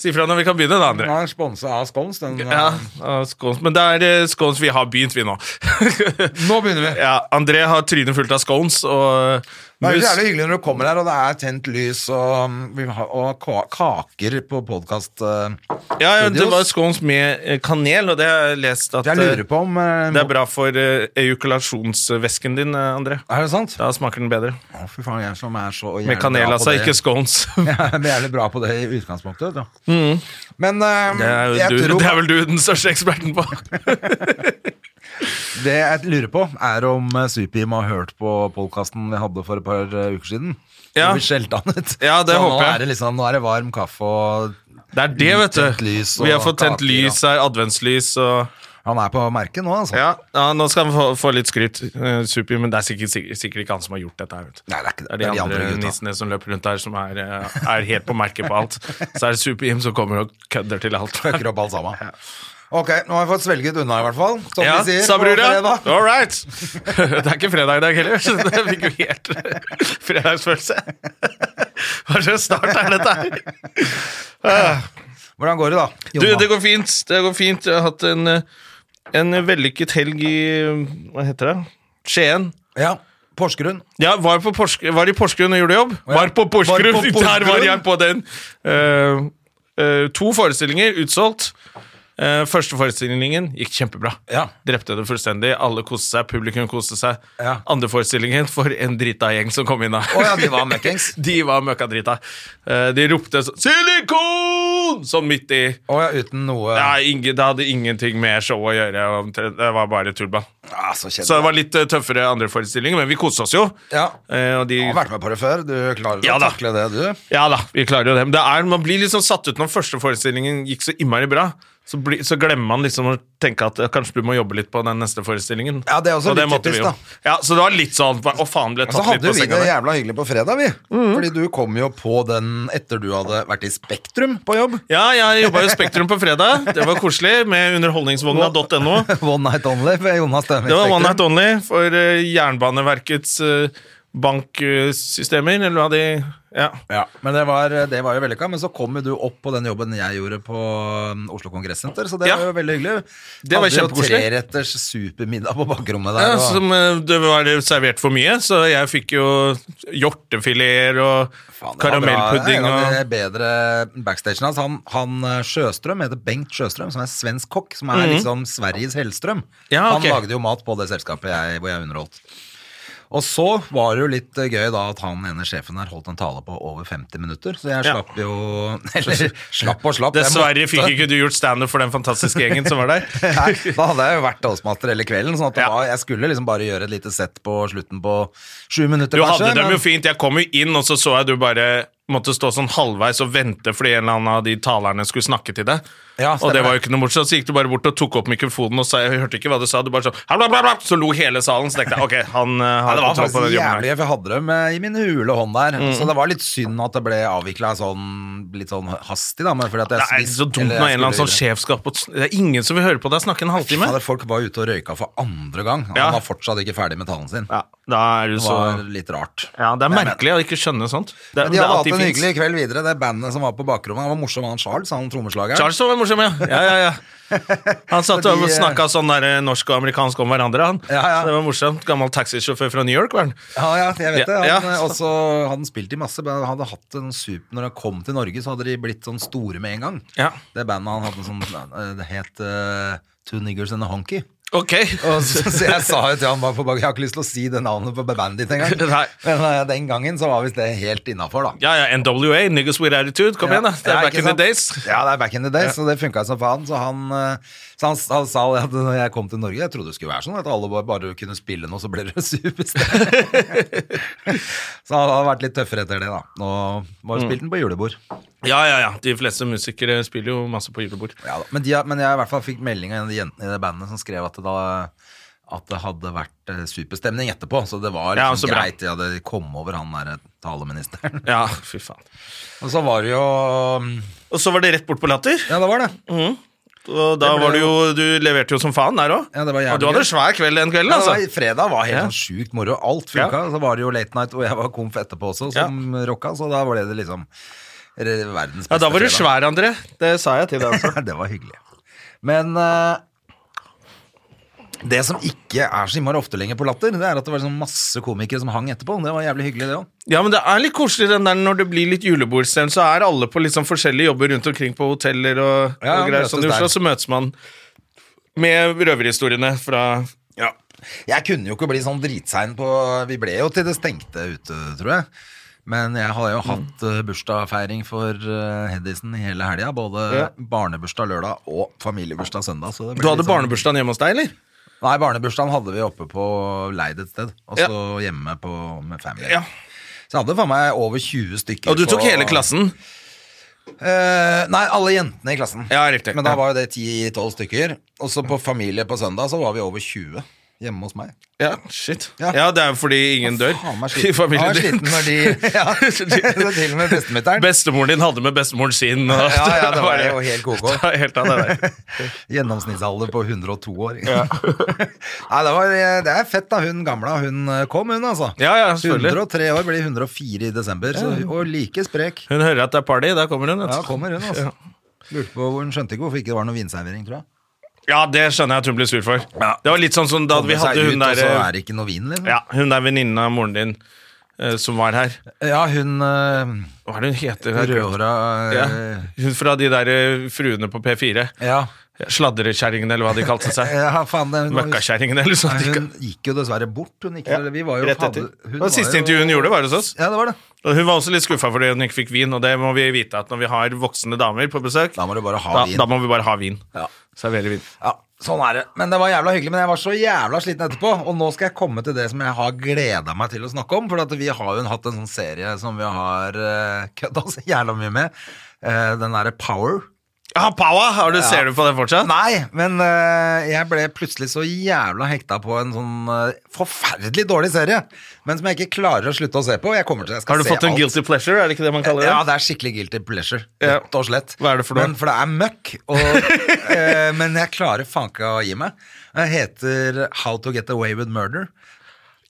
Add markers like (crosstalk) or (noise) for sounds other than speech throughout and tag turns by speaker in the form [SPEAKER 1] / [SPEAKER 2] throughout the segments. [SPEAKER 1] Si fra når vi kan begynne, da, André.
[SPEAKER 2] Den er sponsa av Spons. Den, eh,
[SPEAKER 1] Ja, ja, scones. Men det er eh, scones vi har begynt, vi nå. (laughs)
[SPEAKER 2] Nå begynner vi.
[SPEAKER 1] ja, André har trynet fullt av scones og
[SPEAKER 2] Det er jo
[SPEAKER 1] mus.
[SPEAKER 2] jævlig hyggelig når du kommer her, og det er tent lys og, mm, vi har- og ka- kaker på eh, podkast.
[SPEAKER 1] Ja, ja, det var scones med eh, kanel, og det har jeg lest at
[SPEAKER 2] Jeg lurer på om
[SPEAKER 1] eh,
[SPEAKER 2] eh,
[SPEAKER 1] Det er bra for eh, ejakulasjonsvæsken din, eh, André.
[SPEAKER 2] Er det sant?
[SPEAKER 1] Da smaker den bedre.
[SPEAKER 2] Å, fy faen, jeg som er så
[SPEAKER 1] Med kanel, altså. Ikke
[SPEAKER 2] (laughs)
[SPEAKER 1] scones.
[SPEAKER 2] Jeg er jævlig bra på det i utgangspunktet. Da. Men eh,
[SPEAKER 1] Mm. Det er,
[SPEAKER 2] jeg,
[SPEAKER 1] jo du,
[SPEAKER 2] tror,
[SPEAKER 1] (laughs) det er vel du den største eksperten
[SPEAKER 2] (laughs)
[SPEAKER 1] på.
[SPEAKER 2] det jeg lurer på, er om eh, Supim har hørt på podkasten vi hadde for et par eh, uker siden.
[SPEAKER 1] Ja.
[SPEAKER 2] Hvor Vi skjelte han ut.
[SPEAKER 1] Ja, det
[SPEAKER 2] Så
[SPEAKER 1] håper jeg.
[SPEAKER 2] Nå er det, liksom, nå er det varm kaffe og
[SPEAKER 1] Det er det, vet
[SPEAKER 2] Tent
[SPEAKER 1] du.
[SPEAKER 2] lys og
[SPEAKER 1] Vi har fått tent
[SPEAKER 2] kaker,
[SPEAKER 1] lys her, adventslys og
[SPEAKER 2] Han er på merket nå, altså.
[SPEAKER 1] Ja, ja nå skal han få, få litt skryt, eh, Supi, men det er sikkert, sikkert, sikkert ikke han som har gjort dette. her, vet du.
[SPEAKER 2] Nei, det er ikke det.
[SPEAKER 1] Det er de andre, nissene som løper rundt der, som er, eh, er helt på merket på alt. Så er det Super-Jim som kommer og kødder til alt.
[SPEAKER 2] Fucker opp alt sammen. Ok, nå har vi fått svelget unna, i hvert fall. Som
[SPEAKER 1] Ja,
[SPEAKER 2] de sier.
[SPEAKER 1] sa
[SPEAKER 2] på
[SPEAKER 1] brura.
[SPEAKER 2] fredag.
[SPEAKER 1] All right. (laughs) Det er ikke fredag i dag heller, så det fikk jo helt (laughs) fredagsfølelse. (laughs) Hva slags start er dette her? Ah.
[SPEAKER 2] Hvordan går det, da?
[SPEAKER 1] Du,
[SPEAKER 2] Jonna?
[SPEAKER 1] det går fint. Det går fint. Jeg har hatt en, eh, en vellykket helg i eh, Hva heter det? Skien.
[SPEAKER 2] Ja, Porsgrunn.
[SPEAKER 1] Ja, var, på Porsk var i Porsgrunn og gjorde jobb. Var på Porsgrunn! (laughs)
[SPEAKER 2] Var på Porsgrunn.
[SPEAKER 1] Der var jeg på den. Eh, eh, to forestillinger utsolgt. Eh, første forestillingen gikk kjempebra.
[SPEAKER 2] Ja.
[SPEAKER 1] Drepte det fullstendig. Alle koste seg, publikum koste seg.
[SPEAKER 2] Ja.
[SPEAKER 1] Andre forestillingen for en drita gjeng som kom inn da.
[SPEAKER 2] Å ja, de var møkkings.
[SPEAKER 1] (laughs) de var møkkadrita. Eh, de ropte sånn 'Silikon!' sånn midt i.
[SPEAKER 2] Å ja, uten noe
[SPEAKER 1] Ja, ingen, det hadde ingenting med showet å gjøre. omtrent. Det var bare tullball.
[SPEAKER 2] Ah, så kjedelig.
[SPEAKER 1] Så det var litt eh, tøffere andre forestillinger, men vi koste oss jo.
[SPEAKER 2] Ja.
[SPEAKER 1] Eh, og de
[SPEAKER 2] Du har vært med på det før. Du klarer
[SPEAKER 1] Ja
[SPEAKER 2] å
[SPEAKER 1] da.
[SPEAKER 2] takle det, du.
[SPEAKER 1] Ja da, vi klarer jo det. Men det er, man blir liksom satt ut når første forestillingen gikk så innmari bra. Så, bli, så glemmer man liksom å tenke at eh, kanskje du må jobbe litt på den neste forestillingen.
[SPEAKER 2] Ja, det er også
[SPEAKER 1] Og
[SPEAKER 2] litt
[SPEAKER 1] måtte vi
[SPEAKER 2] typisk,
[SPEAKER 1] jo.
[SPEAKER 2] da.
[SPEAKER 1] Ja, så det var litt sånn Å, faen, ble
[SPEAKER 2] Og så
[SPEAKER 1] tatt litt
[SPEAKER 2] hadde
[SPEAKER 1] på
[SPEAKER 2] vi
[SPEAKER 1] senga.
[SPEAKER 2] det
[SPEAKER 1] der. Mm.
[SPEAKER 2] jævla hyggelig på fredag, vi. Fordi du kom jo på den etter du hadde vært i Spektrum på jobb. (laughs)
[SPEAKER 1] Ja, jeg jobba jo i Spektrum på fredag. Det var koselig, med underholdningsvogna.no.
[SPEAKER 2] One Night Only ved Jonas Støme i
[SPEAKER 1] Det var
[SPEAKER 2] Spektrum.
[SPEAKER 1] One Night Only for eh, Jernbaneverkets eh, banksystemer, eller hva de Ja.
[SPEAKER 2] Ja, men det var, det var jo vellykka. Men så kom jo du opp på den jobben jeg gjorde på um, Oslo Kongressenter, så det
[SPEAKER 1] Ja.
[SPEAKER 2] var jo veldig hyggelig.
[SPEAKER 1] Det var
[SPEAKER 2] Hadde jo
[SPEAKER 1] kjempekoselig.
[SPEAKER 2] treretters supermiddag på bakrommet der.
[SPEAKER 1] Ja,
[SPEAKER 2] og-
[SPEAKER 1] som eh, det var servert for mye, så jeg fikk jo hjortefileter og
[SPEAKER 2] Faen, det var
[SPEAKER 1] karamellpudding
[SPEAKER 2] bra. Det er En
[SPEAKER 1] og
[SPEAKER 2] av de bedre backstagen hans. Han, han eh, Sjøstrøm heter Bengt Sjøstrøm, som er svensk kokk, som er liksom Sveriges Hellstrøm.
[SPEAKER 1] Mhm. Ja, ok.
[SPEAKER 2] Han lagde jo mat på det selskapet jeg, hvor jeg underholdt. Og så var det jo litt eh, gøy da at han ene sjefen her holdt en tale på over 50 minutter, så jeg
[SPEAKER 1] Ja.
[SPEAKER 2] slapp jo (laughs) Eller slapp og slapp. jeg
[SPEAKER 1] Dessverre
[SPEAKER 2] måtte-
[SPEAKER 1] fikk ikke du gjort standup for den fantastiske gjengen som var der.
[SPEAKER 2] (laughs) Nei, da hadde jeg jo vært allsmatter hele kvelden, sånn at det
[SPEAKER 1] Ja.
[SPEAKER 2] var, jeg skulle liksom bare gjøre et lite sett på slutten på sju minutter,
[SPEAKER 1] Du hadde dem
[SPEAKER 2] men-
[SPEAKER 1] jo fint. Jeg kom jo inn, og så så jeg du bare måtte stå sånn halvveis og vente fordi en eller annen av de talerne skulle snakke til deg.
[SPEAKER 2] Ja,
[SPEAKER 1] og
[SPEAKER 2] stemmer
[SPEAKER 1] det var jo
[SPEAKER 2] det.
[SPEAKER 1] ikke noe morsomt. Så gikk du bare bort og tok opp mikrofonen og sa Jeg hørte ikke hva du sa. Du bare sånn «Bla, bla, bla», Så lo hele salen. Så tenkte jeg ok, han eh,
[SPEAKER 2] Ja,
[SPEAKER 1] har
[SPEAKER 2] det var
[SPEAKER 1] kontroll på
[SPEAKER 2] faktisk
[SPEAKER 1] den jobben
[SPEAKER 2] jævlig,
[SPEAKER 1] her. Mm.
[SPEAKER 2] for jeg hadde dem eh, i min hule hånd der. Så det var litt synd at det ble avvikla sånn, litt sånn hastig, da. Men fordi at
[SPEAKER 1] Det
[SPEAKER 2] jeg,
[SPEAKER 1] er så dumt når en eller annen sånn sjef skal opp og Det er ingen som vil høre på deg snakke en halvtime.
[SPEAKER 2] Hadde folk var ute og røyka for andre gang. og
[SPEAKER 1] Ja.
[SPEAKER 2] Han var fortsatt ikke ferdig med talen sin.
[SPEAKER 1] Ja, da er du
[SPEAKER 2] Det
[SPEAKER 1] så
[SPEAKER 2] var litt rart.
[SPEAKER 1] Ja, det er merkelig å ikke skjønne sånt.
[SPEAKER 2] Men
[SPEAKER 1] Det,
[SPEAKER 2] de hadde
[SPEAKER 1] det er
[SPEAKER 2] hatt
[SPEAKER 1] alltid
[SPEAKER 2] en
[SPEAKER 1] fint.
[SPEAKER 2] hyggelig kveld videre. Det bandet som var på bakrommet, han var morsom, han Charles, han trommeslageren.
[SPEAKER 1] Charles var morsom, ja. ja, ja,
[SPEAKER 2] (laughs)
[SPEAKER 1] ja. Han
[SPEAKER 2] Så
[SPEAKER 1] satt
[SPEAKER 2] de,
[SPEAKER 1] og
[SPEAKER 2] eh,
[SPEAKER 1] snakka sånn der, norsk og amerikansk om hverandre. Han.
[SPEAKER 2] Ja, ja.
[SPEAKER 1] Så Det var morsomt. Gammel taxisjåfør fra New York, var han.
[SPEAKER 2] Ja, ja, jeg vet det.
[SPEAKER 1] Ja,
[SPEAKER 2] Han,
[SPEAKER 1] ja.
[SPEAKER 2] eh, Også, han spilte i masse. men Han hadde hatt en super Når han kom til Norge, så hadde de blitt sånn store med en gang.
[SPEAKER 1] Ja.
[SPEAKER 2] Det bandet han hadde sånn eh, Det het eh, Two Niggers and a Honky.
[SPEAKER 1] Ok.
[SPEAKER 2] Og så, (laughs) så jeg sa jo til han bare på bak, jeg har ikke lyst til å si det navnet på bandet ditt engang.
[SPEAKER 1] (laughs) Nei.
[SPEAKER 2] Men eh, den gangen så var visst det helt innafor, da.
[SPEAKER 1] Ja, ja, NWA, Niggas With Attitude. Kom igjen, da. Det er
[SPEAKER 2] Ja,
[SPEAKER 1] back
[SPEAKER 2] ikke
[SPEAKER 1] in the
[SPEAKER 2] sant?
[SPEAKER 1] days.
[SPEAKER 2] Ja, det er back in the days, så det funka som faen. Så han, eh, så han, s- han sa det at når jeg kom til Norge, jeg trodde det skulle være sånn at alle bare, bare kunne spille noe, så ble det (laughs) superstjerne. (laughs)
[SPEAKER 1] Mm.
[SPEAKER 2] så han hadde vært litt tøffere etter det, da. Nå var det spilt den på julebord.
[SPEAKER 1] Ja, ja, ja. De fleste musikere spiller jo masse på julebord.
[SPEAKER 2] Ja, da. men, de, har- men jeg i hvert fall fikk melding av en av de jentene i det bandet som skrev at det, da, at det hadde vært eh, superstemning etterpå. Så det var
[SPEAKER 1] Ja,
[SPEAKER 2] liksom
[SPEAKER 1] så bra.
[SPEAKER 2] greit. De hadde kommet over han derre taleministeren. (laughs)
[SPEAKER 1] Ja, fy faen.
[SPEAKER 2] Og så var det jo mm,
[SPEAKER 1] Og så var det rett bort på Latter.
[SPEAKER 2] Ja, det var det.
[SPEAKER 1] Og
[SPEAKER 2] Det
[SPEAKER 1] da
[SPEAKER 2] ble
[SPEAKER 1] var du jo Du leverte jo som faen der òg.
[SPEAKER 2] Ja, det var jævlig
[SPEAKER 1] og du hadde
[SPEAKER 2] gøy.
[SPEAKER 1] svær kveld den kvelden,
[SPEAKER 2] Ja, det
[SPEAKER 1] altså.
[SPEAKER 2] var, fredag var helt
[SPEAKER 1] Ja.
[SPEAKER 2] sånn sjukt moro. Alt funka. Så var det jo late night, og jeg var komf etterpå også, som rocka. Så da ble det liksom re- verdens beste
[SPEAKER 1] Ja, da var du
[SPEAKER 2] fredag.
[SPEAKER 1] svær, André. Det sa jeg til deg. altså.
[SPEAKER 2] (laughs) det var hyggelig. Men eh, det som ikke er så innmari ofte lenger på Latter, det er at det var liksom masse komikere som hang etterpå. Det var jævlig hyggelig, det òg.
[SPEAKER 1] (laughs) Ja, men det er litt koselig den der når det blir litt julebordstemning, så er alle på litt sånn forskjellige jobber rundt omkring på hoteller og,
[SPEAKER 2] Ja,
[SPEAKER 1] og greier.
[SPEAKER 2] møtes
[SPEAKER 1] Sånn i Oslo,
[SPEAKER 2] der.
[SPEAKER 1] så møtes man med røverhistoriene fra Ja.
[SPEAKER 2] Jeg kunne jo ikke bli sånn dritsein på Vi ble jo til det stengte ute, tror jeg. Men jeg har jo hatt eh, bursdagsfeiring for eh, Hedisen i hele helga. Både
[SPEAKER 1] Ja.
[SPEAKER 2] barnebursdag lørdag og familiebursdag søndag. Så det ble
[SPEAKER 1] Du hadde
[SPEAKER 2] litt sånn-
[SPEAKER 1] barnebursdagen hjemme hos deg, eller?
[SPEAKER 2] Nei, barnebursdagen hadde vi oppe på Leid et sted. Og
[SPEAKER 1] Ja.
[SPEAKER 2] så hjemme på, med family.
[SPEAKER 1] Ja.
[SPEAKER 2] Så jeg hadde faen meg over 20 stykker.
[SPEAKER 1] Og du tok
[SPEAKER 2] på-
[SPEAKER 1] hele klassen?
[SPEAKER 2] Eh, nei, alle jentene i klassen.
[SPEAKER 1] Ja, riktig.
[SPEAKER 2] Men da
[SPEAKER 1] Ja.
[SPEAKER 2] var jo det 10-12 stykker. Og så på familie på søndag så var vi over 20 hjemme hos meg.
[SPEAKER 1] Ja, shit.
[SPEAKER 2] Ja.
[SPEAKER 1] Ja, det er jo fordi ingen dør
[SPEAKER 2] Faen meg
[SPEAKER 1] i
[SPEAKER 2] sliten.
[SPEAKER 1] familien
[SPEAKER 2] Jeg
[SPEAKER 1] din.
[SPEAKER 2] var sliten når de
[SPEAKER 1] (laughs)
[SPEAKER 2] (laughs)
[SPEAKER 1] Så
[SPEAKER 2] Det er
[SPEAKER 1] (laughs) de-
[SPEAKER 2] til og med bestemutteren.
[SPEAKER 1] Bestemoren din hadde med bestemoren sin. Og,
[SPEAKER 2] Ja, ja,
[SPEAKER 1] (laughs)
[SPEAKER 2] det var jo helt koko.
[SPEAKER 1] Det var helt av det der.
[SPEAKER 2] (laughs) Gjennomsnittsalder på 102 år. (laughs) Nei, det, var, det er fett da hun gamla. Hun kom, hun, altså.
[SPEAKER 1] Ja, ja, selvfølgelig.
[SPEAKER 2] 103 år blir 104 i desember, så, og like sprek.
[SPEAKER 1] Hun hører at det er party, der kommer hun. vet du.
[SPEAKER 2] Ja, kommer hun, altså. Lurte på, hvor hun skjønte ikke hvorfor ikke det var noe vinservering, tror jeg.
[SPEAKER 1] Ja, det skjønner jeg at hun ble sur for. Det var litt sånn som da vi
[SPEAKER 2] Kommer seg
[SPEAKER 1] hadde hun
[SPEAKER 2] ut, Og så
[SPEAKER 1] der eh,
[SPEAKER 2] er det ikke noe vin, liksom.
[SPEAKER 1] Ja, hun der venninnen av moren din eh, som var her.
[SPEAKER 2] Ja, hun eh,
[SPEAKER 1] Hva er det hun heter? Jeg har glemt.
[SPEAKER 2] rødhåra
[SPEAKER 1] Ja.
[SPEAKER 2] eh,
[SPEAKER 1] Hun fra de der eh, fruene på P4.
[SPEAKER 2] ja.
[SPEAKER 1] Sladrekjerringene, eller hva de kalte seg.
[SPEAKER 2] ja, faen det, hun,
[SPEAKER 1] Møkkakjerringene, eller sånn.
[SPEAKER 2] Nei,
[SPEAKER 1] de
[SPEAKER 2] hun gikk jo dessverre bort. Hun gikk, eller vi var jo
[SPEAKER 1] Rett
[SPEAKER 2] fadde-
[SPEAKER 1] etter.
[SPEAKER 2] hun
[SPEAKER 1] Det
[SPEAKER 2] var
[SPEAKER 1] var siste
[SPEAKER 2] jo-
[SPEAKER 1] intervjuet hun gjorde, var hos oss.
[SPEAKER 2] Ja, det var det.
[SPEAKER 1] Og hun var også litt skuffa fordi hun ikke fikk vin, og det må vi vite at når vi har voksne damer på besøk,
[SPEAKER 2] Da må du bare ha
[SPEAKER 1] da,
[SPEAKER 2] vin.
[SPEAKER 1] da må vi bare ha vin.
[SPEAKER 2] Ja.
[SPEAKER 1] Servere vin.
[SPEAKER 2] Ja, sånn er det. Men det var jævla hyggelig. Men jeg var så jævla sliten etterpå. Og nå skal jeg komme til det som jeg har gleda meg til å snakke om. For at vi har jo hatt en sånn serie som vi har uh, kødda så jævla mye med. Eh, den derre Power.
[SPEAKER 1] Ah, Paua! Har du, Ser du på det fortsatt?
[SPEAKER 2] Nei, men eh, jeg ble plutselig så jævla hekta på en sånn eh, forferdelig dårlig serie. Men som jeg ikke klarer å slutte å se på. Jeg kommer til jeg skal
[SPEAKER 1] Har du
[SPEAKER 2] se
[SPEAKER 1] fått en
[SPEAKER 2] alt.
[SPEAKER 1] guilty pleasure? Er det ikke det man kaller det?
[SPEAKER 2] Ja, det er skikkelig guilty pleasure.
[SPEAKER 1] Ja.
[SPEAKER 2] Rett og slett.
[SPEAKER 1] Hva er det for noe?
[SPEAKER 2] Men, for det er møkk.
[SPEAKER 1] (laughs)
[SPEAKER 2] Og, eh, men jeg klarer faen ikke å gi meg. Den heter How to Get Away with Murder.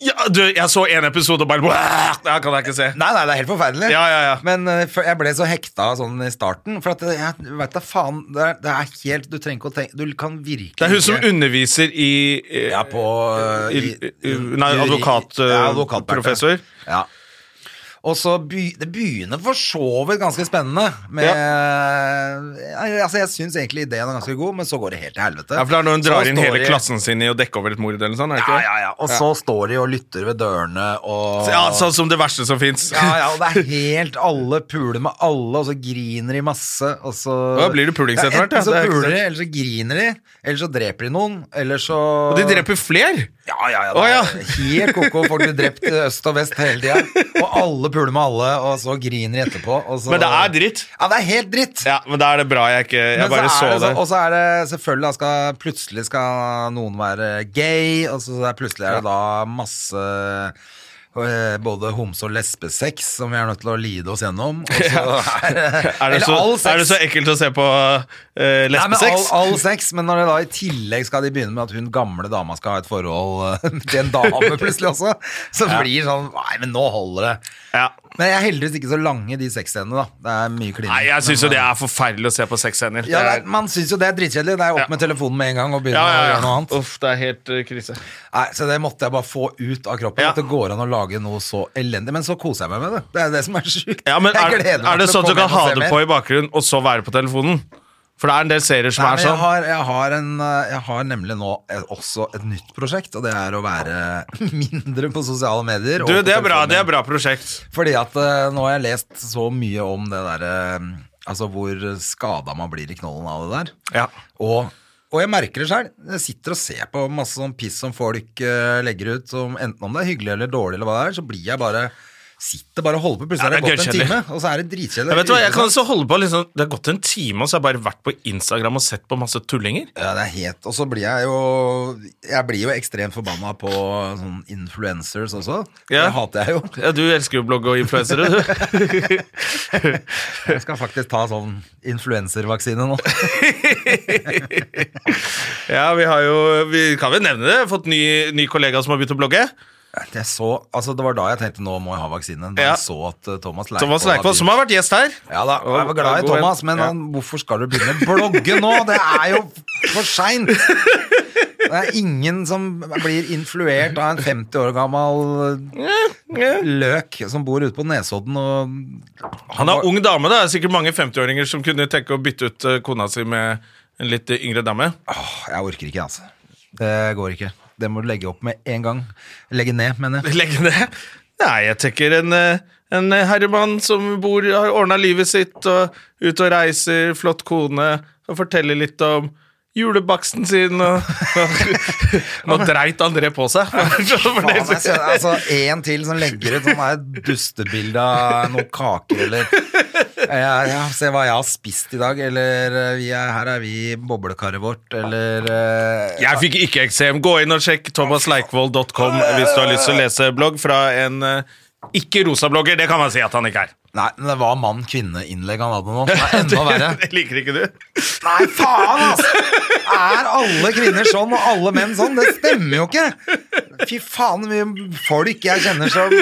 [SPEAKER 1] Ja, du, jeg så en episode og bare Bæh! Det her kan jeg ikke se.
[SPEAKER 2] Nei, nei, det er helt forferdelig.
[SPEAKER 1] Ja, ja, ja.
[SPEAKER 2] Men eh, for- jeg ble så hekta sånn i starten. For at jeg vet da faen det er, det er helt Du trenger ikke å tenke Du kan virkelig
[SPEAKER 1] Det er hun som
[SPEAKER 2] ikke-
[SPEAKER 1] underviser i eh,
[SPEAKER 2] Ja, på eh,
[SPEAKER 1] I- i- nei, advokat, eh,
[SPEAKER 2] Ja, advokatberte.
[SPEAKER 1] professor.
[SPEAKER 2] Ja. Og så be, Det begynner for så vidt ganske spennende. Med, ja, altså Jeg syns egentlig ideen er ganske god, men så går det helt til helvete.
[SPEAKER 1] Ja, for det er når hun
[SPEAKER 2] Så
[SPEAKER 1] drar inn
[SPEAKER 2] står
[SPEAKER 1] hele
[SPEAKER 2] de-
[SPEAKER 1] klassen sin i å dekke over et mord eller noe sånt? er det
[SPEAKER 2] Ja,
[SPEAKER 1] ikke det?
[SPEAKER 2] ja, ja. Og så står de og lytter ved dørene og
[SPEAKER 1] Ja, sånn som det verste som fins.
[SPEAKER 2] ja, ja, og det er helt alle puler med alle, og så griner de masse, og så
[SPEAKER 1] Da blir det pulings etter hvert, ja.
[SPEAKER 2] Enten så
[SPEAKER 1] Det er ikke
[SPEAKER 2] puler de,
[SPEAKER 1] sant.
[SPEAKER 2] eller så griner de, eller så dreper de noen, eller så
[SPEAKER 1] (laughs) Og de dreper fler!
[SPEAKER 2] Ja, ja, ja.
[SPEAKER 1] Å, ja.
[SPEAKER 2] det er Helt koko. Folk blir drept i øst og vest hele tida. Og alle puler med alle, og så griner de etterpå. Og så...
[SPEAKER 1] Men det er dritt.
[SPEAKER 2] Ja, det er helt dritt.
[SPEAKER 1] Ja, men da er det bra jeg ikke Jeg
[SPEAKER 2] Men
[SPEAKER 1] bare
[SPEAKER 2] så
[SPEAKER 1] så
[SPEAKER 2] er
[SPEAKER 1] det.
[SPEAKER 2] det så- Og så er det selvfølgelig da skal, Plutselig skal noen være gay, og så er, plutselig er det da masse eh, både homse- og lesbesex som vi er nødt til å lide oss gjennom. Og
[SPEAKER 1] (laughs)
[SPEAKER 2] så er, det-
[SPEAKER 1] er, det
[SPEAKER 2] eller
[SPEAKER 1] så
[SPEAKER 2] all sex.
[SPEAKER 1] er det så ekkelt å se på eh,
[SPEAKER 2] Nei, men all,
[SPEAKER 1] lesbesex?
[SPEAKER 2] all sex, men når det da i tillegg skal de begynne med at hun gamle dama skal ha et forhold eh, til en
[SPEAKER 1] (laughs)
[SPEAKER 2] dame plutselig også, så blir det sånn Nei, men nå holder det.
[SPEAKER 1] Ja.
[SPEAKER 2] Men jeg er heldigvis ikke så lange de sexscenene, da. Det er mye klining.
[SPEAKER 1] Nei, jeg syns
[SPEAKER 2] men, eh,
[SPEAKER 1] jo det er forferdelig å se på sexscener.
[SPEAKER 2] ja, det
[SPEAKER 1] Det
[SPEAKER 2] er,
[SPEAKER 1] er-
[SPEAKER 2] Man syns jo det er dritkjedelig. Det er opp
[SPEAKER 1] Ja.
[SPEAKER 2] med telefonen med en gang og begynne
[SPEAKER 1] ja, ja,
[SPEAKER 2] å gjøre noe
[SPEAKER 1] ja.
[SPEAKER 2] annet.
[SPEAKER 1] Uff, det er helt eh, krise.
[SPEAKER 2] Nei, Så det måtte jeg bare få ut av kroppen.
[SPEAKER 1] Ja.
[SPEAKER 2] At det går an å lage noe så elendig. Men så koser jeg meg med det. Det er det som er sjukt.
[SPEAKER 1] Ja, men
[SPEAKER 2] Jeg
[SPEAKER 1] er,
[SPEAKER 2] gleder meg
[SPEAKER 1] er
[SPEAKER 2] til
[SPEAKER 1] det
[SPEAKER 2] å
[SPEAKER 1] sånn at du
[SPEAKER 2] komme hjem og
[SPEAKER 1] kan ha
[SPEAKER 2] se
[SPEAKER 1] det
[SPEAKER 2] mer.
[SPEAKER 1] på i bakgrunnen, og så være på telefonen? For det er en del serier som
[SPEAKER 2] Nei,
[SPEAKER 1] er
[SPEAKER 2] men jeg,
[SPEAKER 1] sånn.
[SPEAKER 2] har, jeg, har en, eh, jeg har nemlig nå eh, også et nytt prosjekt, og det er å være (laughs) mindre på sosiale medier. og
[SPEAKER 1] Du,
[SPEAKER 2] på
[SPEAKER 1] det er bra,
[SPEAKER 2] telefonen.
[SPEAKER 1] det er bra prosjekt.
[SPEAKER 2] Fordi at eh, nå har jeg lest så mye om det derre Altså hvor skada man blir i knollen av det der.
[SPEAKER 1] Ja.
[SPEAKER 2] Og, og jeg merker det sjøl. Jeg sitter og ser på masse sånn piss som folk eh, legger ut, som enten om det er hyggelig eller dårlig, eller hva det er, så blir jeg bare Sitter bare og holder på, plutselig
[SPEAKER 1] Ja,
[SPEAKER 2] har det
[SPEAKER 1] det er
[SPEAKER 2] gått en
[SPEAKER 1] gøykjedelig.
[SPEAKER 2] time, og så er det dritkjedelig.
[SPEAKER 1] Jeg vet du hva, jeg kan også holde på liksom, Det har gått en time, og så har jeg bare vært på Instagram og sett på masse tullinger.
[SPEAKER 2] Ja, det er helt Og så blir jeg jo Jeg blir jo ekstremt forbanna på sånn influencers også.
[SPEAKER 1] Ja.
[SPEAKER 2] Det hater jeg jo.
[SPEAKER 1] Ja, du elsker jo blogg og influensere, du.
[SPEAKER 2] (laughs) Jeg skal faktisk ta sånn influenservaksine
[SPEAKER 1] (laughs)
[SPEAKER 2] nå.
[SPEAKER 1] Ja, vi har jo Vi kan vel nevne det. Fått ny, ny kollega som har begynt å blogge.
[SPEAKER 2] Jeg så, altså Det var da jeg tenkte nå må jeg ha vaksine. Da
[SPEAKER 1] Ja.
[SPEAKER 2] jeg så at eh, Thomas Leikvoll
[SPEAKER 1] Thomas Leikvoll,
[SPEAKER 2] hadde-
[SPEAKER 1] som har vært gjest her.
[SPEAKER 2] Ja da, jeg var glad i
[SPEAKER 1] God en.
[SPEAKER 2] Thomas, men
[SPEAKER 1] Ja.
[SPEAKER 2] han, hvorfor skal du begynne å blogge nå? Det er jo for
[SPEAKER 1] (laughs)
[SPEAKER 2] seint! Det er ingen som blir influert av en 50 år gammel løk som bor ute på Nesodden og
[SPEAKER 1] Han er ung dame. da. Det er sikkert mange 50-åringer som kunne tenke å bytte ut eh, kona si med en litt yngre dame.
[SPEAKER 2] Åh, Jeg orker ikke, altså. Det går ikke. Det må du legge opp med en gang. Legge ned, mener jeg.
[SPEAKER 1] (laughs) Legge det. Nei, jeg tenker en, eh, en herremann som bor, har ordna livet sitt og ut og reiser, flott kone, og forteller litt om julebaksten sin
[SPEAKER 2] (laughs)
[SPEAKER 1] og Nå dreit André på seg. (laughs)
[SPEAKER 2] Faen, jeg ser- altså, en til som legger ut sånn her dustebilde av noen kaker eller ja, ja, Se hva jeg har spist i dag, eller eh, vi er, her er vi i boblekaret vårt, eller eh,
[SPEAKER 1] Jeg fikk ikke eksem. Gå inn og sjekk thomasleikvoll.com hvis du har lyst til å lese blogg fra en eh, ikke-rosa-blogger. Det kan man si at han ikke er.
[SPEAKER 2] Nei, men det var mann-kvinne-innlegg han hadde nå.
[SPEAKER 1] (laughs)
[SPEAKER 2] Det er enda verre.
[SPEAKER 1] Det liker ikke du.
[SPEAKER 2] Nei, faen, altså! Er alle kvinner sånn, og alle menn sånn? Det stemmer jo ikke! Fy faen, hvor mye folk jeg kjenner som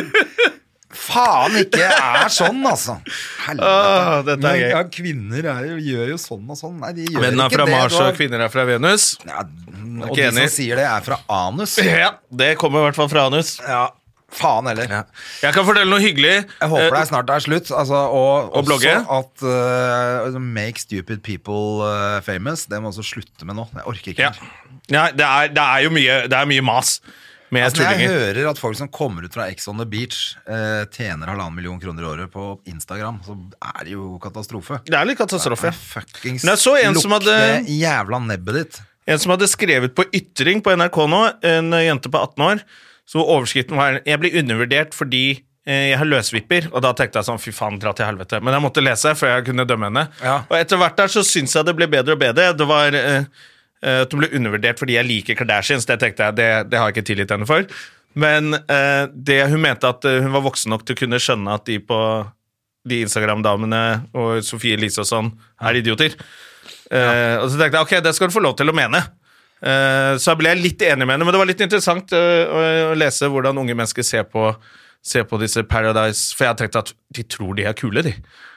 [SPEAKER 2] faen ikke er sånn, altså.
[SPEAKER 1] Åh, Ah, dette er
[SPEAKER 2] Men,
[SPEAKER 1] gøy.
[SPEAKER 2] Ja, kvinner er, jo- gjør jo sånn og sånn. Nei, de gjør
[SPEAKER 1] Menn er
[SPEAKER 2] ikke
[SPEAKER 1] fra
[SPEAKER 2] det.
[SPEAKER 1] Mars,
[SPEAKER 2] du har-
[SPEAKER 1] og kvinner er fra Venus.
[SPEAKER 2] Ja, og
[SPEAKER 1] Ikke
[SPEAKER 2] de som
[SPEAKER 1] enig.
[SPEAKER 2] sier det, er fra anus.
[SPEAKER 1] Ja, Det kommer i hvert fall fra anus.
[SPEAKER 2] Ja, faen heller.
[SPEAKER 1] Jeg kan fortelle noe hyggelig.
[SPEAKER 2] Jeg håper det er snart det er slutt. Altså, og
[SPEAKER 1] Eh, og blogge.
[SPEAKER 2] også at eh, Make stupid people eh, famous. Det må jeg også slutte med nå. Jeg orker ikke.
[SPEAKER 1] Ja. Nei, det, er, det er jo mye, det er mye mas med
[SPEAKER 2] Altså, når jeg
[SPEAKER 1] tullinger.
[SPEAKER 2] hører at folk som kommer ut fra Ex on the Beach, eh, tjener halvannen million kroner i året på Instagram, så er det jo katastrofe.
[SPEAKER 1] Det er litt katastrofe.
[SPEAKER 2] Fuckings
[SPEAKER 1] Men jeg så en som hadde-
[SPEAKER 2] det jævla nebbet ditt.
[SPEAKER 1] En som hadde skrevet på ytring på NRK nå, en jente på 18 år, så overskriften var 'Jeg blir undervurdert fordi eh, jeg har løsvipper'. Og da tenkte jeg sånn 'fy faen, dra til helvete'. Men jeg måtte lese før jeg kunne dømme henne.
[SPEAKER 2] Ja.
[SPEAKER 1] Og etter hvert der så syns jeg det ble bedre og bedre. Det var eh, eh, at hun ble undervurdert fordi jeg liker Kardashians. Det tenkte jeg, det, det har jeg ikke tilgitt henne for. Men eh, det hun mente at eh, hun var voksen nok til å kunne skjønne at de på de Instagram-damene og Sofie Elise og sånn er idioter. Eh, og så tenkte jeg ok, det skal du få lov til å mene. Eh, så ble jeg litt enig med henne, men det var litt interessant eh, å, å lese hvordan unge mennesker ser på, ser på disse Paradise, for jeg tenkte at de tror de er kule, de.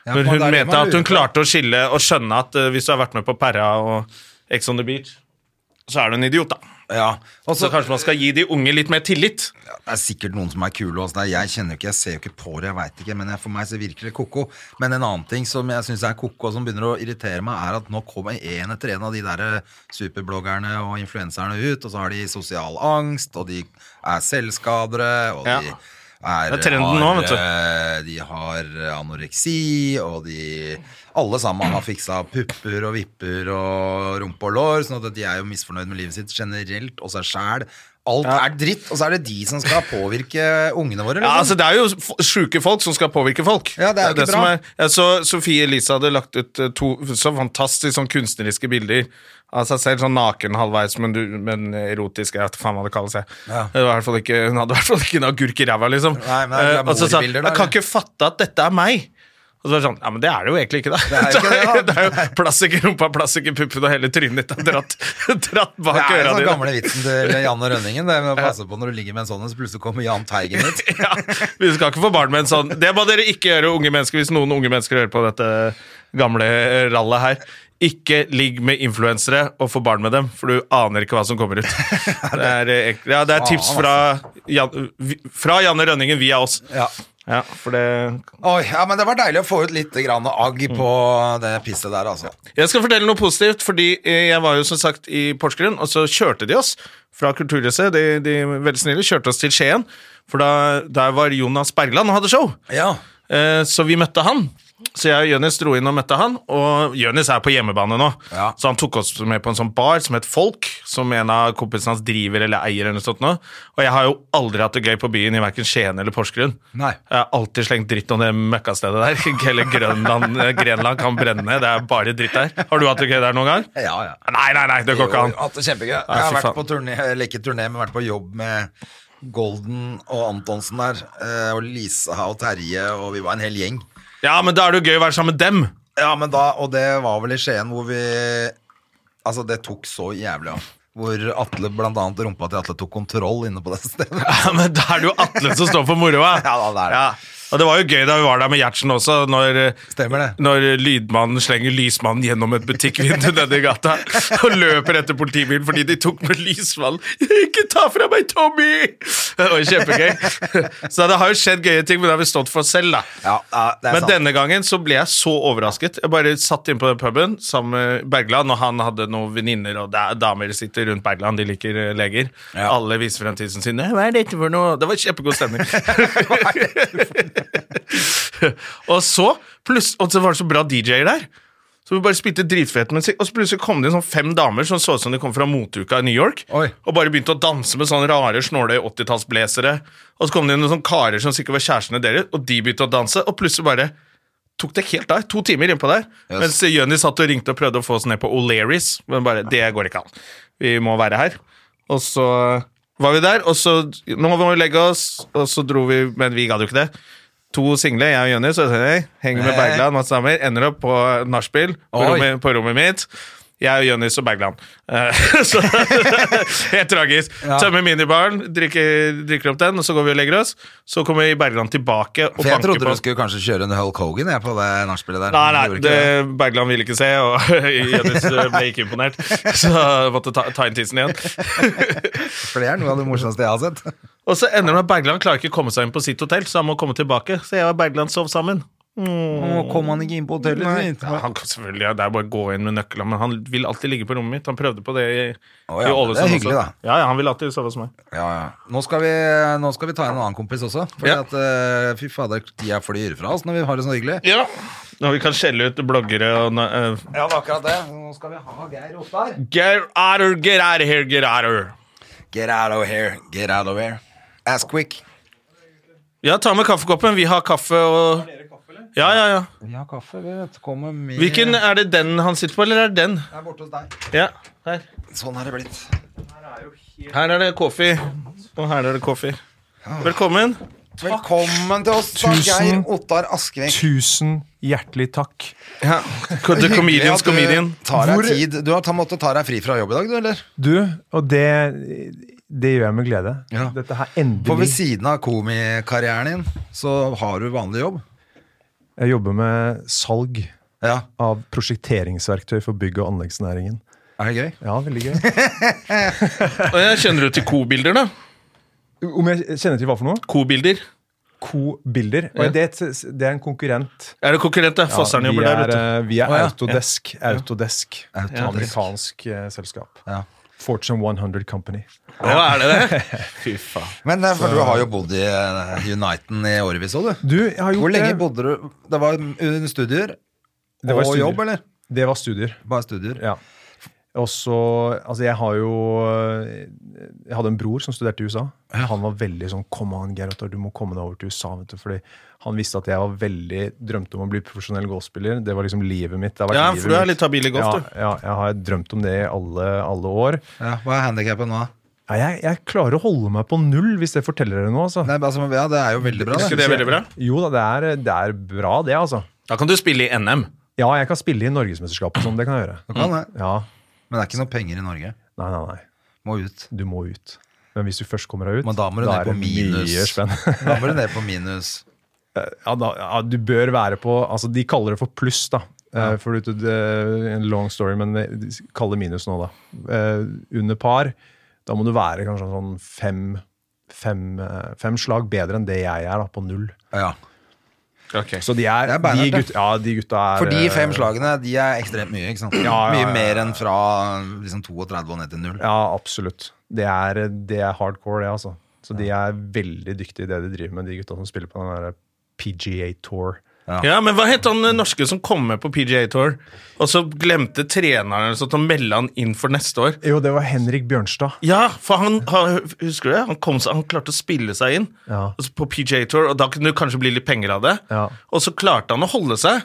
[SPEAKER 2] Ja,
[SPEAKER 1] Når
[SPEAKER 2] men
[SPEAKER 1] hun
[SPEAKER 2] det er det
[SPEAKER 1] mente
[SPEAKER 2] man
[SPEAKER 1] at
[SPEAKER 2] lurer
[SPEAKER 1] hun
[SPEAKER 2] på.
[SPEAKER 1] klarte å skille og skjønne at eh, hvis du har vært med på Perra og Ex on the Beach, så er du en idiot, da.
[SPEAKER 2] Ja. Og
[SPEAKER 1] Så
[SPEAKER 2] så
[SPEAKER 1] kanskje man skal gi de unge litt mer tillit.
[SPEAKER 2] Det er sikkert noen som er kule. og sånn. Jeg kjenner jo ikke, jeg ser jo ikke på det, jeg vet ikke, men jeg, for meg så virker det ko-ko. Men en annen ting som jeg syns er ko-ko, og som begynner å irritere meg, er at nå kommer en etter en av de der eh, superbloggerne og influenserne ut, og så har de sosial angst, og de er selvskadere, og
[SPEAKER 1] Ja.
[SPEAKER 2] de er,
[SPEAKER 1] Det er trenden
[SPEAKER 2] har,
[SPEAKER 1] nå, vet du.
[SPEAKER 2] eh, De har anoreksi, og de Alle sammen har fiksa pupper og vipper og rumpe og lår, sånn at de er jo misfornøyd med livet sitt generelt og seg sjæl. Alt er dritt, og så er det de som skal påvirke ungene våre.
[SPEAKER 1] Ja, altså
[SPEAKER 2] Liksom.
[SPEAKER 1] Det er jo f- sjuke folk som skal påvirke folk.
[SPEAKER 2] Ja, det er jo ikke
[SPEAKER 1] som
[SPEAKER 2] bra.
[SPEAKER 1] jeg så Sofie Elise hadde lagt ut eh, to så fantastisk sånn kunstneriske bilder av seg selv, sånn naken halvveis, men, du, men erotisk, jeg vet faen hva det kalles. Jeg.
[SPEAKER 2] Ja.
[SPEAKER 1] Det var i hvert fall ikke, hun hadde i hvert fall ikke en agurk i ræva, liksom.
[SPEAKER 2] Nei, men det er
[SPEAKER 1] Eh, og så sa hun
[SPEAKER 2] glamourbilder, da,
[SPEAKER 1] jeg kan
[SPEAKER 2] eller?»
[SPEAKER 1] ikke fatte at dette er meg. Og så var det sånn, ja, men det er det jo egentlig ikke, da. Det
[SPEAKER 2] er jo ikke det, da.
[SPEAKER 1] (laughs) det er jo plastikk i rumpa, plastikk i puppen, og hele trynet ditt er dratt, (laughs) dratt bak
[SPEAKER 2] Det er
[SPEAKER 1] øra
[SPEAKER 2] den
[SPEAKER 1] dine.
[SPEAKER 2] sånn gamle vitsen
[SPEAKER 1] (laughs)
[SPEAKER 2] til Janne Rønningen. Det med å passe på når du ligger med en sånn en, så plutselig kommer Jahn Teigen
[SPEAKER 1] (laughs)
[SPEAKER 2] ut.
[SPEAKER 1] ja, vi skal ikke få barn med en sånn. Det må dere ikke gjøre, unge mennesker, hvis noen unge mennesker hører på dette gamle eh, rallet her. Ikke ligg med influensere og få barn med dem, for du aner ikke hva som kommer ut. Det er, eh, ek- ja, det er tips fra, Jan, vi- fra Janne Rønningen via oss.
[SPEAKER 2] Ja.
[SPEAKER 1] Ja, for det
[SPEAKER 2] Oi, ja, men det var deilig å få ut litt grann agg på det pisset der, altså.
[SPEAKER 1] Jeg skal fortelle noe positivt, fordi eh, jeg var jo som sagt i Porsgrunn, og så kjørte de oss fra Kulturhuset, de, de veldig snille, kjørte oss til Skien, for da, der var Jonas Bergland og hadde show.
[SPEAKER 2] Ja.
[SPEAKER 1] Eh, Så vi møtte han. Så jeg og Jonis dro inn og møtte han, og Jonis er på hjemmebane nå.
[SPEAKER 2] Ja.
[SPEAKER 1] Så han tok oss med på en sånn bar som het Folk, som en av kompisene hans driver eller eier. eller noe sånt nå. Og jeg har jo aldri hatt det gøy på byen i verken Skien eller Porsgrunn.
[SPEAKER 2] Nei.
[SPEAKER 1] Jeg har alltid slengt dritt om det møkkastedet der. (laughs) Hele Grønland, eh, Grenland kan brenne, det er bare dritt der. Har du hatt det gøy der noen gang?
[SPEAKER 2] Ja, ja.
[SPEAKER 1] Nei, nei, nei, det går ikke an.
[SPEAKER 2] Jo, hatt det kjempegøy. Jeg
[SPEAKER 1] Nei,
[SPEAKER 2] har
[SPEAKER 1] fy
[SPEAKER 2] vært
[SPEAKER 1] faen.
[SPEAKER 2] på turné, eller ikke turné, men vært på jobb med Golden og Antonsen der, eh, og Lisa og Terje, og vi var en hel gjeng.
[SPEAKER 1] Ja, men da er det jo gøy å være sammen med dem.
[SPEAKER 2] Ja, men da, og det var vel i Skien hvor vi Altså, det tok så jævlig av. Hvor Atle, blant annet rumpa til Atle, tok kontroll inne på det (laughs) stedet.
[SPEAKER 1] Ja, men da er det jo Atle som står for moroa.
[SPEAKER 2] (laughs) Ja, da, det er det.
[SPEAKER 1] Og det var jo gøy da vi var der med Gjertsen også, når,
[SPEAKER 2] Stemmer det.
[SPEAKER 1] når lydmannen slenger lysmannen gjennom et
[SPEAKER 2] (laughs)
[SPEAKER 1] butikkvindu nede i gata og løper etter politibilen fordi de tok med lysmannen. Ikke ta fra meg Tommy! Det var jo kjempegøy. (laughs) Så det har jo skjedd gøye ting, men det har vi stått for selv, da.
[SPEAKER 2] Ja, ja, det er
[SPEAKER 1] Men
[SPEAKER 2] sant.
[SPEAKER 1] denne gangen så ble jeg så overrasket. Jeg bare satt inne på den puben sammen med Bergland, og han hadde noen venninner, og da- damer sitter rundt Bergland, de liker eh, leger.
[SPEAKER 2] Ja.
[SPEAKER 1] Alle viser frem tissen sin. Hva er dette for noe? Det var kjempegod stemning. (laughs) og så pluss, og så var det så bra DJ-er der. Så vi bare spilte dritfet musikk, og så plutselig kom det inn sånn fem damer som så ut som de kom fra moteuka i New York,
[SPEAKER 2] Oi.
[SPEAKER 1] og bare begynte å danse med sånne rare, snåle 80-tallsblazere. Og så kom det inn noen sånne karer som sikkert var kjærestene deres, og de begynte å danse, og plutselig bare tok det helt av. To timer innpå der. Mens Jonny satt og ringte og prøvde å få oss ned på O'Learys, men bare Det går ikke an. Vi må være her. Og så var vi der, og så Nå må vi legge oss, og så dro vi, men vi gadd jo ikke det. To single, jeg og Jonny, så jeg henger med
[SPEAKER 2] Nei.
[SPEAKER 1] Bergland, masse damer, ender opp på nachspiel på,
[SPEAKER 2] Oi.
[SPEAKER 1] rommet- på rommet mitt. Jeg og Jonis og Bergland. Eh, (laughs) så, helt tragisk. Tømmer minibaren, drikker, drikker opp den, og så går vi og legger oss. Så kommer Bergland tilbake og
[SPEAKER 2] For jeg
[SPEAKER 1] banker
[SPEAKER 2] trodde
[SPEAKER 1] på.
[SPEAKER 2] du skulle kanskje kjøre en Hulk Hogan jeg, på det nachspielet der.
[SPEAKER 1] Nei,
[SPEAKER 2] men du
[SPEAKER 1] nei,
[SPEAKER 2] gjorde
[SPEAKER 1] det,
[SPEAKER 2] ikke det.
[SPEAKER 1] Bergland ville ikke se, og (laughs) Jonis ble ikke imponert. Så jeg måtte ta, ta inn tissen igjen.
[SPEAKER 2] For det er noe av det morsomste jeg har sett.
[SPEAKER 1] (laughs) Og så ender det med at Bergland klarer ikke å komme seg inn på sitt hotell, så han må komme tilbake. Så jeg og Bergland sov sammen. Mm.
[SPEAKER 2] Nå kom han ikke inn på hotellet sitt.
[SPEAKER 1] Ja, han kan selvfølgelig, ja, Det er bare å gå inn med nøkkelen, men han vil alltid ligge på rommet mitt. Han prøvde på det i,
[SPEAKER 2] Å, ja,
[SPEAKER 1] i Ålesund.
[SPEAKER 2] det er hyggelig,
[SPEAKER 1] også.
[SPEAKER 2] da.
[SPEAKER 1] Ja, ja, han vil alltid sove hos meg.
[SPEAKER 2] Ja, ja. Nå, skal vi, nå skal vi ta inn en annen kompis også. For
[SPEAKER 1] Ja.
[SPEAKER 2] at, eh, fy fader, tida flyr fra oss når vi har det sånn hyggelig.
[SPEAKER 1] Ja, Når vi kan skjelle ut bloggere og eh,
[SPEAKER 2] Ja, det er akkurat det. Nå skal vi ha Geir Ottar.
[SPEAKER 1] Get out of, get out of here, get out of here.
[SPEAKER 2] Get out of here, get out of here. Ass quick.
[SPEAKER 1] Ja, ta med kaffekoppen. Vi har kaffe og Ja, ja, ja.
[SPEAKER 2] Vi har kaffe, vi vet. Kommer med
[SPEAKER 1] Hvilken, Er det den han sitter på, eller er det den?
[SPEAKER 2] er borte hos deg.
[SPEAKER 1] Ja, her.
[SPEAKER 2] Sånn er det blitt.
[SPEAKER 1] Her er det kaffe, og her er det kaffe. Velkommen.
[SPEAKER 2] Velkommen til oss, da, Geir
[SPEAKER 3] Tusen-
[SPEAKER 2] Ottar Askvik.
[SPEAKER 3] Tusen hjertelig takk.
[SPEAKER 1] The comedians
[SPEAKER 2] eh,
[SPEAKER 1] comedian.
[SPEAKER 2] Tar deg
[SPEAKER 3] Hvor-
[SPEAKER 2] tid. Du har ta- måttet ta deg fri fra jobb i dag, du, eller?
[SPEAKER 3] Du, og det, det gjør jeg med glede.
[SPEAKER 2] Ja.
[SPEAKER 3] Dette her
[SPEAKER 2] For ved
[SPEAKER 3] endelig.
[SPEAKER 2] siden av komikarrieren din, så har du vanlig jobb.
[SPEAKER 3] Jeg jobber med salg
[SPEAKER 2] Ja.
[SPEAKER 3] av prosjekteringsverktøy for bygg- og anleggsnæringen.
[SPEAKER 2] Er det gøy?
[SPEAKER 3] Ja, veldig gøy.
[SPEAKER 1] Og jeg kjenner du til kobilder, da?
[SPEAKER 3] (laughs) Om jeg kjenner til hva for noe?
[SPEAKER 1] Kobilder.
[SPEAKER 3] Co-bilder.
[SPEAKER 1] Ja.
[SPEAKER 3] Og det, er et- det er en konkurrent.
[SPEAKER 1] Er det konkurrent, da?
[SPEAKER 3] Ja,
[SPEAKER 1] Fosseren
[SPEAKER 3] vi
[SPEAKER 1] jobber der, vet du.
[SPEAKER 3] er, eh, Vi er
[SPEAKER 2] Å, ja.
[SPEAKER 3] Autodesk. Autodesk.
[SPEAKER 2] Autodesk.
[SPEAKER 3] Amerikansk eh, selskap.
[SPEAKER 2] Ja.
[SPEAKER 3] Fortune 100 Company.
[SPEAKER 1] Å, er det det? Fy faen.
[SPEAKER 2] Men eh, for du har jo bodd i eh, Uniten i årevis òg, du.
[SPEAKER 3] Du, jeg har gjort
[SPEAKER 2] Hvor lenge
[SPEAKER 3] det.
[SPEAKER 2] bodde du Det var under studier
[SPEAKER 3] Det var
[SPEAKER 2] og
[SPEAKER 3] studier.
[SPEAKER 2] jobb, eller?
[SPEAKER 3] Det var studier.
[SPEAKER 2] Bare studier.
[SPEAKER 3] Ja. Og så Altså, jeg har jo eh, Jeg hadde en bror som studerte i USA. Han var veldig sånn Kom an, Geir Ottar, du må komme deg over til USA. Vet du, fordi han visste at jeg var veldig drømte om å bli profesjonell golfspiller. Det var liksom livet mitt. Det har vært
[SPEAKER 1] Ja,
[SPEAKER 3] livet
[SPEAKER 1] for du er
[SPEAKER 3] mitt.
[SPEAKER 1] litt habil i golf,
[SPEAKER 3] ja,
[SPEAKER 1] du.
[SPEAKER 3] Ja, jeg har drømt om det i alle, alle år.
[SPEAKER 2] Ja, hva er handikappet nå, da?
[SPEAKER 3] Ja, jeg, jeg klarer å holde meg på null, hvis det forteller dere noe. Altså.
[SPEAKER 2] Nei, men altså, ja, det er jo veldig bra,
[SPEAKER 1] Er ikke
[SPEAKER 2] det.
[SPEAKER 1] det veldig bra?
[SPEAKER 3] Jo da, det er, det er bra, det, altså.
[SPEAKER 1] Da kan du spille i NM.
[SPEAKER 3] Ja, jeg kan spille i Norgesmesterskapet, sånn. Det kan jeg gjøre.
[SPEAKER 2] Kan det.
[SPEAKER 3] Ja.
[SPEAKER 2] Men det er ikke noe penger i Norge.
[SPEAKER 3] Nei, nei, nei.
[SPEAKER 2] Må ut.
[SPEAKER 3] Du må ut. Men hvis du først kommer deg ut,
[SPEAKER 2] Men da må du ned
[SPEAKER 3] er
[SPEAKER 2] på
[SPEAKER 3] det
[SPEAKER 2] minus.
[SPEAKER 3] mye (laughs) spenn.
[SPEAKER 2] Da må du ned på minus.
[SPEAKER 3] ja, da, ja, du bør være på altså, De kaller det for pluss, da. Eh, For det det er en long story, men de kaller det minus nå, da. Eh, under par, da må du være kanskje sånn fem, fem, eh, fem slag bedre enn det jeg er, da, på null.
[SPEAKER 2] Ja.
[SPEAKER 3] Så de er,
[SPEAKER 2] Det er beinhardt,
[SPEAKER 3] de,
[SPEAKER 2] ja.
[SPEAKER 3] gutta, ja, de gutta er
[SPEAKER 2] For de
[SPEAKER 3] eh,
[SPEAKER 2] fem slagene de er ekstremt mye. ikke sant?
[SPEAKER 3] Ja, ja, ja, ja.
[SPEAKER 2] Mye mer enn fra liksom, 32 og ned til null.
[SPEAKER 3] Ja, absolutt. Det er, det er hardcore, det, altså. Så de er veldig dyktige i det de driver med, de gutta som spiller på den der PGA Tour.
[SPEAKER 1] Ja, men hva het han eh, norske som kom med på PGA Tour, og så glemte treneren sånn, å melde han inn for neste år?
[SPEAKER 3] Jo, det var Henrik Bjørnstad.
[SPEAKER 1] Ja, for han, han husker du det? Han, kom, seg- han klarte å spille seg inn
[SPEAKER 3] Ja.
[SPEAKER 1] altså på PGA Tour, og da kunne det kanskje bli litt penger av det.
[SPEAKER 3] Ja.
[SPEAKER 1] Og så klarte han å holde seg,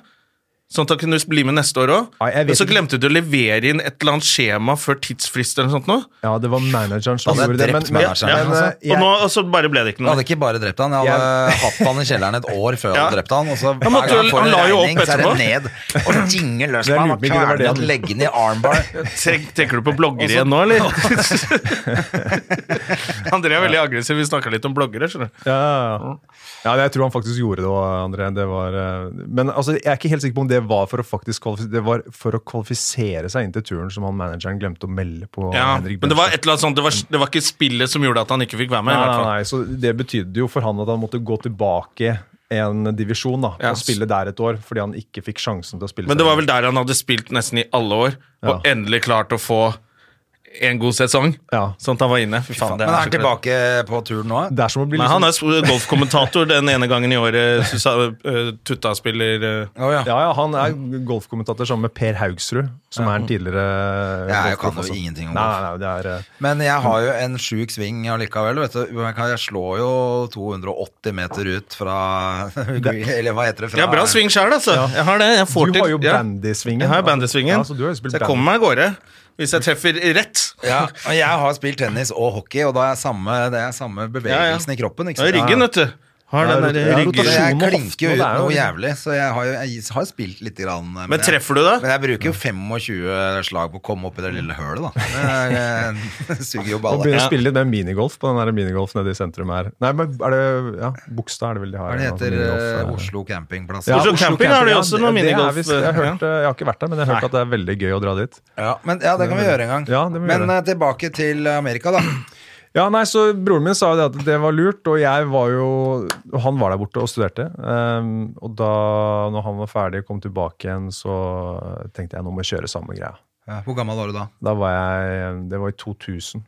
[SPEAKER 1] sånn at han kunne bli med neste år òg.
[SPEAKER 3] Ja, jeg vet
[SPEAKER 1] Men så
[SPEAKER 3] ikke.
[SPEAKER 1] glemte du å levere inn et eller annet skjema før tidsfrist eller noe sånt. Nå.
[SPEAKER 3] Ja, det var manageren som
[SPEAKER 2] Han hadde
[SPEAKER 3] gjorde det.
[SPEAKER 2] drept manageren,
[SPEAKER 3] men,
[SPEAKER 2] altså.
[SPEAKER 3] eh, jeg-
[SPEAKER 1] Og, nå, og så bare ble det ikke
[SPEAKER 2] Jeg
[SPEAKER 1] noe.
[SPEAKER 2] hadde ikke bare drept han, jeg hadde hatt han i kjelleren et år før jeg hadde
[SPEAKER 1] Ja.
[SPEAKER 2] drept han. Og så hver
[SPEAKER 1] Han måtte
[SPEAKER 2] gang
[SPEAKER 1] jo-
[SPEAKER 2] får
[SPEAKER 1] han
[SPEAKER 2] en
[SPEAKER 1] la jo
[SPEAKER 2] regning, så
[SPEAKER 1] opp
[SPEAKER 2] er
[SPEAKER 1] etterpå.
[SPEAKER 2] det ned og dinge
[SPEAKER 1] (laughs)
[SPEAKER 2] løs
[SPEAKER 3] Jeg
[SPEAKER 2] på han og
[SPEAKER 3] lurer på om ikke det var det
[SPEAKER 2] kverne
[SPEAKER 3] han-
[SPEAKER 2] legge den i armbar.
[SPEAKER 1] Tenk, tenker du på blogger igjen nå,
[SPEAKER 3] Altså- (laughs)
[SPEAKER 1] eller? André er veldig aggressiv. Vi snakka litt om bloggere, skjønner du.
[SPEAKER 3] Ja, ja, ja. ja, jeg tror han faktisk gjorde det òg, André. Det var, eh, men altså, jeg er ikke helt sikker på om det var for å faktisk kvalifisere, det var for å kvalifisere seg inn til turen som han manageren glemte å melde på.
[SPEAKER 1] Ja,
[SPEAKER 3] Henrik
[SPEAKER 1] men det var
[SPEAKER 3] Bjørnstad.
[SPEAKER 1] et eller annet sånt, det var, det var ikke spillet som gjorde at han ikke fikk være med. i
[SPEAKER 3] Nei,
[SPEAKER 1] hvert
[SPEAKER 3] nei,
[SPEAKER 1] fall.
[SPEAKER 3] nei, så Det betydde jo for han at han måtte gå tilbake en divisjon da,
[SPEAKER 1] Ja.
[SPEAKER 3] og spille der et år, fordi han ikke fikk sjansen til å spille.
[SPEAKER 1] Men
[SPEAKER 3] seg
[SPEAKER 1] det var
[SPEAKER 3] inn.
[SPEAKER 1] vel der han hadde spilt nesten i alle år, og
[SPEAKER 3] Ja.
[SPEAKER 1] endelig klart å få en god sesong.
[SPEAKER 3] Ja.
[SPEAKER 1] Sånn at han var inne. Fy faen, det
[SPEAKER 2] Men er han
[SPEAKER 1] så kult.
[SPEAKER 2] tilbake på turen nå?
[SPEAKER 3] Det er som å bli
[SPEAKER 1] Nei,
[SPEAKER 3] liksom-
[SPEAKER 1] han er sp- golfkommentator den ene gangen i året Susa- eh, Tutta spiller eh,
[SPEAKER 2] Å ja.
[SPEAKER 3] ja, ja, han er golfkommentator sammen med Per Haugsrud, som er en tidligere
[SPEAKER 2] Ja, jeg kan
[SPEAKER 3] golfproff
[SPEAKER 2] jo
[SPEAKER 3] også.
[SPEAKER 2] ingenting om
[SPEAKER 3] nei,
[SPEAKER 2] golf.
[SPEAKER 3] nei, nei, det er, eh,
[SPEAKER 2] Men jeg har jo en sjuk sving allikevel. Vet du. Jeg kan- Jeg slår jo 280 meter ut fra (laughs) Eller hva heter det? Fra,
[SPEAKER 1] Jeg har bra sving sjøl, altså. Jeg har det. Jeg får
[SPEAKER 3] Du
[SPEAKER 1] til.
[SPEAKER 3] har jo
[SPEAKER 1] ja.
[SPEAKER 3] bandysvingen.
[SPEAKER 1] Jeg har bandysvingen.
[SPEAKER 3] Ja, så du har jo spilt
[SPEAKER 1] så jeg
[SPEAKER 3] bandy.
[SPEAKER 1] kommer meg av gårde hvis jeg treffer rett.
[SPEAKER 2] Ja, og jeg har spilt tennis og hockey, og da er samme, det er samme bevegelsen i kroppen. Ikke
[SPEAKER 1] Det er ryggen, vet du. Har
[SPEAKER 3] Ja,
[SPEAKER 1] den
[SPEAKER 3] rot- ja,
[SPEAKER 1] der ryggen.
[SPEAKER 2] Så jeg
[SPEAKER 3] Rotasjon og
[SPEAKER 2] klinker jo
[SPEAKER 3] hoften,
[SPEAKER 2] ut
[SPEAKER 3] og det er jo-
[SPEAKER 2] noe jævlig, så jeg har, jo, jeg har spilt litt. Grann,
[SPEAKER 1] Men treffer du da?
[SPEAKER 2] Men jeg bruker jo 25 slag på å komme opp i det lille hølet, da. Det er- eh, (laughs) det suger jo
[SPEAKER 3] Og
[SPEAKER 2] baller.
[SPEAKER 3] begynner
[SPEAKER 1] Ja.
[SPEAKER 3] å spille litt mer minigolf på den der minigolf nede i sentrum her. Nei, men er det ja, Bogstad er det vel de har?
[SPEAKER 2] Hva er det
[SPEAKER 3] altså,
[SPEAKER 2] heter
[SPEAKER 3] minigolf,
[SPEAKER 2] eh,
[SPEAKER 3] eh.
[SPEAKER 2] Oslo campingplass?
[SPEAKER 3] Ja,
[SPEAKER 1] Oslo Camping har de
[SPEAKER 3] ja,
[SPEAKER 1] også noe
[SPEAKER 3] det- det er
[SPEAKER 1] minigolf,
[SPEAKER 3] visst- Jeg, har
[SPEAKER 1] eh,
[SPEAKER 3] hørt, eh, jeg har ikke vært der, men jeg har hørt at det er veldig gøy å dra dit.
[SPEAKER 2] Ja, men, ja, det kan vi gjøre en gang.
[SPEAKER 3] Ja, det må vi
[SPEAKER 2] men
[SPEAKER 3] gjøre.
[SPEAKER 2] eh, tilbake til Amerika, da.
[SPEAKER 3] Ja, nei, så Broren min sa jo det at det var lurt, og jeg var jo og Han var der borte og studerte. ehm, og da når han var ferdig og kom tilbake igjen, så tenkte jeg nå må jeg kjøre samme greia.
[SPEAKER 2] Ja, Hvor gammel var du da?
[SPEAKER 3] Da var jeg Det var i 2000.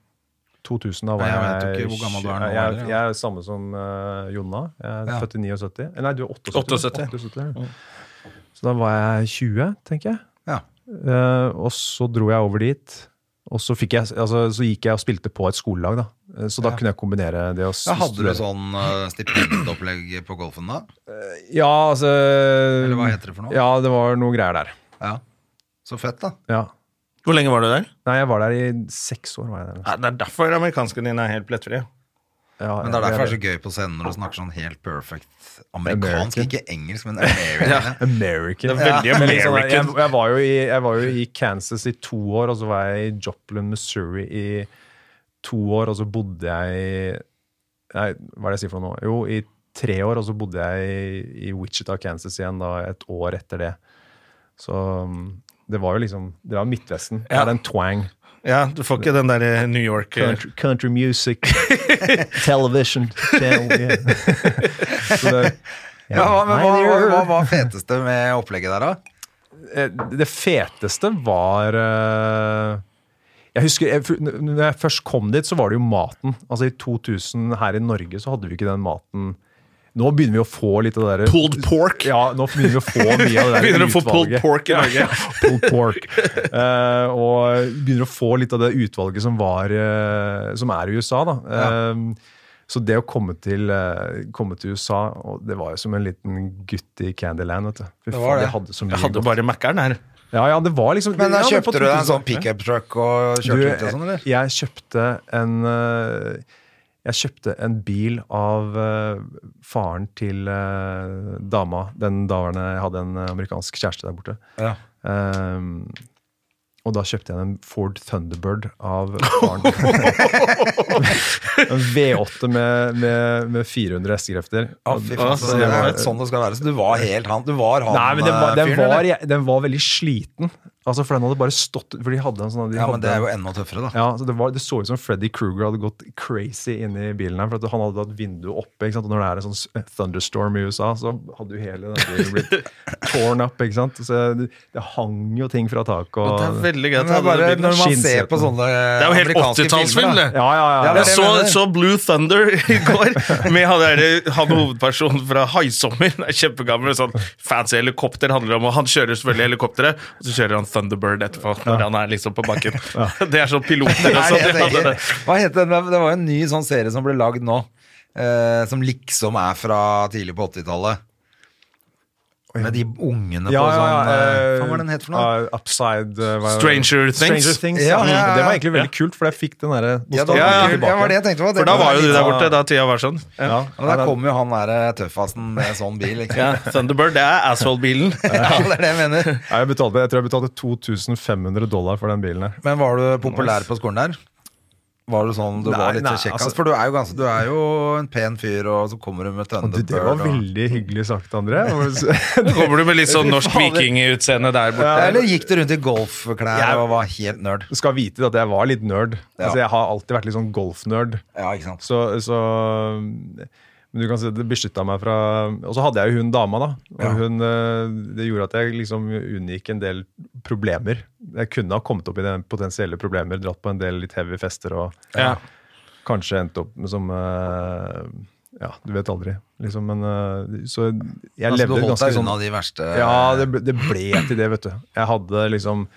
[SPEAKER 3] 2000, da var
[SPEAKER 2] Nei,
[SPEAKER 3] jeg,
[SPEAKER 2] jeg vet jo ikke hvor gammel du er nå,
[SPEAKER 3] Jeg,
[SPEAKER 2] eller,
[SPEAKER 3] jeg,
[SPEAKER 2] ja.
[SPEAKER 3] er samme som eh, Jonna. Jeg er
[SPEAKER 2] Ja. Mm.
[SPEAKER 3] født i 79. Eh, Nei, du er 78.
[SPEAKER 1] 78.
[SPEAKER 3] 78, ja. Så da var jeg 20, tenker jeg.
[SPEAKER 2] Ja.
[SPEAKER 3] Eh, og så dro jeg over dit. Og så, fikk jeg, altså, så gikk jeg og spilte på et skolelag, da. Eh, Så da kunne jeg kombinere det og s-
[SPEAKER 2] Da hadde du
[SPEAKER 3] studere.
[SPEAKER 2] sånn eh, stipendopplegg på golfen da?
[SPEAKER 3] Ja, altså Eller
[SPEAKER 2] sånn? hva heter det for noe?
[SPEAKER 3] Ja, det var noe greier der.
[SPEAKER 2] Ja. Så fett, da.
[SPEAKER 3] Ja.
[SPEAKER 1] Hvor lenge var du der?
[SPEAKER 3] Nei, jeg var der i seks år. Var jeg der.
[SPEAKER 1] Ja, det er derfor amerikanskene dine er helt plettfrie.
[SPEAKER 3] Ja,
[SPEAKER 2] Men det er derfor det er så gøy på scenen når du snakker sånn helt perfect amerikansk,
[SPEAKER 3] American.
[SPEAKER 2] ikke engelsk, men American.
[SPEAKER 1] Det
[SPEAKER 3] American.
[SPEAKER 1] er veldig
[SPEAKER 3] Men liksom, jeg,
[SPEAKER 1] American.
[SPEAKER 3] jeg, var jo i, jeg var jo i Kansas i to år, og så var jeg i Joplin, Missouri i to år, og så bodde jeg i Nei, hva er det jeg sier for noe nå? Jo, i tre år, og så bodde jeg i, i Wichita, Kansas igjen da, et år etter det. Så um, det var jo liksom Det var Midtvesten. Det
[SPEAKER 1] Ja.
[SPEAKER 3] var en twang.
[SPEAKER 1] Ja, du får ikke den der eh, New York eh,
[SPEAKER 4] Country, country music, (laughs) television channel, yeah.
[SPEAKER 3] (laughs) Så det,
[SPEAKER 2] Ja, hva- men
[SPEAKER 3] Nei,
[SPEAKER 2] hva, hva,
[SPEAKER 3] det-
[SPEAKER 2] hva var feteste med opplegget der, da?
[SPEAKER 3] Eh, det feteste var eh, Jeg husker, jeg, fu- n- når jeg først kom dit, så var det jo maten. Altså I 2000 her i Norge så hadde vi ikke den maten. Nå begynner vi å få litt av det der
[SPEAKER 1] Pulled pork.
[SPEAKER 3] Ja, nå begynner vi å få mye av det
[SPEAKER 1] (laughs)
[SPEAKER 3] der
[SPEAKER 1] Begynner å få pulled
[SPEAKER 3] utvalget.
[SPEAKER 1] pork i
[SPEAKER 3] (laughs)
[SPEAKER 1] Norge.
[SPEAKER 3] pulled pork. Eh, og begynner å få litt av det utvalget som, var, eh, som er i USA, da. Eh, så det å komme til, eh, komme til USA, og det var jo som en liten gutt i Candyland, vet du. Fy
[SPEAKER 2] Det var
[SPEAKER 3] faen,
[SPEAKER 2] det.
[SPEAKER 3] jeg hadde så
[SPEAKER 1] Jeg
[SPEAKER 3] mye
[SPEAKER 1] hadde bare Mækkern her.
[SPEAKER 3] ja, ja, det var liksom
[SPEAKER 2] Men da
[SPEAKER 3] ja, det var på
[SPEAKER 2] Kjøpte du deg en
[SPEAKER 3] 2000.
[SPEAKER 2] sånn pickup truck og
[SPEAKER 3] Du,
[SPEAKER 2] kjørte ut og sånn, eller?
[SPEAKER 3] Jeg kjøpte en eh, Jeg kjøpte en bil av eh, faren til eh, dama. Den daværende Jeg hadde en eh, amerikansk kjæreste der borte.
[SPEAKER 2] Ja.
[SPEAKER 3] Ehm, og da kjøpte jeg en Ford Thunderbird av
[SPEAKER 2] (laughs)
[SPEAKER 3] faren. en V8 med, med, med 400 hestekrefter.
[SPEAKER 2] Å, fy faen, så det var sånn det skal være. Så du var helt han? Du var han
[SPEAKER 3] Nei, men den var,
[SPEAKER 2] eh,
[SPEAKER 3] den,
[SPEAKER 2] fyren,
[SPEAKER 3] var,
[SPEAKER 2] eller?
[SPEAKER 3] jeg- den var veldig sliten. Altså, for den hadde bare stått For de hadde en sånn de
[SPEAKER 2] Ja,
[SPEAKER 3] hadde-
[SPEAKER 2] men det er jo enda tøffere, da.
[SPEAKER 3] ja, så det, var, det så ut som Freddy Kruger hadde gått crazy inni bilen her. For at han hadde hatt vinduet oppe. Ikke sant? Og når det er en sånn s- thunderstorm i USA, så hadde jo hele den bilen blitt torn up. Ikke sant? Så det, det hang jo ting fra taket.
[SPEAKER 1] Det er
[SPEAKER 3] Og,
[SPEAKER 1] veldig gøy at
[SPEAKER 2] Men det
[SPEAKER 1] det
[SPEAKER 2] er bare
[SPEAKER 1] hadde
[SPEAKER 2] når man
[SPEAKER 1] blitt
[SPEAKER 2] ser på
[SPEAKER 3] skinnsetene.
[SPEAKER 2] sånne
[SPEAKER 1] Det er jo helt
[SPEAKER 2] amerikanske filmer,
[SPEAKER 1] 80-tallsfilm,
[SPEAKER 2] da.
[SPEAKER 1] det.
[SPEAKER 3] ja, ja, ja.
[SPEAKER 2] (laughs) Ja, det
[SPEAKER 3] ja.
[SPEAKER 2] er
[SPEAKER 1] Jeg så,
[SPEAKER 2] mener.
[SPEAKER 1] så Blue Thunder (laughs) i går med han, der, han hovedpersonen fra Haisommer. Han er Kjempegammel, sånn fancy helikopter handler om, og han kjører selvfølgelig helikopteret, og så kjører han Thunderbird etterpå når han er liksom på bakken. (laughs) Det er sånn piloter og
[SPEAKER 2] Nei,
[SPEAKER 1] sånn.
[SPEAKER 2] jeg
[SPEAKER 1] de hadde
[SPEAKER 2] tenker-
[SPEAKER 1] det.
[SPEAKER 2] Hva heter den? Det var en ny sånn serie som ble lagd nå. Eh, som liksom er fra tidlig på 80-tallet. Med de ungene
[SPEAKER 3] Ja,
[SPEAKER 2] på
[SPEAKER 3] ja,
[SPEAKER 2] sånn
[SPEAKER 3] ja,
[SPEAKER 2] eh,
[SPEAKER 3] eh,
[SPEAKER 2] Hva var den het for noe?
[SPEAKER 3] eh, upside eh, hva-
[SPEAKER 1] Stranger Things.
[SPEAKER 3] Stranger Things ja,
[SPEAKER 2] Ja, ja, ja.
[SPEAKER 3] Det var egentlig veldig kult, for jeg fikk den derre
[SPEAKER 2] Ja, da-
[SPEAKER 3] nostalgien
[SPEAKER 1] ja,
[SPEAKER 2] ja,
[SPEAKER 3] tilbake.
[SPEAKER 2] var det jeg tenkte på. Det
[SPEAKER 1] For da var jo de
[SPEAKER 2] litt
[SPEAKER 1] der
[SPEAKER 2] sånn-
[SPEAKER 1] borte da tida var sånn. Ja.
[SPEAKER 3] Ja.
[SPEAKER 2] Men der kom jo han der eh, tøffasen med sånn bil. Ikke?
[SPEAKER 1] Ja, Thunderbird, det er asshole-bilen.
[SPEAKER 2] (laughs) Ja, det er det jeg mener.
[SPEAKER 3] Nei, Jeg, betalte, jeg tror jeg betalte 2500 dollar for den bilen her.
[SPEAKER 2] Men var du populær på skolen der? Var du sånn, du
[SPEAKER 3] Nei,
[SPEAKER 2] var litt
[SPEAKER 3] nei,
[SPEAKER 2] kjekk?
[SPEAKER 3] altså-
[SPEAKER 2] for du er, jo ganske, du er jo en pen fyr, og så kommer du med
[SPEAKER 3] Det, det var
[SPEAKER 2] Thunderbird. og-
[SPEAKER 3] veldig hyggelig
[SPEAKER 2] (laughs)
[SPEAKER 3] sagt, André.
[SPEAKER 1] Så kommer du med litt sånn norsk vikingutseende der borte.
[SPEAKER 2] Ja, Eller gikk du rundt i golfklær
[SPEAKER 3] Jeg-
[SPEAKER 2] og var helt nerd?
[SPEAKER 3] Du skal vite at jeg var litt nerd.
[SPEAKER 2] Ja.
[SPEAKER 3] Altså, jeg har alltid vært litt sånn golfnerd.
[SPEAKER 2] Ja, ikke sant?
[SPEAKER 3] Så, så Men du kan si at det beskytta meg fra Og så hadde jeg jo hun dama, da. Og
[SPEAKER 2] Ja.
[SPEAKER 3] hun, eh, det gjorde at jeg liksom unngikk en del problemer. Jeg kunne ha kommet opp i den potensielle problemer, dratt på en del litt heavy fester og
[SPEAKER 1] Ja.
[SPEAKER 3] kanskje endt opp med som eh, Ja, du vet aldri, liksom. Men eh, så jeg
[SPEAKER 2] Altså, du
[SPEAKER 3] levde
[SPEAKER 2] holdt
[SPEAKER 3] ganske
[SPEAKER 2] deg
[SPEAKER 3] sånn
[SPEAKER 2] unna de verste
[SPEAKER 3] ja, det, ble- det ble til det, vet du. Jeg hadde liksom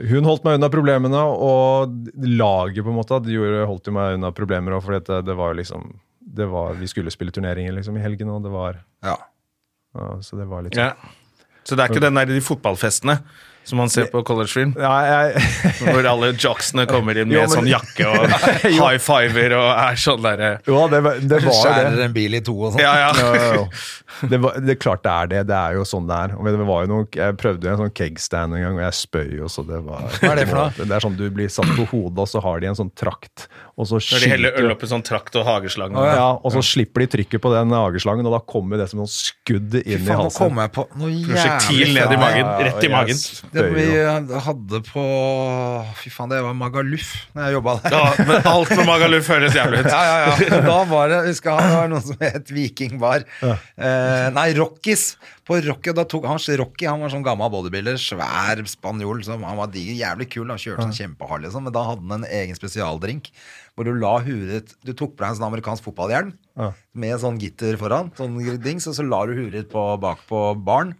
[SPEAKER 3] Hun holdt meg unna problemene, og laget på en måte det gjorde, holdt jo meg unna problemer òg, for det, det var jo liksom det var, Vi skulle spille turneringer liksom i helgen, og det var
[SPEAKER 2] Ja.
[SPEAKER 3] ja, Så det var litt
[SPEAKER 1] Ja. Så det er ikke den der de fotballfestene som man ser på collegefilm?
[SPEAKER 3] Ja, jeg, (laughs)
[SPEAKER 1] Hvor alle jocksene kommer inn med
[SPEAKER 3] Jo, men-
[SPEAKER 1] sånn jakke og high fiver og er sånn derre
[SPEAKER 3] jo, det, var- det var jo
[SPEAKER 2] Skjærer
[SPEAKER 3] det.
[SPEAKER 2] en bil i to og sånn.
[SPEAKER 1] Ja,
[SPEAKER 3] Jo,
[SPEAKER 1] ja.
[SPEAKER 3] jo, jo. Det, var, det er klart det er det. Det er jo sånn det er. Og det var jo noe, jeg prøvde jo en sånn kegstand en gang, og jeg spøy jo, så det var
[SPEAKER 2] Hva er det for noe?
[SPEAKER 3] Det er sånn du blir satt på hodet, og så har de en sånn trakt, og så
[SPEAKER 1] Når de heller
[SPEAKER 3] skyter-
[SPEAKER 1] øl opp i sånn trakt og hageslang.
[SPEAKER 3] Ja, og så slipper de trykket på den hageslangen, og da kommer det som noen skudd inn i
[SPEAKER 2] (laughs) Faen, altså. nå kom
[SPEAKER 3] halsen.
[SPEAKER 2] jeg på noe
[SPEAKER 1] Prosjektil
[SPEAKER 2] jævlig
[SPEAKER 1] ned i
[SPEAKER 2] fett.
[SPEAKER 1] magen. Rett i
[SPEAKER 3] Ja,
[SPEAKER 1] magen.
[SPEAKER 3] yes.
[SPEAKER 2] Det vi eh,
[SPEAKER 3] Det er jo-
[SPEAKER 2] hadde på Fy faen, det var Magaluf da jeg jobba der.
[SPEAKER 1] Ja, men alt med Magaluf høres jævlig
[SPEAKER 2] (laughs)
[SPEAKER 1] ut.
[SPEAKER 2] Ja, ja, ja. Da var det, husker jeg, det var noe som het Vikingbar. Eh, nei, Rockies. På Rocky, da tok han Rocky, han var sånn gammel bodybuilder, svær spanjol, som han var diger, jævlig kul, han kjørte sånn kjempehard, liksom, men da hadde han en egen spesialdrink, hvor du la hudet, du tok på deg en sånn amerikansk fotballhjelm, med sånn gitter foran, sånn dings, og så la du hudet på, bak på barn,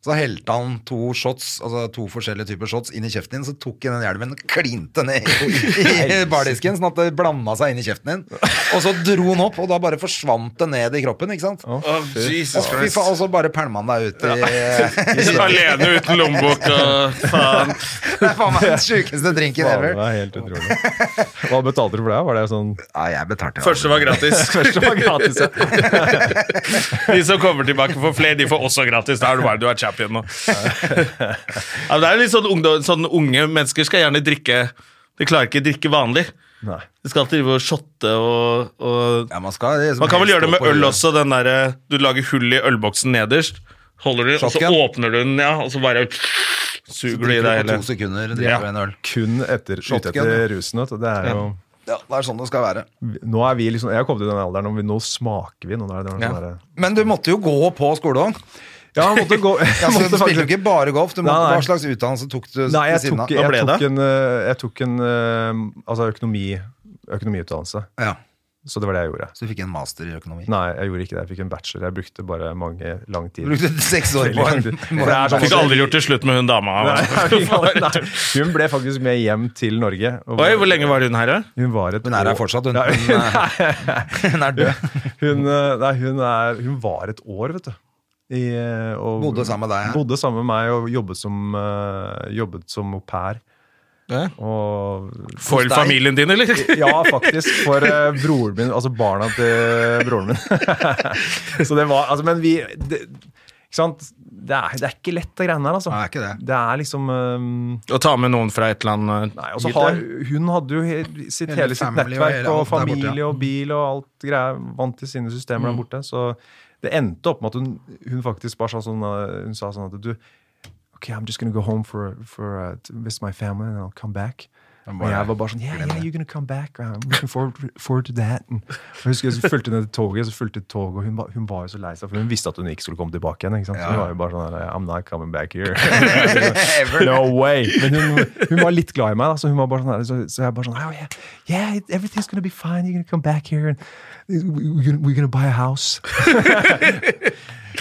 [SPEAKER 2] så helte han to shots, altså to forskjellige typer shots inn i kjeften din, så tok han den hjelmen og klinte ned i i bardisken, sånn at det blanda seg inn i kjeften din. Og så dro han opp, og da bare forsvant det ned i kroppen, ikke sant? Å,
[SPEAKER 1] Å, Jesus
[SPEAKER 2] fy
[SPEAKER 1] Christ.
[SPEAKER 2] faen, og så bare pælma han deg ut (laughs) i
[SPEAKER 1] Alene uten lommebok og faen.
[SPEAKER 2] Det er faen meg den sjukeste drinken
[SPEAKER 3] Faen, Det
[SPEAKER 2] ever.
[SPEAKER 3] var helt utrolig. Hva betalte du for det? Var det sånn
[SPEAKER 2] Ja, jeg betalte.
[SPEAKER 1] (laughs) Første var gratis.
[SPEAKER 3] Første var gratis, ja.
[SPEAKER 1] De som kommer tilbake for flere, de får også gratis. Da er du bare du er champion nå. Ja, men det er litt sånn, ungdom, sånn Unge mennesker skal gjerne drikke De klarer ikke å drikke vanlig.
[SPEAKER 3] Nei.
[SPEAKER 1] De skal alltid drive og shotte og, og
[SPEAKER 2] Ja, man, skal, liksom
[SPEAKER 1] Man kan vel
[SPEAKER 2] helst
[SPEAKER 1] gjøre det
[SPEAKER 2] gå
[SPEAKER 1] med
[SPEAKER 2] på
[SPEAKER 1] øl også, den derre du lager hull i ølboksen nederst. Holder du, og så
[SPEAKER 2] Sjokken.
[SPEAKER 1] åpner du den, ja, og så bare suger du i
[SPEAKER 2] Drikker du
[SPEAKER 1] deg
[SPEAKER 2] på
[SPEAKER 1] hele.
[SPEAKER 2] to sekunder,
[SPEAKER 1] Ja.
[SPEAKER 2] drikker du en øl.
[SPEAKER 3] Kun etter, ute
[SPEAKER 2] Shotgun,
[SPEAKER 3] etter rusen, vet du. Det er jo
[SPEAKER 2] Ja, det er sånn det skal være.
[SPEAKER 3] Nå er vi liksom Jeg har kommet i den alderen hvor vi- nå smaker vi. Nå er det noe sånn
[SPEAKER 1] Ja.
[SPEAKER 3] derre-
[SPEAKER 2] Men du måtte jo gå på skole òg.
[SPEAKER 3] Ja, jeg (laughs) måtte gå (laughs) jeg
[SPEAKER 2] (laughs) Ja, så
[SPEAKER 3] måtte
[SPEAKER 2] du spilte jo
[SPEAKER 3] faktisk-
[SPEAKER 2] ikke bare golf. Du måtte,
[SPEAKER 3] Nei, nei.
[SPEAKER 2] Hva slags utdannelse tok du
[SPEAKER 3] Nei,
[SPEAKER 2] ved
[SPEAKER 3] jeg
[SPEAKER 2] siden
[SPEAKER 3] tok,
[SPEAKER 2] av?
[SPEAKER 1] Hva ble
[SPEAKER 3] jeg tok
[SPEAKER 1] det?
[SPEAKER 3] en, eh, jeg tok en eh, altså økonomi, økonomiutdannelse.
[SPEAKER 2] Ja,
[SPEAKER 3] Så det var det jeg gjorde.
[SPEAKER 2] så du fikk en master i økonomi.
[SPEAKER 3] Nei, jeg gjorde ikke det. Jeg fikk en bachelor. Jeg brukte bare mange lang tid.
[SPEAKER 2] Du brukte seks år på en
[SPEAKER 3] (laughs) Veldig lang tid.
[SPEAKER 2] (laughs)
[SPEAKER 3] For det er sånn-
[SPEAKER 1] Fikk aldri gjort det slutt med hun dama.
[SPEAKER 3] Nei,
[SPEAKER 1] altså.
[SPEAKER 3] nei, hun ble faktisk med hjem til Norge. og-
[SPEAKER 1] Oi, hvor lenge var hun her, da?
[SPEAKER 3] Hun var et
[SPEAKER 2] Hun er her
[SPEAKER 3] år-
[SPEAKER 2] fortsatt, hun.
[SPEAKER 3] Ja,
[SPEAKER 2] Hun er, hun er død.
[SPEAKER 3] (laughs) hun, eh, nei, hun, er, hun var et år, vet du. I, eh, og,
[SPEAKER 2] Bodde sammen med deg, ja.
[SPEAKER 3] Bodde sammen med meg og jobbet som, eh, jobbet som au pair.
[SPEAKER 1] Ja.
[SPEAKER 3] Og
[SPEAKER 1] For
[SPEAKER 2] deg?
[SPEAKER 1] familien din, (laughs) eller?
[SPEAKER 3] ja, faktisk. For eh, broren min, altså barna til broren min. (laughs) Så det var Altså, men vi det, Ikke sant? Det er, det er ikke lett, det greiene her, altså.
[SPEAKER 2] Nei, det er ikke det.
[SPEAKER 3] Det er liksom eh,
[SPEAKER 1] Å ta med noen fra et eller annet
[SPEAKER 3] Nei, og så
[SPEAKER 1] hit,
[SPEAKER 3] har,
[SPEAKER 1] eller?
[SPEAKER 3] hun hadde jo he- sitt,
[SPEAKER 2] Hele
[SPEAKER 3] hele sitt
[SPEAKER 2] family og
[SPEAKER 3] nettverk
[SPEAKER 2] hele
[SPEAKER 3] og,
[SPEAKER 2] alt der borte,
[SPEAKER 3] familie
[SPEAKER 2] ja.
[SPEAKER 3] og bil og alt greier vant til sine systemer der borte. Så det endte opp med at hun, hun faktisk bare sa sånn eh, Hun sa sånn at du okay, I'm just gonna go home for for uh, to visit my family, and I'll come back.
[SPEAKER 2] Men
[SPEAKER 3] Og
[SPEAKER 2] bare-
[SPEAKER 3] jeg var bare sånn Yeah,
[SPEAKER 2] glem
[SPEAKER 3] yeah,
[SPEAKER 2] det.
[SPEAKER 3] you're gonna come back. I'm looking forward, forward to that. And jeg husker jeg fulgte ned til toget, så fulgte jeg toget, og hun, var- hun var jo så lei seg, for hun visste at hun ikke skulle komme tilbake igjen. ikke sant? Så hun var jo bare sånn her, I'm not coming
[SPEAKER 2] (laughs)
[SPEAKER 3] back here. (laughs)
[SPEAKER 2] Ever.
[SPEAKER 3] no way! Men hun, hun var litt glad i meg, da, så hun var bare sånn her, så, så jeg bare sånn oh, yeah, yeah, it- everything's gonna be fine. You're gonna come back here, and we're gonna, we're gonna buy a house.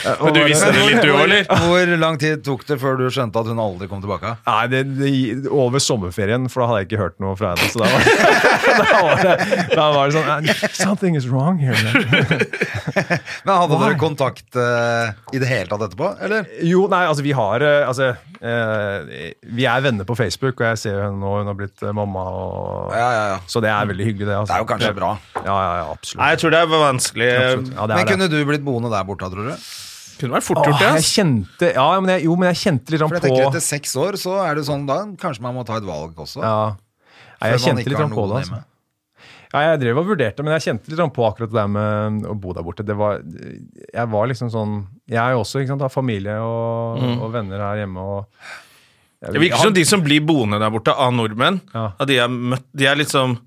[SPEAKER 1] Men du visste det litt, du òg, eller?
[SPEAKER 2] Hvor lang tid tok det før du skjønte at hun aldri kom tilbake?
[SPEAKER 3] Nei, det, det, over sommerferien, for da hadde jeg ikke hørt noe fra henne. Så da var, (laughs) da var, det, da var det sånn Something is wrong here. man."
[SPEAKER 2] Men Hadde
[SPEAKER 3] Why?
[SPEAKER 2] dere kontakt eh, i det hele tatt etterpå? Eller?
[SPEAKER 3] Jo, nei, altså vi har eh, Altså, eh, vi er venner på Facebook, og jeg ser jo henne nå, hun har blitt eh, mamma og
[SPEAKER 2] Ja, ja, ja.
[SPEAKER 3] Så det er veldig hyggelig, det. Altså.
[SPEAKER 2] Det er jo kanskje bra.
[SPEAKER 3] Ja, ja, ja absolutt.
[SPEAKER 1] Nei, jeg tror det er vanskelig.
[SPEAKER 3] absolutt. Ja, det
[SPEAKER 2] Men
[SPEAKER 3] er det.
[SPEAKER 2] kunne du blitt boende der borte, tror du?
[SPEAKER 1] Kunne vært fort gjort, det.
[SPEAKER 3] Åh, jeg
[SPEAKER 1] ass.
[SPEAKER 3] kjente ja, men jeg, Jo, men jeg kjente litt sånn
[SPEAKER 2] For jeg
[SPEAKER 3] på
[SPEAKER 2] tenker etter seks år, så er det sånn da kanskje man må ta et valg også.
[SPEAKER 3] ja. Nei,
[SPEAKER 2] Før
[SPEAKER 3] jeg
[SPEAKER 2] man
[SPEAKER 3] kjente
[SPEAKER 2] ikke
[SPEAKER 3] litt
[SPEAKER 2] har
[SPEAKER 3] sånn på
[SPEAKER 2] noen
[SPEAKER 3] det. Altså.
[SPEAKER 2] hjemme.
[SPEAKER 3] Ja, jeg drev og vurderte, men jeg kjente litt sånn på akkurat det der med å bo der borte. Det var, jeg var liksom sånn Jeg er jo også, ikke sant, har familie og,
[SPEAKER 1] Mm.
[SPEAKER 3] og venner her hjemme. Og, jeg,
[SPEAKER 1] Det virker som de som blir boende der borte av nordmenn,
[SPEAKER 3] Ja.
[SPEAKER 1] at de er, møtt, de er liksom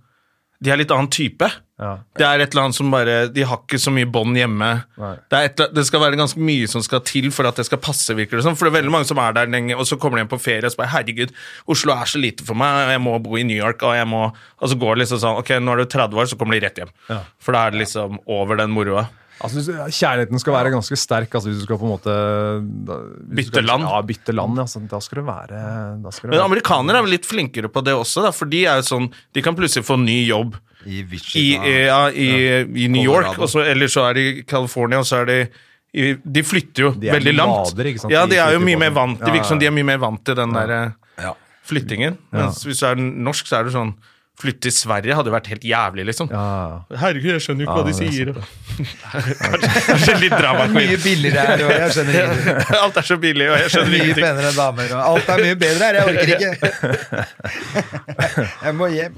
[SPEAKER 1] De er litt annen type.
[SPEAKER 3] Ja.
[SPEAKER 1] Det er et eller annet som bare De har ikke så mye bånd hjemme.
[SPEAKER 3] Nei.
[SPEAKER 1] Det, er et, det skal være ganske mye som skal til for at det skal passe, virker det som. For det er veldig mange som er der lenge, og så kommer de hjem på ferie og så bare Herregud, Oslo er så lite for meg, og jeg må bo i New York, og jeg må Og så går det liksom sånn Ok, nå er du 30 år, så kommer de rett hjem. For da er det liksom over den moroa.
[SPEAKER 3] Altså, kjærligheten skal være ganske sterk altså, hvis du skal på en måte da, hvis
[SPEAKER 1] Bytte
[SPEAKER 3] du skal,
[SPEAKER 1] land.
[SPEAKER 3] Ja, bytte land. ja, sånn, da skal du være da skal du
[SPEAKER 1] Men
[SPEAKER 3] være-
[SPEAKER 1] amerikanere er vel litt flinkere på det også, da, for de er jo sånn De kan plutselig få ny jobb.
[SPEAKER 2] I
[SPEAKER 1] I,
[SPEAKER 2] Wichita.
[SPEAKER 1] eh, ja, i, i New York,
[SPEAKER 2] Colorado.
[SPEAKER 1] og så, eller så er de i California, og så er de i, De flytter jo
[SPEAKER 3] De er
[SPEAKER 1] veldig langt.
[SPEAKER 3] nomader, ikke sant?
[SPEAKER 1] Ja,
[SPEAKER 3] De
[SPEAKER 1] de er jo
[SPEAKER 3] flytter
[SPEAKER 1] mye
[SPEAKER 3] på
[SPEAKER 1] mer
[SPEAKER 3] den.
[SPEAKER 1] vant til
[SPEAKER 3] Ja,
[SPEAKER 1] Det virker som
[SPEAKER 3] ja,
[SPEAKER 1] de er mye mer vant til den der eh,
[SPEAKER 2] Ja.
[SPEAKER 1] flyttingen. Mens hvis du er norsk, så er du sånn Flytte til Sverige hadde jo vært helt jævlig, liksom.
[SPEAKER 3] ja.
[SPEAKER 1] Herregud, jeg skjønner jo ikke hva de
[SPEAKER 3] det
[SPEAKER 1] sier. kanskje, kanskje litt drama (laughs)
[SPEAKER 2] Mye
[SPEAKER 1] queen.
[SPEAKER 2] billigere her, og jeg skjønner
[SPEAKER 1] (laughs)
[SPEAKER 2] ingenting.
[SPEAKER 1] Alt er så billig, og jeg skjønner
[SPEAKER 2] Mye
[SPEAKER 1] ingenting.
[SPEAKER 2] penere damer. Og alt er mye bedre her, jeg orker ikke. (laughs) Jeg må hjem.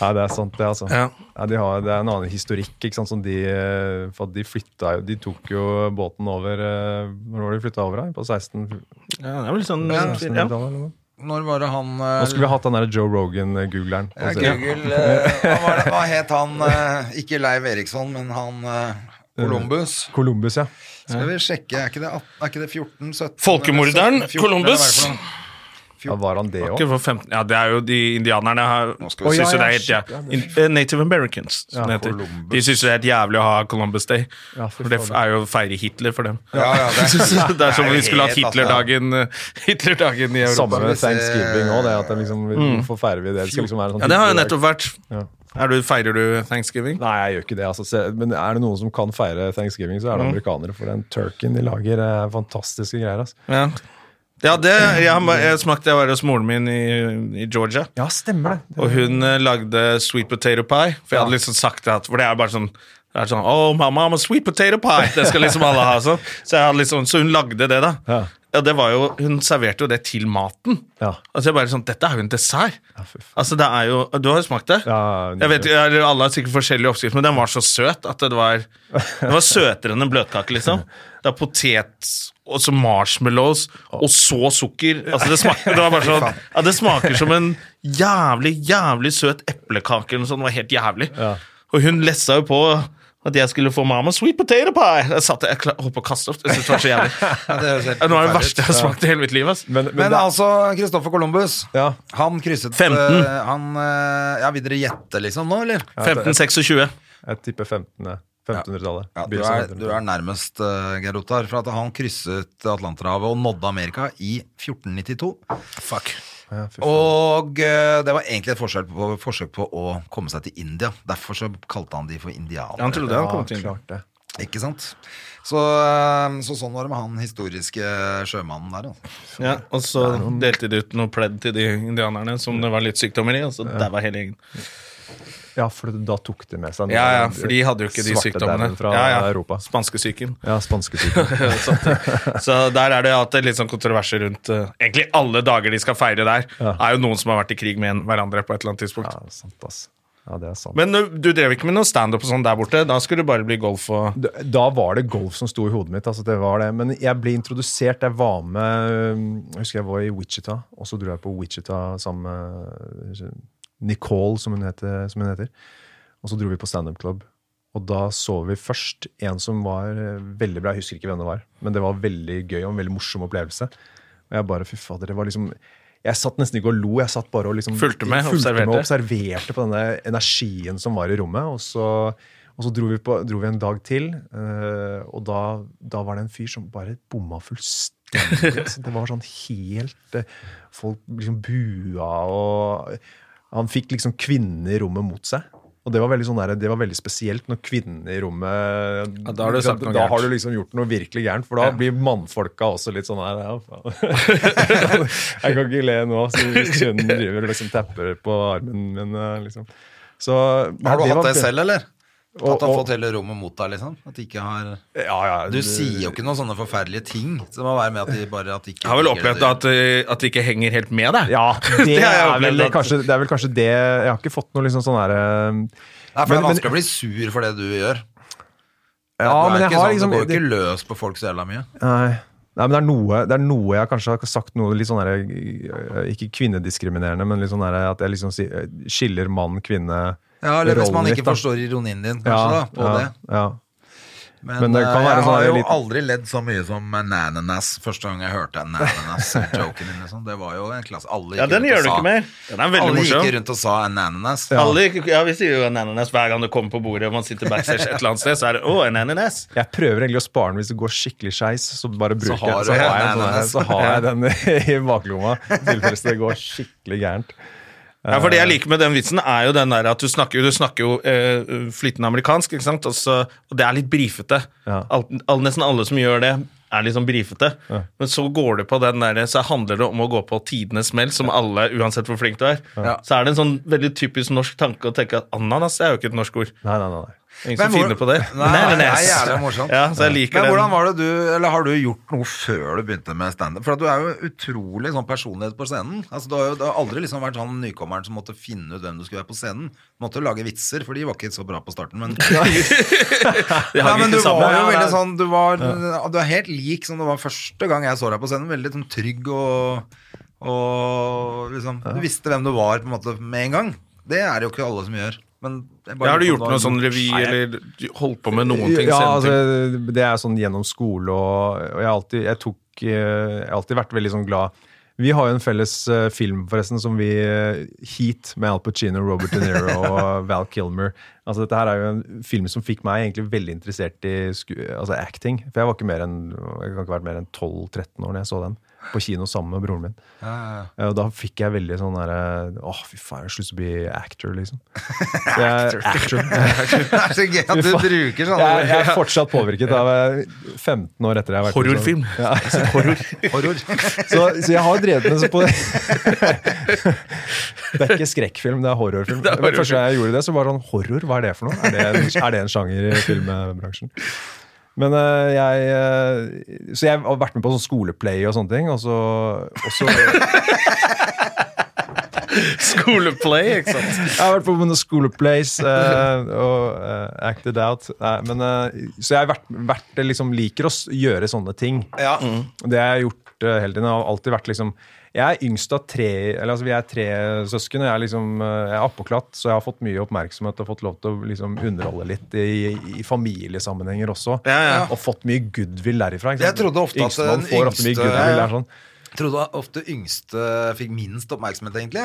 [SPEAKER 3] Ja, det er sant, det, altså.
[SPEAKER 1] Ja.
[SPEAKER 3] Ja, de har, det er en annen historikk. ikke sant, som De, eh, for at de flytta jo De tok jo båten over eh, Når var det de flytta over? da? På 16
[SPEAKER 1] Ja, det er vel sånn
[SPEAKER 2] Ja.
[SPEAKER 1] ja.
[SPEAKER 3] 1600-tallet? eller noe?
[SPEAKER 2] Når var det han eh,
[SPEAKER 3] Nå skulle vi hatt den der Joe Rogan-googleren. Altså,
[SPEAKER 2] ja, Google eh, hva, var det, hva het han eh, Ikke Leiv Eriksson, men han eh, Columbus.
[SPEAKER 3] Columbus, Mm. ja.
[SPEAKER 2] Skal vi sjekke, er ikke det, atten- er ikke det 14, 17
[SPEAKER 1] Folkemorderen,
[SPEAKER 2] eller 17, 14, eller hva er det for noe?
[SPEAKER 3] ja. Var han det
[SPEAKER 1] Ikke
[SPEAKER 3] òg?
[SPEAKER 1] for 15 Ja, det er jo de indianerne her
[SPEAKER 2] skal vi
[SPEAKER 1] synes
[SPEAKER 3] se.
[SPEAKER 1] jo det er
[SPEAKER 3] Å, ja, ja,
[SPEAKER 1] helt ja.
[SPEAKER 3] shit, ja, det-
[SPEAKER 1] In, eh, Native Americans, som det heter. De synes jo det er helt jævlig å ha Columbus Day.
[SPEAKER 3] Ja, fy
[SPEAKER 1] for det
[SPEAKER 3] faen.
[SPEAKER 1] er jo å feire Hitler for dem. (laughs)
[SPEAKER 2] Ja, ja, det
[SPEAKER 1] Så det er som om vi skulle hatt
[SPEAKER 2] helt, altså.
[SPEAKER 1] Hitlerdagen eh, Hitlerdagen i Europa.
[SPEAKER 3] Samme med
[SPEAKER 2] Hvis, eh,
[SPEAKER 3] thanksgiving òg. Liksom, hvorfor feirer vi det? Det skal liksom være en
[SPEAKER 1] Mm.
[SPEAKER 3] sånn
[SPEAKER 1] Ja, det har jo
[SPEAKER 3] hyggelig dag.
[SPEAKER 1] nettopp vært.
[SPEAKER 3] Ja.
[SPEAKER 1] Er du, feirer du thanksgiving?
[SPEAKER 3] Nei, jeg gjør ikke det. Altså. Se- Men er det noen som kan feire thanksgiving, så
[SPEAKER 1] Mm.
[SPEAKER 3] er det amerikanere. For den turkeyen de lager, er fantastiske greier. Altså.
[SPEAKER 1] Ja. Ja, det, jeg, har- jeg smakte jeg var hos moren min i, i Georgia.
[SPEAKER 3] Ja, stemmer det.
[SPEAKER 1] Og hun eh, lagde sweet potato pie. For jeg hadde liksom sagt at For det er bare sånn det er sånn, oh, mamma, I'm a sweet potato pie Det skal liksom alle ha. Sånn. Så, jeg hadde liksom, så hun lagde det, da.
[SPEAKER 3] Ja.
[SPEAKER 1] Ja, det var jo, hun serverte jo det til maten.
[SPEAKER 3] Ja.
[SPEAKER 1] Altså jeg bare sånn, Dette er jo en dessert.
[SPEAKER 3] fy faen.
[SPEAKER 1] altså det er jo, Du har jo smakt det.
[SPEAKER 3] Ja,
[SPEAKER 1] jeg vet, eller Alle har sikkert forskjellige oppskrifter, men den var så søt at det var Det var søtere enn en bløtkake, liksom. Det er potet og så marshmallows, og så sukker. Altså Det smakte, det var bare sånn ja, det smaker som en jævlig, jævlig søt eplekake eller noe sånt. Det var helt jævlig. Og hun lessa jo på at jeg skulle få mamma sweet potato pie. Jeg satt jeg kla- holdt på å kaste opp. Jeg syntes det var så
[SPEAKER 3] (laughs)
[SPEAKER 1] jævlig.
[SPEAKER 2] Ja, (laughs) det høres helt
[SPEAKER 1] Ja, Det var det
[SPEAKER 2] forferdelig ut.
[SPEAKER 1] verste jeg har smakt i hele mitt liv. ass.
[SPEAKER 3] Men, men,
[SPEAKER 2] Men
[SPEAKER 3] det,
[SPEAKER 2] altså, Kristoffer Columbus,
[SPEAKER 3] Ja.
[SPEAKER 2] han krysset
[SPEAKER 1] 15.
[SPEAKER 2] eh, han, eh, Ja, vil dere gjette liksom nå, eller?
[SPEAKER 1] 15, 26.
[SPEAKER 3] jeg tipper 15. 1500-tallet.
[SPEAKER 2] Ja, du, er, du er nærmest, uh, Geir Ottar, for at han krysset Atlanterhavet og nådde Amerika i 1492.
[SPEAKER 1] Fuck.
[SPEAKER 3] Ja, fy faen.
[SPEAKER 2] Og eh, det var egentlig et forsøk på, forsøk på å komme seg til India. Derfor så kalte han de for indianere.
[SPEAKER 1] Han trodde han kom
[SPEAKER 3] ja,
[SPEAKER 1] til
[SPEAKER 3] klart det.
[SPEAKER 2] Ikke sant? Så, eh, så sånn var det med han historiske sjømannen der. Altså.
[SPEAKER 1] Ja, og så delte de ut noe pledd til de indianerne som det var litt sykdommer i. Og så der var hele gjengen.
[SPEAKER 3] Ja, for da tok de med seg den
[SPEAKER 1] Ja, ja, for de hadde jo ikke de
[SPEAKER 3] svarte
[SPEAKER 1] sykdommene.
[SPEAKER 3] dauden fra
[SPEAKER 1] ja, ja.
[SPEAKER 3] Europa.
[SPEAKER 1] Spanskesyken.
[SPEAKER 3] Ja, spanskesyken.
[SPEAKER 1] (laughs) så, så der er det at det er litt sånn kontroverser rundt eh, Egentlig alle dager de skal feire der,
[SPEAKER 3] Ja.
[SPEAKER 1] er jo noen som har vært i krig med en- hverandre på et eller annet tidspunkt.
[SPEAKER 3] Ja, sant, ass. Ja, det er sant.
[SPEAKER 1] Men ø, du drev ikke med noe standup og sånn der borte? Da skulle det bare bli golf og
[SPEAKER 3] Da- Da var det golf som sto i hodet mitt. altså det var det. Men jeg ble introdusert. Jeg var med øhm, Jeg husker jeg var i Wichita, og så dro jeg på Wichita sammen med øh, Nicole, som hun heter. Som hun heter. Og så dro vi på standup club. Og da så vi først en som var øh, veldig bra. Jeg husker ikke hvem det var, men det var veldig gøy og en veldig morsom opplevelse. Og jeg bare, fy fader, det var liksom... Jeg satt nesten ikke og lo, jeg satt bare og liksom
[SPEAKER 1] Fulgte med, observerte.
[SPEAKER 3] og observerte på denne energien som var i rommet. Og så, og så dro, vi på, dro vi en dag til, øh, og da, da var det en fyr som bare bomma
[SPEAKER 1] (laughs)
[SPEAKER 3] fullstendig. altså. Det var sånn helt øh, Folk liksom bua, og han fikk liksom kvinnene i rommet mot seg. Og det var veldig, sånn der, det var veldig spesielt når kvinnene i rommet
[SPEAKER 1] Ja, da har du sagt noe
[SPEAKER 3] da har
[SPEAKER 1] gærent.
[SPEAKER 3] du liksom gjort noe virkelig gærent, for da blir mannfolka også litt sånn her ja, faen. Jeg kan ikke le nå, så hvis kjønnen driver og liksom tapper på armen min. eh, Liksom. Så, nei,
[SPEAKER 2] Har du hatt
[SPEAKER 3] var-
[SPEAKER 2] det selv, eller?
[SPEAKER 3] Og-
[SPEAKER 2] At du har
[SPEAKER 3] og-
[SPEAKER 2] fått hele rommet mot deg, liksom? At de ikke har
[SPEAKER 3] Ja, ja,
[SPEAKER 2] Du sier jo ikke noen sånne forferdelige ting. Så det må være med at de bare at de ikke
[SPEAKER 1] Jeg har vel opplevd at, ø, at det ikke henger helt med deg.
[SPEAKER 2] (laughs)
[SPEAKER 3] Ja, det,
[SPEAKER 1] Det har jeg
[SPEAKER 3] er vel
[SPEAKER 1] opplevd at-
[SPEAKER 3] kanskje, det er vel kanskje det Jeg har ikke fått noe liksom sånn her
[SPEAKER 2] Nei, for det er
[SPEAKER 3] Men- men-
[SPEAKER 2] vanskelig å bli sur for det du gjør. du,
[SPEAKER 3] Ja,
[SPEAKER 2] er
[SPEAKER 3] men jeg
[SPEAKER 2] ikke
[SPEAKER 3] har
[SPEAKER 2] sånn,
[SPEAKER 3] liksom
[SPEAKER 2] du går jo ikke løs på folk så jævla mye.
[SPEAKER 3] Nei. Nei, men det er, noe, det er noe jeg kanskje har sagt noe litt sånn der, eh, Ikke kvinnediskriminerende, men litt sånn der, at jeg liksom sier- skiller mann-kvinne.
[SPEAKER 2] Ja, Eller hvis man ikke
[SPEAKER 3] da.
[SPEAKER 2] forstår ironien din, kanskje,
[SPEAKER 3] Ja,
[SPEAKER 2] da, på
[SPEAKER 3] ja,
[SPEAKER 2] det.
[SPEAKER 3] Ja.
[SPEAKER 2] Men,
[SPEAKER 3] Men det kan
[SPEAKER 2] eh,
[SPEAKER 3] være
[SPEAKER 2] jeg
[SPEAKER 3] sånn
[SPEAKER 2] har jo
[SPEAKER 3] en liten-
[SPEAKER 2] aldri ledd så mye som Nananas første gang jeg hørte (laughs) Nananas-joken din. Liksom. Det var jo en klasse Alle gikk
[SPEAKER 1] Ja,
[SPEAKER 2] rundt
[SPEAKER 1] den
[SPEAKER 2] og
[SPEAKER 1] gjør du
[SPEAKER 2] sa-
[SPEAKER 1] ikke mer. Den er veldig
[SPEAKER 2] Alle
[SPEAKER 1] morsom.
[SPEAKER 2] gikk rundt og sa Nananas.
[SPEAKER 1] Alle, ja, Vi sier jo en ananas hver gang det kommer på bordet og man sitter backstage et eller annet sted. Så er det å, en ananas.
[SPEAKER 3] Jeg prøver egentlig å spare den hvis det går skikkelig skeis. Så bare bruker
[SPEAKER 2] har
[SPEAKER 3] jeg-
[SPEAKER 2] du
[SPEAKER 3] så har jeg,
[SPEAKER 2] en
[SPEAKER 3] en sånn her-
[SPEAKER 2] ananas.
[SPEAKER 3] så har jeg den (laughs) i baklomma i tilfelle det går skikkelig gærent.
[SPEAKER 1] Ja, for Det jeg liker med den vitsen, er jo den der at du snakker, du snakker jo eh, flytende amerikansk, ikke sant? Og, så, og det er litt brifete.
[SPEAKER 3] Ja.
[SPEAKER 1] Alt- all, nesten alle som gjør det, er litt sånn brifete. Men så går det på den der, så handler det om å gå på tidenes smell, som alle, uansett hvor flink du er.
[SPEAKER 2] Ja.
[SPEAKER 1] Så er det en sånn veldig typisk norsk tanke å tenke at ananas er jo ikke et norsk ord.
[SPEAKER 3] Nei, nei, nei. nei.
[SPEAKER 1] Ingen
[SPEAKER 2] Men
[SPEAKER 1] som
[SPEAKER 2] hvor-
[SPEAKER 1] finner på det.
[SPEAKER 2] Nei, det er
[SPEAKER 1] Ananas.
[SPEAKER 2] jævlig morsomt.
[SPEAKER 1] Ja, så jeg liker
[SPEAKER 2] Men
[SPEAKER 1] den.
[SPEAKER 2] hvordan var det du, eller har du gjort noe før du begynte med standup? For at du er jo utrolig sånn personlighet på scenen. Altså, du har jo du har aldri liksom vært sånn nykommeren som måtte finne ut hvem du skulle være på scenen. Du måtte jo lage vitser, for de var ikke så bra på starten.
[SPEAKER 1] (laughs)
[SPEAKER 2] Men, (laughs)
[SPEAKER 1] Det
[SPEAKER 2] Nei,
[SPEAKER 1] hang
[SPEAKER 2] men
[SPEAKER 1] ikke
[SPEAKER 2] du
[SPEAKER 1] sammen.
[SPEAKER 2] var jo
[SPEAKER 1] Ja,
[SPEAKER 2] veldig
[SPEAKER 1] nei.
[SPEAKER 2] sånn Du, var, du er helt lik som du var første gang jeg så deg på scenen. Veldig sånn trygg og, og liksom Du visste hvem du var på en måte med en gang. Det er det jo ikke alle som gjør. Men jeg bare
[SPEAKER 1] Ja, har du
[SPEAKER 2] lurer
[SPEAKER 1] gjort
[SPEAKER 2] på om
[SPEAKER 1] noe
[SPEAKER 2] har
[SPEAKER 1] sånn
[SPEAKER 2] gjort-
[SPEAKER 1] revy, eller holdt på med noen ting?
[SPEAKER 3] Ja,
[SPEAKER 1] senere ting?
[SPEAKER 3] altså, det er sånn gjennom skole, og, og jeg har alltid, jeg tok, eh, jeg har alltid vært veldig sånn glad. Vi har jo en felles eh, film forresten som vi eh, Heat med Al Pacino, Robert
[SPEAKER 1] (laughs)
[SPEAKER 3] De Niro og Val Kilmer. Altså Dette her er jo en film som fikk meg egentlig veldig interessert i sku, altså acting. For jeg var ikke mer enn jeg kan ikke ha vært mer enn 12-13 år da jeg så den på kino sammen med broren min. Eh, Og da fikk jeg veldig sånn derre Åh, fy faen, jeg har lyst til å bli actor,
[SPEAKER 1] (laughs)
[SPEAKER 3] liksom. Så jeg, actor. (laughs)
[SPEAKER 2] Det er så gøy at du
[SPEAKER 3] Fy faen.
[SPEAKER 2] bruker sånne
[SPEAKER 3] Jeg,
[SPEAKER 2] (laughs)
[SPEAKER 3] jeg er fortsatt påvirket av eh, 15 år etter jeg har vært sånn-
[SPEAKER 1] Horrorfilm.
[SPEAKER 3] Ja.
[SPEAKER 1] Horror.
[SPEAKER 2] (laughs) horror.
[SPEAKER 3] Så, så jeg har drevet med det på Det (laughs) er ikke skrekkfilm, det er horrorfilm.
[SPEAKER 1] (laughs) Det er horrorfilm.
[SPEAKER 3] Første gang jeg gjorde det, så var det sånn Horror, hva er det for noe? Er det en, er det en sjanger i filmbransjen? Men eh, jeg eh, Så jeg har vært med på sånn skoleplay og sånne ting, og så, og så
[SPEAKER 1] (laughs) Skoleplay, ikke sant?
[SPEAKER 3] Jeg har vært på noen Schoolplays og eh, acted out. Nei, men, eh, så jeg har vært, vært, liksom, liker å s- gjøre sånne ting. Det har jeg gjort eh, hele tiden. Jeg har alltid vært liksom jeg er yngst av tre eller altså Vi er tre søsken, og jeg er liksom, eh, jeg er oppåklatt, så jeg har fått mye oppmerksomhet og fått lov til å liksom underholde litt i, i familiesammenhenger også.
[SPEAKER 1] Ja, ja.
[SPEAKER 3] Og fått mye goodwill derifra. ikke
[SPEAKER 2] Jeg
[SPEAKER 3] sant?
[SPEAKER 2] trodde ofte at
[SPEAKER 3] Yngstemann
[SPEAKER 2] den
[SPEAKER 3] får ofte mye
[SPEAKER 2] yngste-
[SPEAKER 3] goodwill, det er sånn.
[SPEAKER 2] Trodde ofte yngste fikk minst oppmerksomhet, egentlig.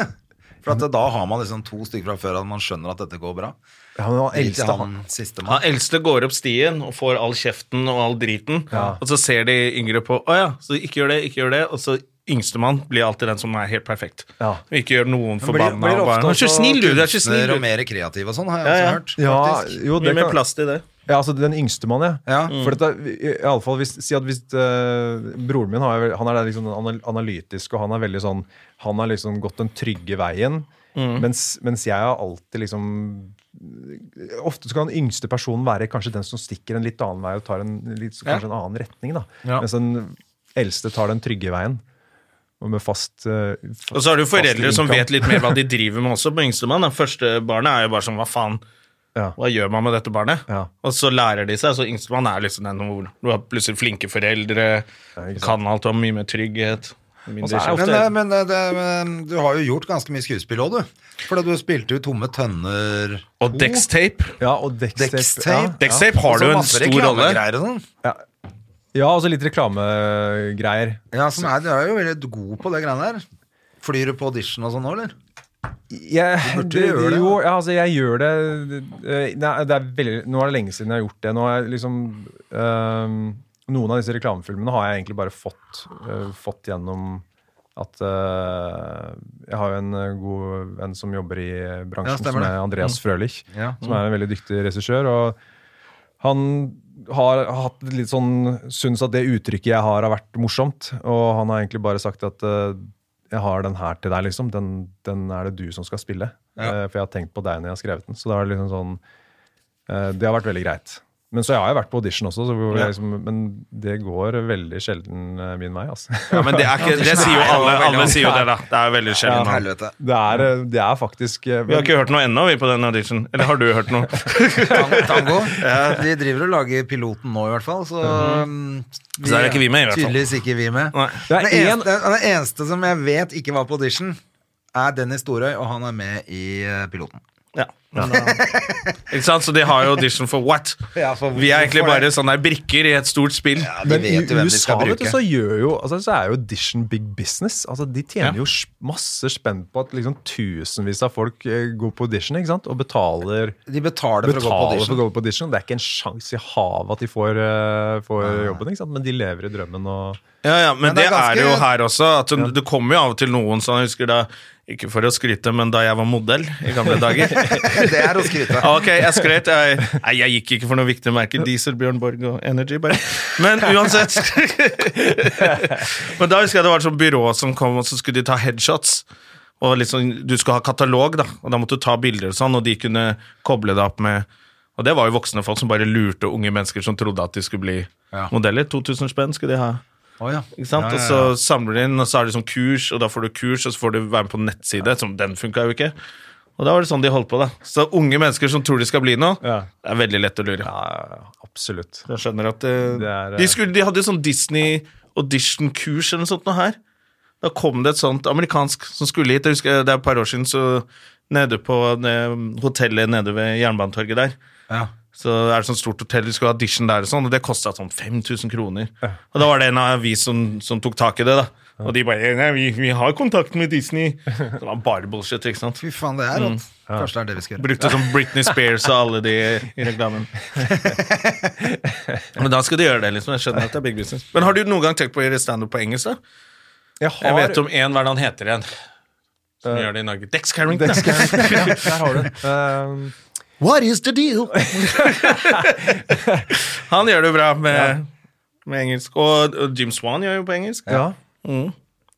[SPEAKER 2] For at da har man liksom to stykker fra før at man skjønner at dette går bra.
[SPEAKER 3] Ja, men han
[SPEAKER 2] Eldste
[SPEAKER 3] eldste, han
[SPEAKER 2] han siste
[SPEAKER 1] Han
[SPEAKER 2] mann.
[SPEAKER 1] eldste går opp stien og får all kjeften og all driten, og så ser de yngre på Å ja, så ikke gjør det, ikke gjør det. Og så yngstemann blir alltid den som er helt perfekt.
[SPEAKER 3] Ja.
[SPEAKER 1] Ikke gjør noen
[SPEAKER 2] Men blir-
[SPEAKER 1] forbanna.
[SPEAKER 2] blir
[SPEAKER 1] og
[SPEAKER 2] ofte
[SPEAKER 1] bare, «Du er så
[SPEAKER 2] også
[SPEAKER 1] snill, du! Du er så snill,
[SPEAKER 2] kunstner Og
[SPEAKER 1] du!
[SPEAKER 2] mer kreativ og sånn, har jeg
[SPEAKER 1] Ja,
[SPEAKER 2] også
[SPEAKER 1] ja.
[SPEAKER 2] hørt.
[SPEAKER 3] Ja,
[SPEAKER 2] faktisk.
[SPEAKER 3] jo, det
[SPEAKER 1] Mye mer
[SPEAKER 3] kan-
[SPEAKER 1] plass til det.
[SPEAKER 3] Ja, altså den yngste mann, ja.
[SPEAKER 2] Ja.
[SPEAKER 3] For dette, i, i alle fall, hvis, si at hvis eh, broren min har, jo- han er der liksom anal- analytisk, og han er veldig sånn Han har liksom gått den trygge veien,
[SPEAKER 1] Mm.
[SPEAKER 3] mens, mens jeg har alltid liksom Ofte skal den yngste personen være kanskje den som stikker en litt annen vei og tar en, litt, kanskje en annen retning. da. Mens den eldste tar den trygge veien. og med fast eh, fa-
[SPEAKER 1] Og så har du foreldre
[SPEAKER 3] fast
[SPEAKER 1] som
[SPEAKER 3] income.
[SPEAKER 1] vet litt mer hva
[SPEAKER 3] (laughs)
[SPEAKER 1] de driver med også, på yngstemann. da. Første barnet er jo bare sånn, hva faen,
[SPEAKER 3] Ja.
[SPEAKER 1] hva gjør man med dette barnet?
[SPEAKER 3] Ja.
[SPEAKER 1] Og så lærer de seg, så yngstemann er liksom den hvor du har plutselig flinke foreldre,
[SPEAKER 3] ikke sant.
[SPEAKER 1] kan alt og har mye mer trygghet.
[SPEAKER 3] Og så er
[SPEAKER 1] kjeft.
[SPEAKER 3] ofte-
[SPEAKER 2] Men, eh, men, eh, det, men du har jo gjort ganske mye skuespill òg, du. Fordi du spilte jo Tomme tønner
[SPEAKER 1] Og Dextape.
[SPEAKER 3] Ja, og Dextape.
[SPEAKER 2] Dextape.
[SPEAKER 3] Ja, ja.
[SPEAKER 1] Dextape har du en stor rolle.
[SPEAKER 2] Sånn.
[SPEAKER 3] ja, og så litt reklamegreier.
[SPEAKER 2] Ja, som er, du er jo veldig god på det greiene der. Flyr du på audition og sånn nå, eller?
[SPEAKER 3] Jeg,
[SPEAKER 2] burde
[SPEAKER 3] det,
[SPEAKER 2] gjøre det,
[SPEAKER 3] jo,
[SPEAKER 2] da.
[SPEAKER 3] ja, altså, jeg gjør det, eh, nei, det er veldig, Nå er det lenge siden jeg har gjort det. Nå har jeg liksom ehm, Noen av disse reklamefilmene har jeg egentlig bare fått, eh, fått gjennom at eh, Jeg har jo en eh, god venn som jobber i
[SPEAKER 2] Ja,
[SPEAKER 3] bransjen,
[SPEAKER 2] stemmer
[SPEAKER 3] som
[SPEAKER 2] det.
[SPEAKER 3] er
[SPEAKER 1] Mm.
[SPEAKER 3] Andreas Frølich.
[SPEAKER 2] Ja.
[SPEAKER 3] Som er en veldig dyktig regissør. Og han har hatt litt sånn Syns at det uttrykket jeg har, har vært morsomt. Og han har egentlig bare sagt at eh, jeg har den her til deg, liksom. Den, den er det du som skal spille. Eh, for jeg har tenkt på deg når jeg har skrevet den. Så det, er liksom sånn, eh, det har vært veldig greit. Men så jeg har jo vært på audition også, så hvor jeg liksom, men det går veldig sjelden eh, min vei. Altså.
[SPEAKER 1] Ja,
[SPEAKER 3] (laughs)
[SPEAKER 1] men det, er ikke, det sier jo alle. Alle sier jo det, da. Det er jo veldig sjelden. da.
[SPEAKER 2] Helvete.
[SPEAKER 3] Det, er, eh, det er faktisk eh,
[SPEAKER 1] Vi har ikke hørt noe ennå, vi, på den audition. Eller har du hørt noe?
[SPEAKER 2] Tang- Tango. De driver og lager piloten nå, i hvert fall. Så, um,
[SPEAKER 1] Mhm. Så er det ikke vi med, i hvert fall.
[SPEAKER 2] Tydeligvis ikke vi med.
[SPEAKER 1] Nei.
[SPEAKER 3] Det er
[SPEAKER 2] Den
[SPEAKER 3] en-
[SPEAKER 2] eneste, den eneste som jeg vet ikke var på audition, er Dennis Storøy, og han er med i eh, piloten.
[SPEAKER 1] Ja. (laughs) Ikke sant? Så de har jo audition for what?
[SPEAKER 2] Ja, for
[SPEAKER 1] Vi er egentlig
[SPEAKER 2] hvorfor
[SPEAKER 1] bare
[SPEAKER 2] det?
[SPEAKER 1] sånne der brikker i et stort spill.
[SPEAKER 2] de
[SPEAKER 3] Men i
[SPEAKER 2] vet jo hvem de
[SPEAKER 3] USA
[SPEAKER 2] skal
[SPEAKER 3] vet du,
[SPEAKER 2] bruke.
[SPEAKER 3] så, gjør jo, altså, så er jo audition big business. Altså, de tjener
[SPEAKER 1] Ja.
[SPEAKER 3] jo sj- masse spenn på at liksom, tusenvis av folk eh, går på audition ikke sant? og betaler,
[SPEAKER 2] De betaler for å gå på
[SPEAKER 3] betaler for
[SPEAKER 2] audition.
[SPEAKER 3] å gå på audition. Det er ikke en sjanse i havet at de får, eh, får jobben, ikke sant? men de lever i drømmen. Og,
[SPEAKER 1] Ja, ja, men,
[SPEAKER 2] Men
[SPEAKER 1] det,
[SPEAKER 2] det
[SPEAKER 1] er,
[SPEAKER 2] er ganske-
[SPEAKER 1] jo her også. At du, Det kommer jo av og til noen som jeg husker da Ikke for å skryte, men da jeg var modell i gamle dager (laughs)
[SPEAKER 2] Det er å skryte.
[SPEAKER 1] Ok, jeg skrøt. Jeg, nei, jeg gikk ikke for noen viktige merker. Diesel, Bjørn Borg og Energy, bare. Men uansett (laughs) Men da husker jeg det var et sånt byrå som kom, og så skulle de ta headshots. Og liksom, du skulle ha katalog, da, og da måtte du ta bilder og sånn, og de kunne koble det opp med Og det var jo voksne folk som bare lurte unge mennesker som trodde at de skulle bli
[SPEAKER 2] Ja.
[SPEAKER 1] modeller. 2000 spenn skulle de ha.
[SPEAKER 2] Å, ja.
[SPEAKER 1] Ikke sant?
[SPEAKER 2] Ja, ja, ja.
[SPEAKER 1] Og så samler de inn, og så er det sånn kurs, og da får du kurs, og så får du være med på en nettside. Som, den funka jo ikke. Og da var det sånn de holdt på, da. Så unge mennesker som tror de skal bli noe,
[SPEAKER 3] Ja.
[SPEAKER 1] det er veldig lett å lure.
[SPEAKER 3] ja, absolutt.
[SPEAKER 1] Jeg skjønner at eh,
[SPEAKER 3] Det er, eh,
[SPEAKER 1] de, skulle, de hadde sånn Disney-audition-kurs eller noe sånt noe her. Da kom det et sånt amerikansk som skulle hit. Jeg husker Det er et par år siden, så nede på eh, hotellet nede ved Jernbanetorget der.
[SPEAKER 2] Ja.
[SPEAKER 1] Så er det sånn stort hotell, de skulle ha audition der og sånn, og det kosta sånn 5000 kroner. Og da var det en avis som, som tok tak i det, da. Og de bare Nei, vi, vi har kontakt med Disney. Det var bare bullshit, ikke sant.
[SPEAKER 2] Fy faen, det er
[SPEAKER 1] Mm.
[SPEAKER 2] rått. Kanskje det er det vi skal gjøre.
[SPEAKER 1] Brukte som Britney Spears og alle de i
[SPEAKER 3] (laughs)
[SPEAKER 1] reklamen. Men da skal de gjøre det, liksom. Jeg skjønner at det er big business. Men har du noen gang tenkt på å gjøre standup på engelsk, da?
[SPEAKER 3] Jeg, har, Eh,
[SPEAKER 1] Jeg
[SPEAKER 3] (laughs)
[SPEAKER 1] vet om én, hva er det han heter igjen? Som gjør det i Norge. Dex Carrington.
[SPEAKER 3] Dex
[SPEAKER 2] (laughs)
[SPEAKER 3] Carrington, ja, der har du den. Eh,
[SPEAKER 1] What is the deal? han gjør det bra med, med engelsk. Og og Jim Swan gjør jo på engelsk.
[SPEAKER 3] ja.
[SPEAKER 1] Mm.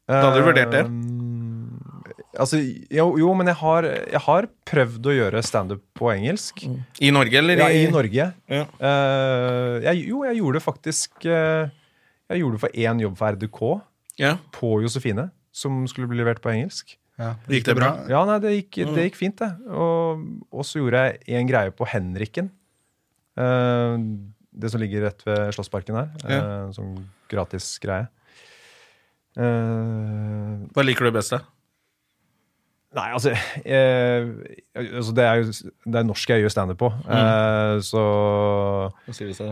[SPEAKER 1] Da hadde du vurdert det.
[SPEAKER 3] Eh, altså, jo, jo, men jeg har, jeg har prøvd å gjøre standup på engelsk.
[SPEAKER 1] I Norge, eller?
[SPEAKER 3] Ja, i Norge.
[SPEAKER 1] Ja.
[SPEAKER 3] Eh, jeg, jo, jeg gjorde det faktisk eh, Jeg gjorde det for én jobb for RDK
[SPEAKER 1] Ja.
[SPEAKER 3] på Josefine, som skulle bli levert på engelsk.
[SPEAKER 2] Ja.
[SPEAKER 1] Gikk det bra?
[SPEAKER 3] Ja, nei, det gikk, det gikk fint, det. Og, og så gjorde jeg én greie på Henriken. Eh, det som ligger rett ved Slottsparken her. Ja. Uh, sånn gratis greie. Eh,
[SPEAKER 1] Hva liker du best, da?
[SPEAKER 3] Nei, altså, eh, altså Det er jo det er norsk jeg gjør standup på. Eh, så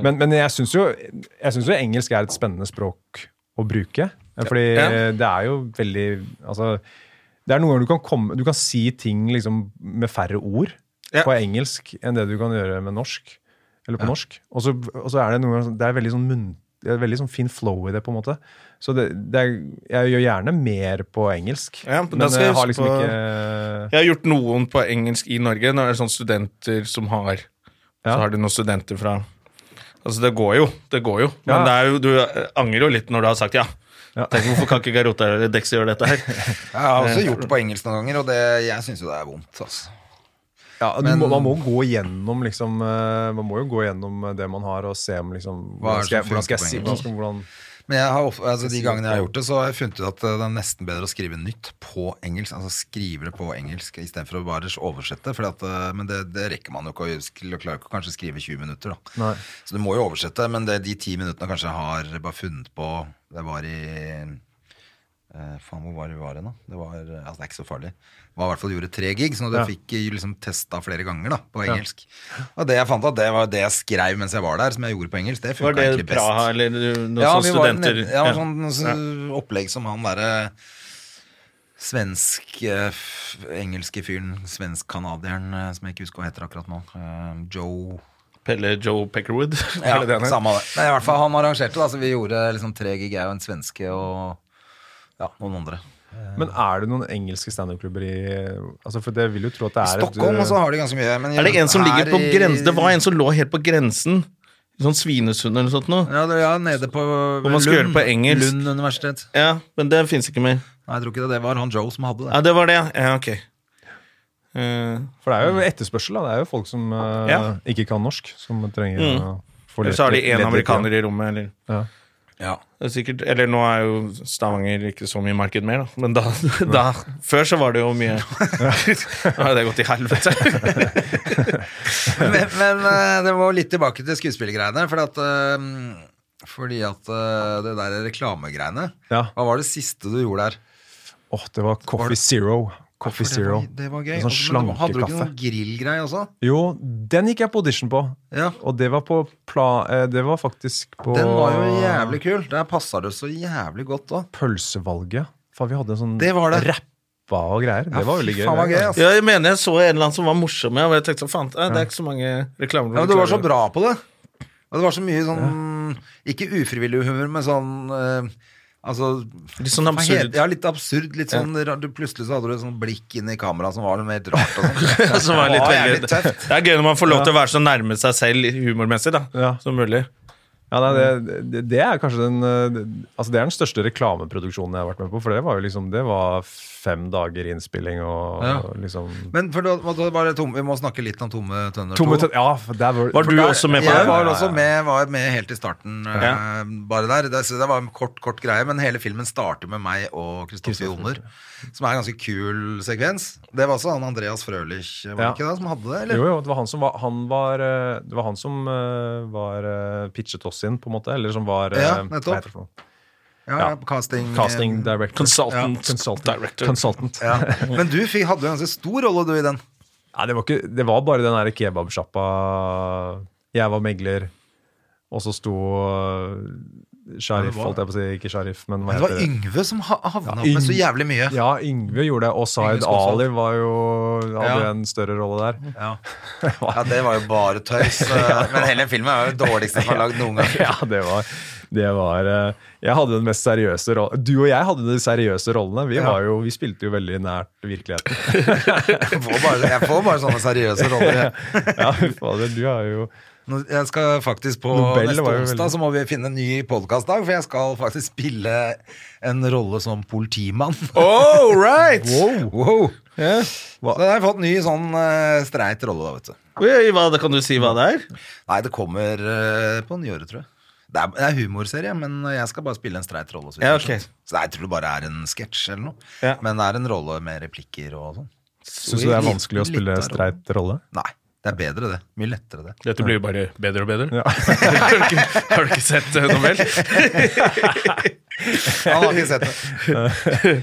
[SPEAKER 3] Men, men jeg syns jo, jeg synes jo engelsk er et spennende språk å bruke. Eh, Fordi
[SPEAKER 1] Ja.
[SPEAKER 3] eh, det er jo veldig Altså det er noen ganger du kan, komme, du kan si ting liksom med færre ord
[SPEAKER 1] Ja.
[SPEAKER 3] på engelsk enn det du kan gjøre med norsk. Eller på norsk. Og så, og så er det noen ganger sånn- Det er veldig sånn munn, det er veldig sånn fin flow i det, på en måte. Så det, det er, jeg gjør gjerne mer på engelsk.
[SPEAKER 1] Ja, men da
[SPEAKER 3] men
[SPEAKER 1] skal
[SPEAKER 3] jeg
[SPEAKER 1] jeg
[SPEAKER 3] har
[SPEAKER 1] huske
[SPEAKER 3] liksom
[SPEAKER 1] på-
[SPEAKER 3] ikke
[SPEAKER 1] Jeg har gjort noen på engelsk i Norge. Nå er det sånne studenter som har Så
[SPEAKER 3] Ja.
[SPEAKER 1] har de noen studenter fra Altså, det går jo. Det går jo. Men
[SPEAKER 3] Ja.
[SPEAKER 1] det er jo, du eh, angrer jo litt når du har sagt ja.
[SPEAKER 3] Ja.
[SPEAKER 1] Tenk, hvorfor kan ikke Garota eller Dexy
[SPEAKER 2] (laughs)
[SPEAKER 1] gjøre dette her?
[SPEAKER 2] Jeg har også gjort det på engelsk noen ganger, og det, jeg syns jo det er vondt. Altså.
[SPEAKER 3] Ja, du
[SPEAKER 2] Men-
[SPEAKER 3] må, man må gå gjennom liksom, eh, Man må jo gå gjennom eh, det man har, og se om liksom,
[SPEAKER 2] Hva er
[SPEAKER 3] hvordan
[SPEAKER 2] det
[SPEAKER 3] skal, jeg,
[SPEAKER 2] som
[SPEAKER 3] hvordan skal jeg
[SPEAKER 2] funker
[SPEAKER 3] si
[SPEAKER 2] på
[SPEAKER 3] hvordan skal, hvordan,
[SPEAKER 2] Men jeg har, of- altså, de gangene jeg har gjort det, så har jeg funnet ut at eh, det er nesten bedre å skrive nytt på engelsk. Altså skrive det på engelsk istedenfor å bare oversette. Fordi at, eh, men det, det rekker man jo ikke å sk- klarer ikke å kanskje skrive 20 minutter, da.
[SPEAKER 3] Nei.
[SPEAKER 2] Så du må jo oversette, men det, de ti minuttene kanskje jeg har bare funnet på Det var i eh, Faen, hvor var det vi var hen, da? Det var, eh, altså, det er ikke så farlig. Det var i hvert fall gjorde tre gig, sånn at du
[SPEAKER 3] Ja.
[SPEAKER 2] fikk eh, liksom testa flere ganger da, på engelsk. Og det jeg fant at det var det jeg skrev mens jeg var der, som jeg gjorde på engelsk, det
[SPEAKER 1] Var
[SPEAKER 2] funka
[SPEAKER 1] det
[SPEAKER 2] egentlig best.
[SPEAKER 1] Praha eller noen
[SPEAKER 2] Ja,
[SPEAKER 1] sånne
[SPEAKER 2] vi var
[SPEAKER 1] studenter?
[SPEAKER 2] nede- ja, sånn sånn opplegg som han derre svensk eh, f- engelske fyren, svensk-canadieren eh, som jeg ikke husker hva heter akkurat nå, eh, Joe
[SPEAKER 1] Pelle Joe Peckerwood? (laughs)
[SPEAKER 2] ja,
[SPEAKER 1] er det det han heter?
[SPEAKER 2] samme det. Men i hvert fall han arrangerte, da, så vi gjorde liksom tre gig, jeg og en svenske og ja, noen andre.
[SPEAKER 3] Men er det noen engelske standup-klubber i altså For jeg vil jo tro at det er et-
[SPEAKER 2] Stockholm altså. også har de ganske mye. Men
[SPEAKER 1] Er det en som
[SPEAKER 2] her
[SPEAKER 1] ligger på
[SPEAKER 2] i-
[SPEAKER 1] grensen? Det var en som lå helt på grensen. Sånn Svinesund eller noe sånt noe.
[SPEAKER 2] ja, det, ja, nede på
[SPEAKER 1] Hvor man skal gjøre det på engelsk.
[SPEAKER 2] Lund universitet.
[SPEAKER 1] Ja, men det fins ikke mer.
[SPEAKER 2] Nei, jeg tror ikke det. Det var han Joe som hadde det.
[SPEAKER 1] Ja, det var det, ja. ja ok. Eh,
[SPEAKER 3] For det er jo etterspørsel. da Det er jo folk som eh,
[SPEAKER 1] Ja.
[SPEAKER 3] ikke kan norsk, som trenger
[SPEAKER 2] Mm.
[SPEAKER 3] å få
[SPEAKER 1] eller så har de én
[SPEAKER 3] lett- lett-
[SPEAKER 1] amerikaner i rommet, eller
[SPEAKER 3] Ja.
[SPEAKER 2] Ja.
[SPEAKER 1] det er sikkert, Eller nå er jo Stavanger ikke så mye marked mer, da. Men (laughs) da, da Før så var det jo (laughs) mye Nå har jo det gått i helvete.
[SPEAKER 2] men, men eh, det var litt tilbake til skuespillergreiene, fordi at, eh, fordi at eh, det der reklamegreiene
[SPEAKER 3] Ja.
[SPEAKER 2] Hva var det siste du gjorde der?
[SPEAKER 3] Åh, det var Coffee Zero. Coffee
[SPEAKER 2] For
[SPEAKER 3] Zero.
[SPEAKER 2] Det var, det var gøy.
[SPEAKER 3] En sånn
[SPEAKER 2] Også, men du- Hadde du ikke
[SPEAKER 3] slankekaffe.
[SPEAKER 2] noen grillgreie også?
[SPEAKER 3] Jo, den gikk jeg på audition på.
[SPEAKER 2] Ja.
[SPEAKER 3] Og det var på pla... eh, Det var faktisk på
[SPEAKER 2] Den var jo jævlig kul. Der passa det så jævlig godt òg.
[SPEAKER 3] Pølsevalget. Faen, vi hadde en sånn
[SPEAKER 2] Det var det.
[SPEAKER 3] rappa og greier. Det var veldig gøy.
[SPEAKER 2] Faen var gøy,
[SPEAKER 3] det. altså.
[SPEAKER 2] ass.
[SPEAKER 1] (laughs) Ja, jeg mener jeg så en eller annen som var morsom, ja, og jeg tenkte sånn Faen, eh, det er ikke så mange reklamer.
[SPEAKER 2] Ja, men du var så bra på det. Og det var så mye sånn Ikke ufrivillig humor, men sånn eh, Altså
[SPEAKER 1] Litt sånn
[SPEAKER 2] hva
[SPEAKER 1] absurd.
[SPEAKER 2] heter- Ja, litt absurd. Litt sånn rar- du, Plutselig så hadde du et sånt blikk inn i kameraet som var noe helt rart. Og sånn.
[SPEAKER 1] (laughs) Som var litt
[SPEAKER 2] Det var
[SPEAKER 1] veldig,
[SPEAKER 2] jævlig tøft.
[SPEAKER 1] det er gøy når man får lov til å være så nærme seg selv humormessig da,
[SPEAKER 3] Ja.
[SPEAKER 1] som mulig.
[SPEAKER 3] Ja, nei, det, det, det er kanskje den eh, det- Altså det er den største reklameproduksjonen jeg har vært med på. For det var jo liksom Det var fem dager innspilling og,
[SPEAKER 2] Ja.
[SPEAKER 3] og liksom
[SPEAKER 2] Men for da, da var det tom, vi må snakke litt om Tomme tønner
[SPEAKER 3] Tomme
[SPEAKER 2] 2.
[SPEAKER 3] tønner Ja, for der var,
[SPEAKER 1] Var du
[SPEAKER 3] der-
[SPEAKER 1] også med på
[SPEAKER 2] Jeg
[SPEAKER 1] det?
[SPEAKER 2] var også med, var med helt i starten, eh, bare der. Det, så det var en kort, kort greie, men hele filmen starter med meg og Kristoffer Joner, som er en ganske kul sekvens. Det var også han Andreas Frølich, var det
[SPEAKER 3] Ja.
[SPEAKER 2] ikke det, som hadde det?
[SPEAKER 3] Jo,
[SPEAKER 2] Eller?
[SPEAKER 3] jo, det var han som var, han var eh, Det var han som eh, var eh, pitchet oss inn, på en måte. Eller som var eh,
[SPEAKER 2] Ja,
[SPEAKER 3] hva
[SPEAKER 2] nettopp.
[SPEAKER 3] heter det for noe?
[SPEAKER 2] Ja,
[SPEAKER 3] Ja.
[SPEAKER 2] ja, casting. eh,
[SPEAKER 3] Casting director.
[SPEAKER 1] Consultant
[SPEAKER 3] Consultant.
[SPEAKER 1] director.
[SPEAKER 3] Consultant.
[SPEAKER 2] Ja. Men du fikk, hadde jo en ganske stor rolle, du, i den.
[SPEAKER 3] Nei, det var, ikke, det var bare den der kebabsjappa Jeg var megler, og så sto eh, Sharif, holdt jeg på å si. Ikke Sharif, men hva
[SPEAKER 2] Det var
[SPEAKER 3] heter det?
[SPEAKER 2] Yngve som ha- havna opp
[SPEAKER 3] Yng-
[SPEAKER 2] med så jævlig mye.
[SPEAKER 3] Ja, Yngve gjorde det. Og Zaid
[SPEAKER 2] Yngve Skåsholt.
[SPEAKER 3] Ali var jo, hadde
[SPEAKER 2] Ja.
[SPEAKER 3] en større rolle
[SPEAKER 2] (laughs)
[SPEAKER 3] der. (laughs)
[SPEAKER 2] Ja. ja, det var jo bare tøys. eh, Men hele filmen er jo det dårligste som er lagd noen gang.
[SPEAKER 3] Ja, det var, det var eh, Jeg hadde den mest seriøse rollen. Du og jeg hadde de seriøse rollene. Vi, var jo, vi spilte jo veldig nært
[SPEAKER 2] (laughs)
[SPEAKER 3] virkeligheten.
[SPEAKER 2] Jeg får bare, jeg får bare sånne seriøse roller.
[SPEAKER 1] (laughs)
[SPEAKER 2] jeg.
[SPEAKER 3] Ja, fy fader, du har jo
[SPEAKER 2] Nå- Jeg skal faktisk på
[SPEAKER 3] Nobel
[SPEAKER 2] Neste
[SPEAKER 3] var jo
[SPEAKER 2] onsdag
[SPEAKER 3] veldig-
[SPEAKER 2] så må vi finne en ny podkastdag, for jeg skal faktisk spille en rolle som politimann. (laughs)
[SPEAKER 1] Oh, right!
[SPEAKER 2] Wow! wow.
[SPEAKER 3] Hva-
[SPEAKER 2] Så jeg har fått ny sånn eh, streit rolle, da, vet du.
[SPEAKER 1] (laughs) Oi, hva, da kan du si hva det er?
[SPEAKER 2] Nei, det kommer eh, på nyåret, tror jeg. Det er, det er humorserie, men jeg skal bare spille en streit rolle. Så, vidt jeg
[SPEAKER 1] Ja,
[SPEAKER 2] har
[SPEAKER 1] ok.
[SPEAKER 2] skjønt. så jeg tror det bare er en sketsj eller noe.
[SPEAKER 1] Ja.
[SPEAKER 2] Men det er en rolle med replikker og sånn.
[SPEAKER 3] Syns du det er
[SPEAKER 2] Litt-
[SPEAKER 3] vanskelig å
[SPEAKER 2] litt
[SPEAKER 3] spille
[SPEAKER 2] av rollen.
[SPEAKER 3] streit rolle?
[SPEAKER 2] Nei, det er bedre det. Mye lettere det.
[SPEAKER 1] Dette blir jo bare bedre og bedre. (laughs)
[SPEAKER 3] Ja. (laughs)
[SPEAKER 1] har, du ikke, har du ikke sett eh, (laughs) Nobel?
[SPEAKER 2] Han har ikke sett det.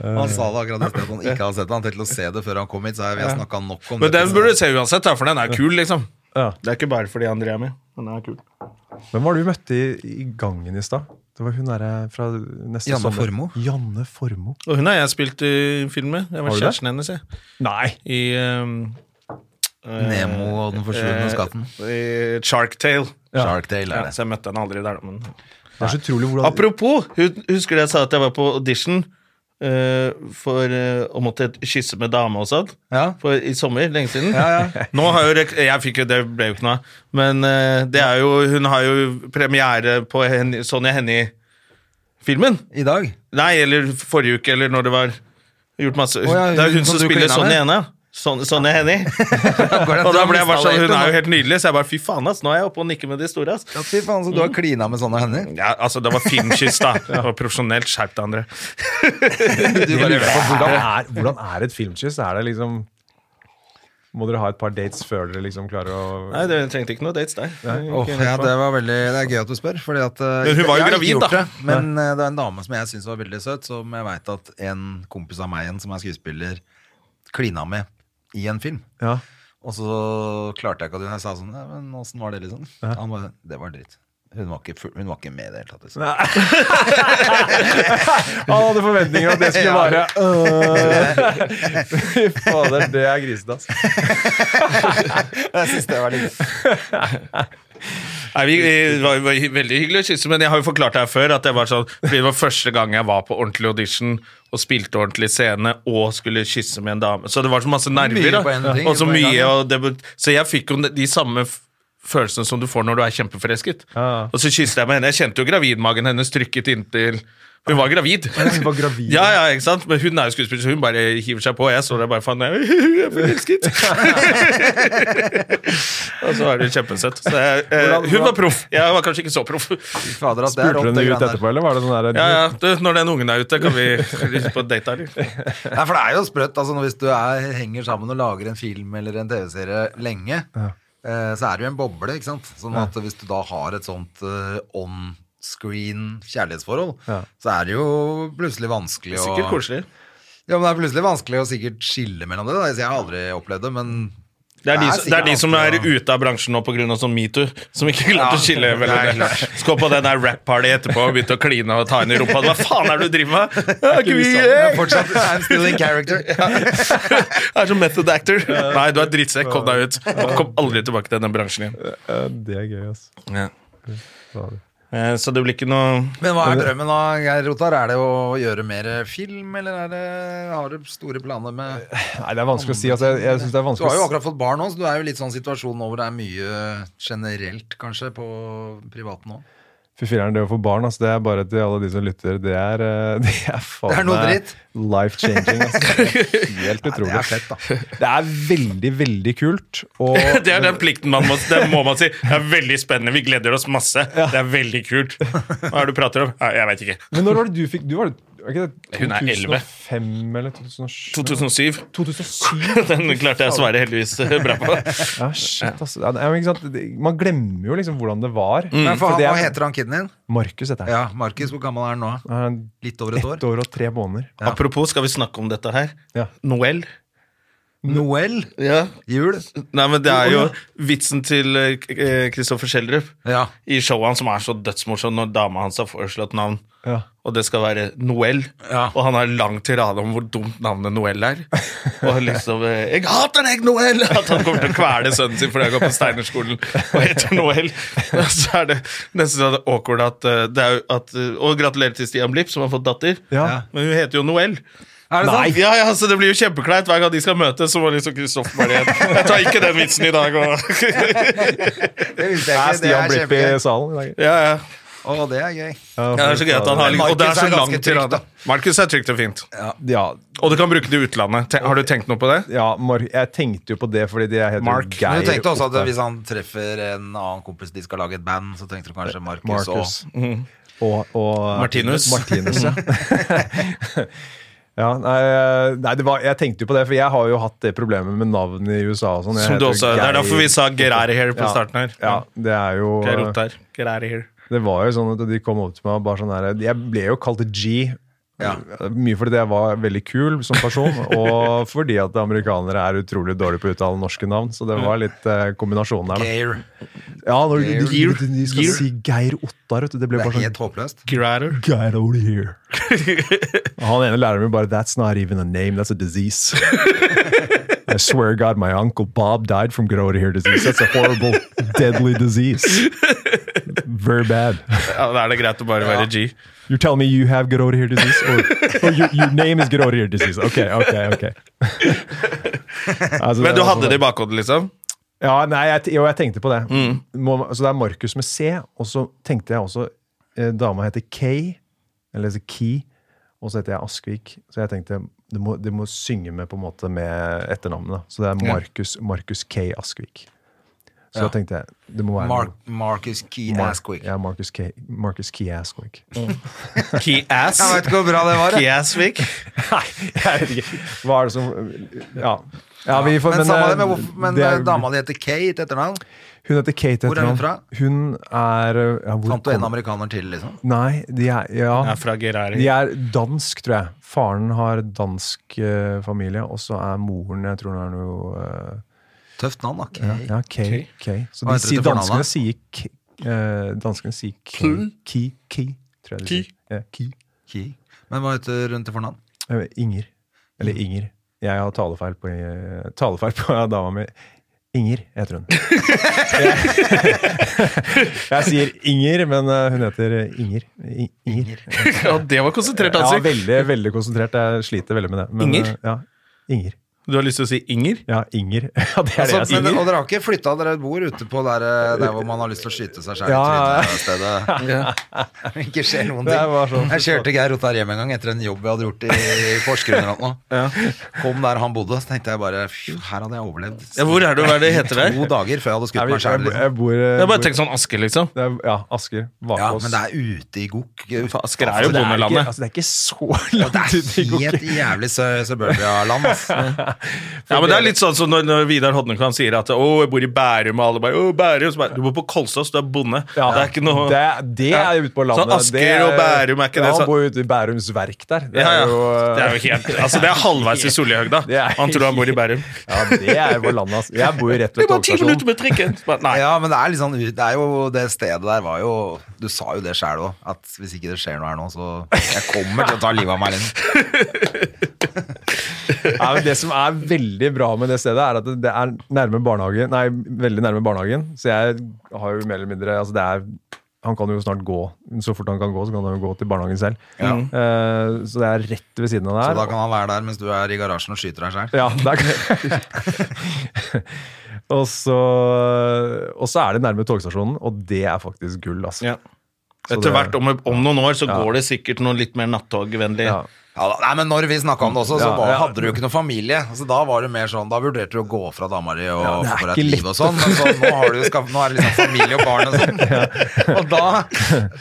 [SPEAKER 2] Han sa det akkurat i sted, at han ikke har sett det. Han tenkte å se det før han kom hit, så vi har snakka nok om
[SPEAKER 1] Men
[SPEAKER 2] det.
[SPEAKER 1] den burde du se uansett, da, for den er kul, liksom.
[SPEAKER 3] Ja.
[SPEAKER 1] Det er ikke bare fordi André er med. Den er kul.
[SPEAKER 3] Hvem var det vi møtte i, i gangen i stad? Det var hun derre fra neste
[SPEAKER 2] Janne
[SPEAKER 3] sommer.
[SPEAKER 2] Formoe.
[SPEAKER 3] Janne Formoe.
[SPEAKER 1] Og hun har jeg spilt i film med. Jeg var
[SPEAKER 3] Har du det?
[SPEAKER 1] kjæresten hennes, jeg.
[SPEAKER 3] Nei!
[SPEAKER 1] I ehm, eh,
[SPEAKER 2] Nemo og den forsvunne
[SPEAKER 1] eh,
[SPEAKER 2] skatten.
[SPEAKER 1] I Shark Tale.
[SPEAKER 2] Shark Tale
[SPEAKER 1] Ja,
[SPEAKER 2] er det.
[SPEAKER 1] så jeg møtte henne aldri der, da, men
[SPEAKER 3] Det er så utrolig hvordan
[SPEAKER 1] Apropos, hu- husker du jeg sa at jeg var på audition eh, for eh, å måtte kysse med dame og sånn?
[SPEAKER 2] Ja.
[SPEAKER 1] For, I sommer, lenge siden. Nå har jo rek Jeg fikk jo det, ble jo ikke noe av. Men eh, det er jo, hun har jo premiere på Hen Sonja Hennie-filmen.
[SPEAKER 2] I dag?
[SPEAKER 1] Nei, eller forrige uke, eller når det var. Gjort masse
[SPEAKER 2] ja,
[SPEAKER 1] Det er
[SPEAKER 2] hun
[SPEAKER 1] hun
[SPEAKER 2] som
[SPEAKER 1] som
[SPEAKER 2] du
[SPEAKER 1] spiller
[SPEAKER 2] klina
[SPEAKER 1] Sonja
[SPEAKER 2] med?
[SPEAKER 1] Henie. Sånn, sånn er
[SPEAKER 2] (laughs)
[SPEAKER 1] Henny.
[SPEAKER 2] går det
[SPEAKER 1] og da
[SPEAKER 2] an å
[SPEAKER 1] ble jeg bare
[SPEAKER 2] miste
[SPEAKER 1] sånn,
[SPEAKER 2] alle
[SPEAKER 1] Hun er jo
[SPEAKER 2] etter,
[SPEAKER 1] helt nydelig, så jeg bare fy faen, ass, nå er jeg oppe og nikker med de store. ass.
[SPEAKER 2] Ja, Fy faen, så du har
[SPEAKER 1] Mm.
[SPEAKER 2] klina med sånne hender.
[SPEAKER 1] Ja, altså, det var filmkyss,
[SPEAKER 2] (laughs)
[SPEAKER 1] da. Det var profesjonelt. Skjerp deg, André.
[SPEAKER 2] Du
[SPEAKER 3] Jeg
[SPEAKER 2] bare,
[SPEAKER 3] lurer på, hvordan, er, hvordan er et filmkyss? Er det liksom Må dere ha et par dates før dere liksom klarer å
[SPEAKER 1] Nei, det trengte ikke noe dates der.
[SPEAKER 2] Åh, ja, det var veldig Det er gøy at du spør. Fordi at, eh,
[SPEAKER 1] Men hun
[SPEAKER 2] jeg har
[SPEAKER 1] var jo
[SPEAKER 2] ikke
[SPEAKER 1] gravid,
[SPEAKER 2] gjort
[SPEAKER 1] da.
[SPEAKER 2] det, Men eh, det er en dame som jeg syns var veldig søt, som jeg veit at en kompis av meg igjen, som er skuespiller, klina med i en film.
[SPEAKER 3] Ja.
[SPEAKER 2] Og så klarte jeg ikke at hun Jeg sa sånn «Ja, Men åssen var det, liksom? Han bare Det var dritt. Hun var ikke, full, hun var ikke med i det hele tatt. Liksom.
[SPEAKER 3] Han hadde forventninger om at det skulle
[SPEAKER 2] (laughs) Ja.
[SPEAKER 3] være øh. (laughs) Fy fader, det er grisete, ass.
[SPEAKER 2] (laughs) Jeg synes det var litt
[SPEAKER 1] Nei, vi, vi- det var, var veldig hyggelig å kysse, men jeg har jo forklart det her før at jeg var sånn, fordi det var første gang jeg var på ordentlig audition og spilte ordentlig scene og skulle kysse med en dame. Så det var så masse nerver,
[SPEAKER 2] Mye
[SPEAKER 1] da.
[SPEAKER 2] på en ting,
[SPEAKER 1] og så
[SPEAKER 2] på en gang,
[SPEAKER 1] mye,
[SPEAKER 2] ja.
[SPEAKER 1] og det, så jeg fikk jo de samme f- følelsene som du får når du er kjempeforelsket.
[SPEAKER 3] Ja.
[SPEAKER 1] Og så kysset jeg med henne. Jeg kjente jo gravidmagen hennes trykket inntil Hun var gravid.
[SPEAKER 3] Hun var gravid.
[SPEAKER 1] Ja, ja, ikke sant? Men hun er jo skuespiller, så hun bare hiver seg på. Jeg så det bare faen, jeg (laughs) jeg er forelsket! og så er det kjempesøtt. Så jeg, eh,
[SPEAKER 3] Hvordan-
[SPEAKER 1] hun var proff. Jeg var kanskje ikke så proff.
[SPEAKER 2] Fader, at det er
[SPEAKER 3] Spurte
[SPEAKER 2] rått, det
[SPEAKER 3] hun det ut
[SPEAKER 2] greiene der.
[SPEAKER 3] etterpå, eller var det sånn der
[SPEAKER 1] Ja, ja, du, Når den ungen er ute, kan vi lyse på date, eller?
[SPEAKER 2] Nei, for det er jo sprøtt. Altså, når- hvis du er, henger sammen og lager en film eller en TV-serie lenge, eh, så er det jo en boble, ikke sant? Sånn at hvis du da har et sånt eh, on-screen kjærlighetsforhold,
[SPEAKER 3] Ja.
[SPEAKER 2] så er det jo plutselig vanskelig
[SPEAKER 3] øh,
[SPEAKER 2] å
[SPEAKER 1] Sikkert koselig.
[SPEAKER 2] Ja, men det er plutselig vanskelig å sikkert skille mellom det. Da. Jeg har aldri opplevd det, men
[SPEAKER 1] Det er, de,
[SPEAKER 2] Det er
[SPEAKER 1] som- det er de
[SPEAKER 2] sikkert
[SPEAKER 1] som er
[SPEAKER 2] alltid, ja.
[SPEAKER 1] ute av bransjen nå pga. sånn metoo, som ikke klarte å skille mellom det. Skal på den der rap-party etterpå og begynne å kline og ta henne i rumpa. Hva faen er det du driver med? Det er ikke vi,
[SPEAKER 2] det
[SPEAKER 1] eh.
[SPEAKER 2] er fortsatt I'm still in
[SPEAKER 3] (laughs)
[SPEAKER 2] character.
[SPEAKER 1] Jeg er som method actor. Nei, du er drittsekk. Kom deg ut. Kom aldri tilbake til den bransjen igjen.
[SPEAKER 3] Ja, Det er gøy, ass. Fader.
[SPEAKER 1] Eh, Så det blir ikke noe
[SPEAKER 2] Men hva er drømmen da, Geir Rotar? Er det å gjøre mer film, eller er det, har du store planer med
[SPEAKER 3] Nei, det er vanskelig å si. Altså, jeg jeg synes det er
[SPEAKER 2] Du har
[SPEAKER 3] vanskelig
[SPEAKER 2] jo
[SPEAKER 3] å si.
[SPEAKER 2] akkurat fått barn nå, så du er jo litt sånn situasjon nå hvor det er mye generelt, kanskje, på privaten òg.
[SPEAKER 3] Fy filler'n, det å få barn, ass, det er bare til alle de som lytter. Det er, eh, (laughs) det er faen
[SPEAKER 2] Det er noe
[SPEAKER 3] meg
[SPEAKER 2] dritt.
[SPEAKER 3] life changing. ass.
[SPEAKER 2] (laughs)
[SPEAKER 3] Det er Helt
[SPEAKER 2] Det
[SPEAKER 3] utrolig.
[SPEAKER 2] er fett, da.
[SPEAKER 3] Det er veldig, veldig kult.
[SPEAKER 2] (laughs)
[SPEAKER 3] Og
[SPEAKER 1] (laughs) Det er den plikten man må, det må man si. Det er veldig spennende. Vi gleder oss masse. Det er veldig kult. Hva er det du prater om? Nei, Jeg veit ikke.
[SPEAKER 3] Men når var det du fikk Du var, var ikke det
[SPEAKER 1] Hun er 11.
[SPEAKER 3] 2005 eller 2007?
[SPEAKER 1] 2007.
[SPEAKER 3] 2007?
[SPEAKER 1] (laughs) Den klarte jeg å svare heldigvis eh, bra på.
[SPEAKER 3] Ja, shit, altså. Ja, men ikke sant? det- Man glemmer jo liksom hvordan det var.
[SPEAKER 2] Mm. Men for
[SPEAKER 3] For
[SPEAKER 2] han,
[SPEAKER 3] det
[SPEAKER 2] hva
[SPEAKER 3] er-
[SPEAKER 2] heter han kiden din?
[SPEAKER 3] Markus heter han.
[SPEAKER 2] Ja, Markus, hvor gammel er han nå?
[SPEAKER 3] Han er
[SPEAKER 2] Litt over et
[SPEAKER 3] Ett
[SPEAKER 2] år?
[SPEAKER 3] år og tre måneder.
[SPEAKER 1] Apropos, skal vi snakke om dette her?
[SPEAKER 3] Ja.
[SPEAKER 1] Noel?
[SPEAKER 2] Noel?
[SPEAKER 1] Ja.
[SPEAKER 2] Jul?
[SPEAKER 1] Nei, men det er jo vitsen til Kristoffer Schjelderup
[SPEAKER 2] Ja.
[SPEAKER 1] i showet hans som er så dødsmorsom når dama hans har foreslått navn.
[SPEAKER 3] Ja.
[SPEAKER 1] Og det skal være Noel.
[SPEAKER 2] Ja.
[SPEAKER 1] Og han har lang tirade om hvor dumt navnet Noel er. Og liksom eh, 'Jeg hater deg, Noel!' (laughs) At han kommer til å kvele sønnen sin fordi han går på Steinerskolen og heter Noel. (laughs) Og så er det nesten sånn awkward at, eh, det er jo at eh, Og gratulerer til Stian Blipp, som har fått datter.
[SPEAKER 3] Ja.
[SPEAKER 1] Men hun heter jo Noel.
[SPEAKER 2] Er det sant?
[SPEAKER 1] Ja, ja, så Det blir jo kjempekleint hver gang de skal møtes. Så må liksom Kristoffer bare igjen. Jeg tar ikke den vitsen i dag. Og, (laughs)
[SPEAKER 2] Det visste
[SPEAKER 3] Er
[SPEAKER 2] jeg ikke. Det
[SPEAKER 3] Stian
[SPEAKER 2] er
[SPEAKER 3] Blipp i
[SPEAKER 2] kjempegøy.
[SPEAKER 3] salen i dag?
[SPEAKER 1] ja, ja.
[SPEAKER 2] Å, det er gøy.
[SPEAKER 3] Ja,
[SPEAKER 1] Ja, det er så gøy at han har liksom-
[SPEAKER 2] Men
[SPEAKER 1] Og det er
[SPEAKER 2] Markus
[SPEAKER 1] så
[SPEAKER 2] er ganske
[SPEAKER 1] lang
[SPEAKER 2] trygt, da.
[SPEAKER 1] tirade. Markus er trygt og fint.
[SPEAKER 3] ja,
[SPEAKER 1] Og du kan bruke det i utlandet. Te- Har du tenkt noe på det?
[SPEAKER 3] ja, Mar jeg tenkte jo på det, fordi det heter jo
[SPEAKER 1] Mark.
[SPEAKER 3] Geir.
[SPEAKER 2] Men du tenkte også at
[SPEAKER 3] Oppdal.
[SPEAKER 2] hvis han treffer en annen kompis de skal lage et band, så tenkte du kanskje Markus òg.
[SPEAKER 3] Marcus. Og, og
[SPEAKER 1] Martinus.
[SPEAKER 3] Martinus, ja. ja (laughs) nei, nei, det var, jeg tenkte jo på det, for jeg har jo hatt det problemet med navn i USA og sånn. Jeg
[SPEAKER 1] Som du
[SPEAKER 3] heter
[SPEAKER 1] også, det
[SPEAKER 3] Geir-
[SPEAKER 1] er derfor vi sa Gerare her på
[SPEAKER 3] Ja,
[SPEAKER 1] starten her.
[SPEAKER 3] Ja, det er jo
[SPEAKER 1] Geir Ottar. Gerare her.
[SPEAKER 3] Det var jo sånn at de kom opp til meg og bare sånn her Jeg ble jo kalt G.
[SPEAKER 2] Ja.
[SPEAKER 3] Mye fordi jeg var veldig kul som person, (laughs) og fordi at amerikanere er utrolig dårlige på å uttale norske navn. Så det var litt eh, kombinasjon der. Da.
[SPEAKER 2] Geir.
[SPEAKER 3] Ja, er når de, de,
[SPEAKER 1] Geir.
[SPEAKER 3] de, de skal
[SPEAKER 1] Geir.
[SPEAKER 3] si Geir Ottar, vet du. Det ble
[SPEAKER 2] Det er
[SPEAKER 3] bare sånn
[SPEAKER 2] helt håpløst.
[SPEAKER 1] Gerare.
[SPEAKER 3] Get over
[SPEAKER 1] (laughs)
[SPEAKER 3] here. Og han ene læreren min bare That's not even a name, that's a disease. I swear God, my uncle Bob died from get over here disease. That's a horrible, deadly disease. Very bad.
[SPEAKER 1] Ja, da er det greit å bare være G.
[SPEAKER 3] You're telling me you have get over here disease? Or, or your, your name is get over here disease? Okay, okay, okay. (laughs) Altså,
[SPEAKER 1] Men du
[SPEAKER 3] det
[SPEAKER 1] hadde
[SPEAKER 3] er sånn-
[SPEAKER 1] det i bakhodet, liksom?
[SPEAKER 3] Ja, nei, jeg, t- jo, jeg tenkte på det.
[SPEAKER 2] Mm.
[SPEAKER 3] Må, så det er Markus med C, og så tenkte jeg også eh, Dama heter Kay, eller heter Key, og så heter jeg Askvik. Så jeg tenkte Du må, du må synge med på en måte med etternavnet. Så det er Markus, Markus K. Askvik. Så da tenkte jeg det må være
[SPEAKER 2] Mark, E. Marcus Key
[SPEAKER 3] Mar-
[SPEAKER 2] Asquith.
[SPEAKER 3] Ja, Markus K. Markus K.
[SPEAKER 2] (laughs)
[SPEAKER 3] Askvik.
[SPEAKER 1] Key ass.
[SPEAKER 2] Jeg vet ikke hvor bra det
[SPEAKER 3] (laughs)
[SPEAKER 2] var.
[SPEAKER 1] Key
[SPEAKER 2] jeg.
[SPEAKER 1] assvik.
[SPEAKER 3] Nei, jeg vet ikke. Hva er det som Ja. ja vi får,
[SPEAKER 2] Men, samme det, men,
[SPEAKER 3] eh,
[SPEAKER 2] hvorfor- men
[SPEAKER 3] det er-
[SPEAKER 2] eh, dama di heter Kate etter navn.
[SPEAKER 3] Hun heter Kate.
[SPEAKER 2] Hvor er hun
[SPEAKER 3] etternavn.
[SPEAKER 2] fra?
[SPEAKER 3] Hun er ja, hvor
[SPEAKER 2] Fant du en
[SPEAKER 3] kom-
[SPEAKER 2] amerikaner til, liksom?
[SPEAKER 3] Nei, de er Ja.
[SPEAKER 1] Ja, fra Gerari.
[SPEAKER 3] De er dansk, tror jeg. Faren har dansk eh, familie, og så er moren Jeg tror hun er noe eh,
[SPEAKER 2] Tøft navn, da. Kate.
[SPEAKER 3] Ja, Kay. Kay. Så
[SPEAKER 2] Hva
[SPEAKER 3] de
[SPEAKER 2] heter
[SPEAKER 3] sier,
[SPEAKER 2] det til
[SPEAKER 3] danskene
[SPEAKER 2] fornavnet?
[SPEAKER 3] sier k, eh, Danskene sier k, ki, ki, tror jeg de
[SPEAKER 1] Ki.
[SPEAKER 3] sier. Ja, ki.
[SPEAKER 2] Key. Men hva heter hun til fornavn?
[SPEAKER 3] Jeg vet, Inger. Eller Inger. Jeg har talefeil på, eh, talefeil på (laughs) dama mi. Inger heter hun. (laughs) jeg, jeg sier Inger, men eh, hun heter Inger. I, Inger.
[SPEAKER 1] Ja, det var konsentrert,
[SPEAKER 3] Ja,
[SPEAKER 1] Hansik.
[SPEAKER 3] veldig, veldig konsentrert. Jeg sliter veldig med det. Men,
[SPEAKER 1] Inger?
[SPEAKER 3] eh, Ja, Inger.
[SPEAKER 1] Du har lyst til å si Inger?
[SPEAKER 3] Ja, Inger. (laughs) Ja, det er det jeg
[SPEAKER 2] Altså,
[SPEAKER 3] sier.
[SPEAKER 2] men, og dere har ikke flytta, dere bor ute på der, eh, der hvor man har lyst til å skyte seg sjæl
[SPEAKER 3] Ja.
[SPEAKER 2] i trynet. stedet.
[SPEAKER 3] (laughs)
[SPEAKER 2] Ikke skjer noen
[SPEAKER 3] Det var
[SPEAKER 2] ting.
[SPEAKER 3] sånn.
[SPEAKER 2] Jeg kjørte Geir Ottar hjem en gang etter en jobb jeg hadde gjort i Porsgrunn. eller noe. Kom der han bodde, så tenkte jeg bare "Fy, her hadde jeg overlevd.
[SPEAKER 1] Ja, hvor er du? Hva er det heter der?
[SPEAKER 2] To dager før jeg hadde
[SPEAKER 3] Jeg,
[SPEAKER 2] skutt meg
[SPEAKER 3] jeg,
[SPEAKER 2] sjæl.
[SPEAKER 3] jeg,
[SPEAKER 2] Liksom.
[SPEAKER 3] bor eh,
[SPEAKER 1] Jeg bare
[SPEAKER 3] bor-
[SPEAKER 1] tenk sånn Asker, liksom.
[SPEAKER 3] det er- Ja, Asker.
[SPEAKER 2] Ja,
[SPEAKER 3] Vakås.
[SPEAKER 2] men det er ute i gokk.
[SPEAKER 1] Faen, Asker er jo
[SPEAKER 3] det, er ikke,
[SPEAKER 1] bondelandet.
[SPEAKER 3] altså, det er ikke (laughs) så langt
[SPEAKER 2] Det
[SPEAKER 3] ut
[SPEAKER 2] er
[SPEAKER 3] i Gokke.
[SPEAKER 2] helt jævlig sø- suburbia-land. ass.
[SPEAKER 1] Ja, men det er litt sånn som når, når Vidar Hodnekvam sier at 'Å, jeg bor i Bærum', og alle bare 'Å, Bærum'. Så bare, du bor på Kolsås, du er bonde.
[SPEAKER 3] Ja,
[SPEAKER 1] det er ikke noe
[SPEAKER 3] det, det er jo ute på landet.
[SPEAKER 1] Sånn Asker
[SPEAKER 3] Det
[SPEAKER 1] og Bærum, er ikke det
[SPEAKER 3] Ja,
[SPEAKER 1] sånn?
[SPEAKER 3] Han bor jo ute i Bærums verk der. Det
[SPEAKER 1] ja, ja.
[SPEAKER 3] er jo, eh,
[SPEAKER 1] det er jo helt Altså, det er halvveis til Solihøgda.
[SPEAKER 3] (laughs) Det er-
[SPEAKER 1] Han tror han bor i Bærum.
[SPEAKER 3] ja, det er jo på landet. ass. Jeg bor jo rett
[SPEAKER 1] Det
[SPEAKER 3] ved
[SPEAKER 1] er bare ti minutter
[SPEAKER 3] togstasjonen.
[SPEAKER 1] med trikken! Så Bare, nei.
[SPEAKER 2] Ja, men det er litt sånn ut- Det er jo det stedet der var jo Du sa jo det sjæl òg, at hvis ikke det skjer noe her nå, så Jeg kommer til å ta livet av meg. Liksom.
[SPEAKER 3] Ja, men det som er veldig bra med det stedet, er at det- det er nærme barnehagen. Nei, veldig nærme barnehagen. Så jeg har jo mer eller mindre altså det er, Han kan jo snart gå. Så fort han kan gå, så kan han jo gå til barnehagen selv. Eh, så det er rett ved siden av der.
[SPEAKER 2] Så da kan han være der mens du er i garasjen og skyter deg sjæl.
[SPEAKER 3] Ja, det er (laughs) og, så, og så er det nærme togstasjonen, og det er faktisk gull, altså.
[SPEAKER 1] Ja.
[SPEAKER 3] Så
[SPEAKER 1] Etter
[SPEAKER 3] det-
[SPEAKER 1] hvert, om, om noen år, så går det sikkert noe litt mer nattogvennlig.
[SPEAKER 3] Ja.
[SPEAKER 2] Ja, da- nei, men når vi snakka om det også, så
[SPEAKER 3] Ja,
[SPEAKER 2] var,
[SPEAKER 3] ja.
[SPEAKER 2] hadde du jo ikke noe familie. Så da var det mer sånn Da vurderte du å gå fra dama di og
[SPEAKER 3] det er
[SPEAKER 2] få deg
[SPEAKER 3] ikke
[SPEAKER 2] et liv
[SPEAKER 3] lett
[SPEAKER 2] og sånn. Men så, nå, har du, jo skap- nå er det liksom familie og barn og
[SPEAKER 3] (laughs)
[SPEAKER 2] sånn. Og da,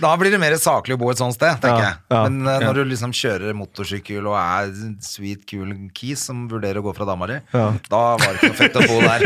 [SPEAKER 2] da blir det mer saklig å bo et sånt sted, tenker
[SPEAKER 3] Ja,
[SPEAKER 2] jeg.
[SPEAKER 3] ja,
[SPEAKER 2] Men eh, når du liksom kjører motorsykkel og er sweet, cool kis som vurderer å gå fra dama di, da var det ikke noe fett å bo der.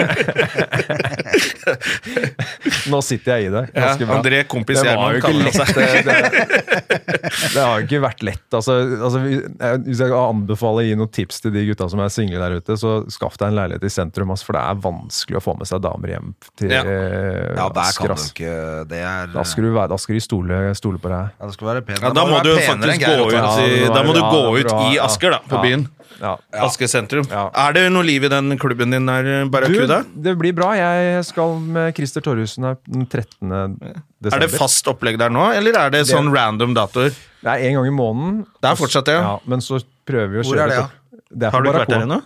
[SPEAKER 3] Nå sitter jeg i det.
[SPEAKER 1] Ja,
[SPEAKER 3] Ganske bra.
[SPEAKER 1] André, kompis
[SPEAKER 3] det var
[SPEAKER 1] Gjerman,
[SPEAKER 3] jo ikke
[SPEAKER 1] kaller han
[SPEAKER 3] lett.
[SPEAKER 1] seg.
[SPEAKER 3] Det, det, det har jo ikke vært lett. Altså, altså, vi- eh, hvis jeg kan anbefale å gi noen tips til de gutta som er single der ute, så skaff deg en leilighet i sentrum, ass, for det er vanskelig å få med seg damer hjem til
[SPEAKER 1] Ja.
[SPEAKER 3] eh, (laughs)
[SPEAKER 2] Ja, der
[SPEAKER 3] Asker.
[SPEAKER 2] kan du
[SPEAKER 3] ass.
[SPEAKER 2] ikke Det er
[SPEAKER 3] Da skal du, være, da skal de stole, stole på deg.
[SPEAKER 2] ja, det skal være pen.
[SPEAKER 1] Ja, da må
[SPEAKER 2] være
[SPEAKER 1] du jo
[SPEAKER 2] penere enn
[SPEAKER 1] faktisk
[SPEAKER 2] Geir
[SPEAKER 1] gå
[SPEAKER 2] Otto.
[SPEAKER 1] ut
[SPEAKER 3] Ja,
[SPEAKER 1] i,
[SPEAKER 3] det var-
[SPEAKER 1] Da må du
[SPEAKER 3] ja,
[SPEAKER 1] gå
[SPEAKER 3] det
[SPEAKER 1] ut
[SPEAKER 3] var-
[SPEAKER 1] i
[SPEAKER 3] ja.
[SPEAKER 1] Asker, da, på
[SPEAKER 3] Ja.
[SPEAKER 1] byen.
[SPEAKER 3] Ja.
[SPEAKER 1] Asker sentrum.
[SPEAKER 3] Ja.
[SPEAKER 1] Er det noe liv i den klubben din der, Barracuda?
[SPEAKER 3] Du, det blir bra. Jeg skal med Christer Torjussen her den 13. desember.
[SPEAKER 1] Er det fast opplegg der nå, eller er det sånn random datoer?
[SPEAKER 3] Det er en gang i måneden.
[SPEAKER 1] Det er fortsatt det,
[SPEAKER 3] Ja,
[SPEAKER 1] ja.
[SPEAKER 3] men så prøver vi å
[SPEAKER 2] Hvor
[SPEAKER 3] kjøre
[SPEAKER 2] er det,
[SPEAKER 3] et opp- Det er
[SPEAKER 1] Har du
[SPEAKER 3] på
[SPEAKER 1] ikke vært
[SPEAKER 3] Barracoa.
[SPEAKER 1] der ennå?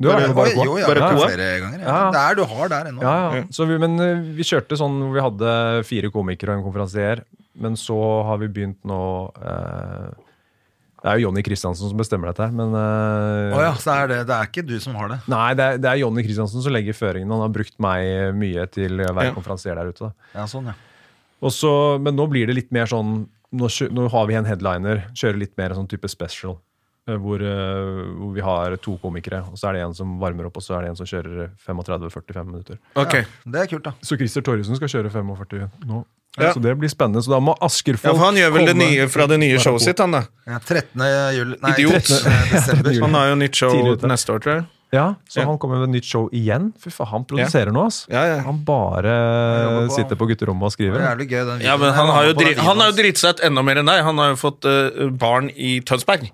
[SPEAKER 3] Du har vært på
[SPEAKER 2] Oi,
[SPEAKER 3] Barracoa.
[SPEAKER 2] Jo, ja,
[SPEAKER 1] Bare
[SPEAKER 2] det er
[SPEAKER 1] to, ja.
[SPEAKER 2] flere ganger. Ja.
[SPEAKER 3] Ja.
[SPEAKER 2] Det er du har der ennå.
[SPEAKER 3] Ja, ja. Så vi, men eh, vi kjørte sånn hvor vi hadde fire komikere og en konferansier. Men så har vi begynt nå eh, Det er jo Jonny Kristiansen som bestemmer dette her, men eh,
[SPEAKER 2] Å ja, så er det, det er ikke du som har det.
[SPEAKER 3] Nei, det er, det er Jonny Kristiansen som legger føringene. Han har brukt meg mye til å være
[SPEAKER 1] Ja.
[SPEAKER 3] konferansier der ute. da.
[SPEAKER 2] Ja, sånn, ja.
[SPEAKER 3] Og så, men nå blir det litt mer sånn Nå, kjø, nå har vi en headliner, kjører litt mer sånn type special. eh, Hvor, eh, hvor vi har to komikere, og så er det en som varmer opp, og så er det en som kjører 35-45 minutter.
[SPEAKER 1] Ok.
[SPEAKER 2] Det er kult, da.
[SPEAKER 3] Så Christer Torjussen skal kjøre 45 nå.
[SPEAKER 1] Ja.
[SPEAKER 3] Så det blir spennende. Så da må Askerfolk
[SPEAKER 1] Ja, for han gjør vel det
[SPEAKER 3] komme-
[SPEAKER 1] nye fra det nye showet sitt, han da.
[SPEAKER 2] Ja, 13. juli Nei,
[SPEAKER 1] Idiot.
[SPEAKER 2] 13.
[SPEAKER 1] (laughs)
[SPEAKER 2] desember.
[SPEAKER 1] Han har jo nytt
[SPEAKER 3] Tidlig
[SPEAKER 1] show
[SPEAKER 3] ute.
[SPEAKER 1] neste år, tror jeg.
[SPEAKER 3] Ja, Så
[SPEAKER 1] Ja.
[SPEAKER 3] han kommer med et nytt show igjen. Fy faen, han produserer nå, ass.
[SPEAKER 1] Ja, ja.
[SPEAKER 3] Han
[SPEAKER 2] jobber
[SPEAKER 3] bare
[SPEAKER 2] på-
[SPEAKER 3] sitter på gutterommet og
[SPEAKER 2] Det
[SPEAKER 3] skriver.
[SPEAKER 2] var jævlig gøy, den
[SPEAKER 1] Ja,
[SPEAKER 2] videoen
[SPEAKER 1] men
[SPEAKER 2] der,
[SPEAKER 1] han har jo
[SPEAKER 2] på den
[SPEAKER 1] dri- han har jo
[SPEAKER 2] videoen.
[SPEAKER 1] dritt seg ut enda mer enn deg. Han har jo fått eh, barn i Tønsberg.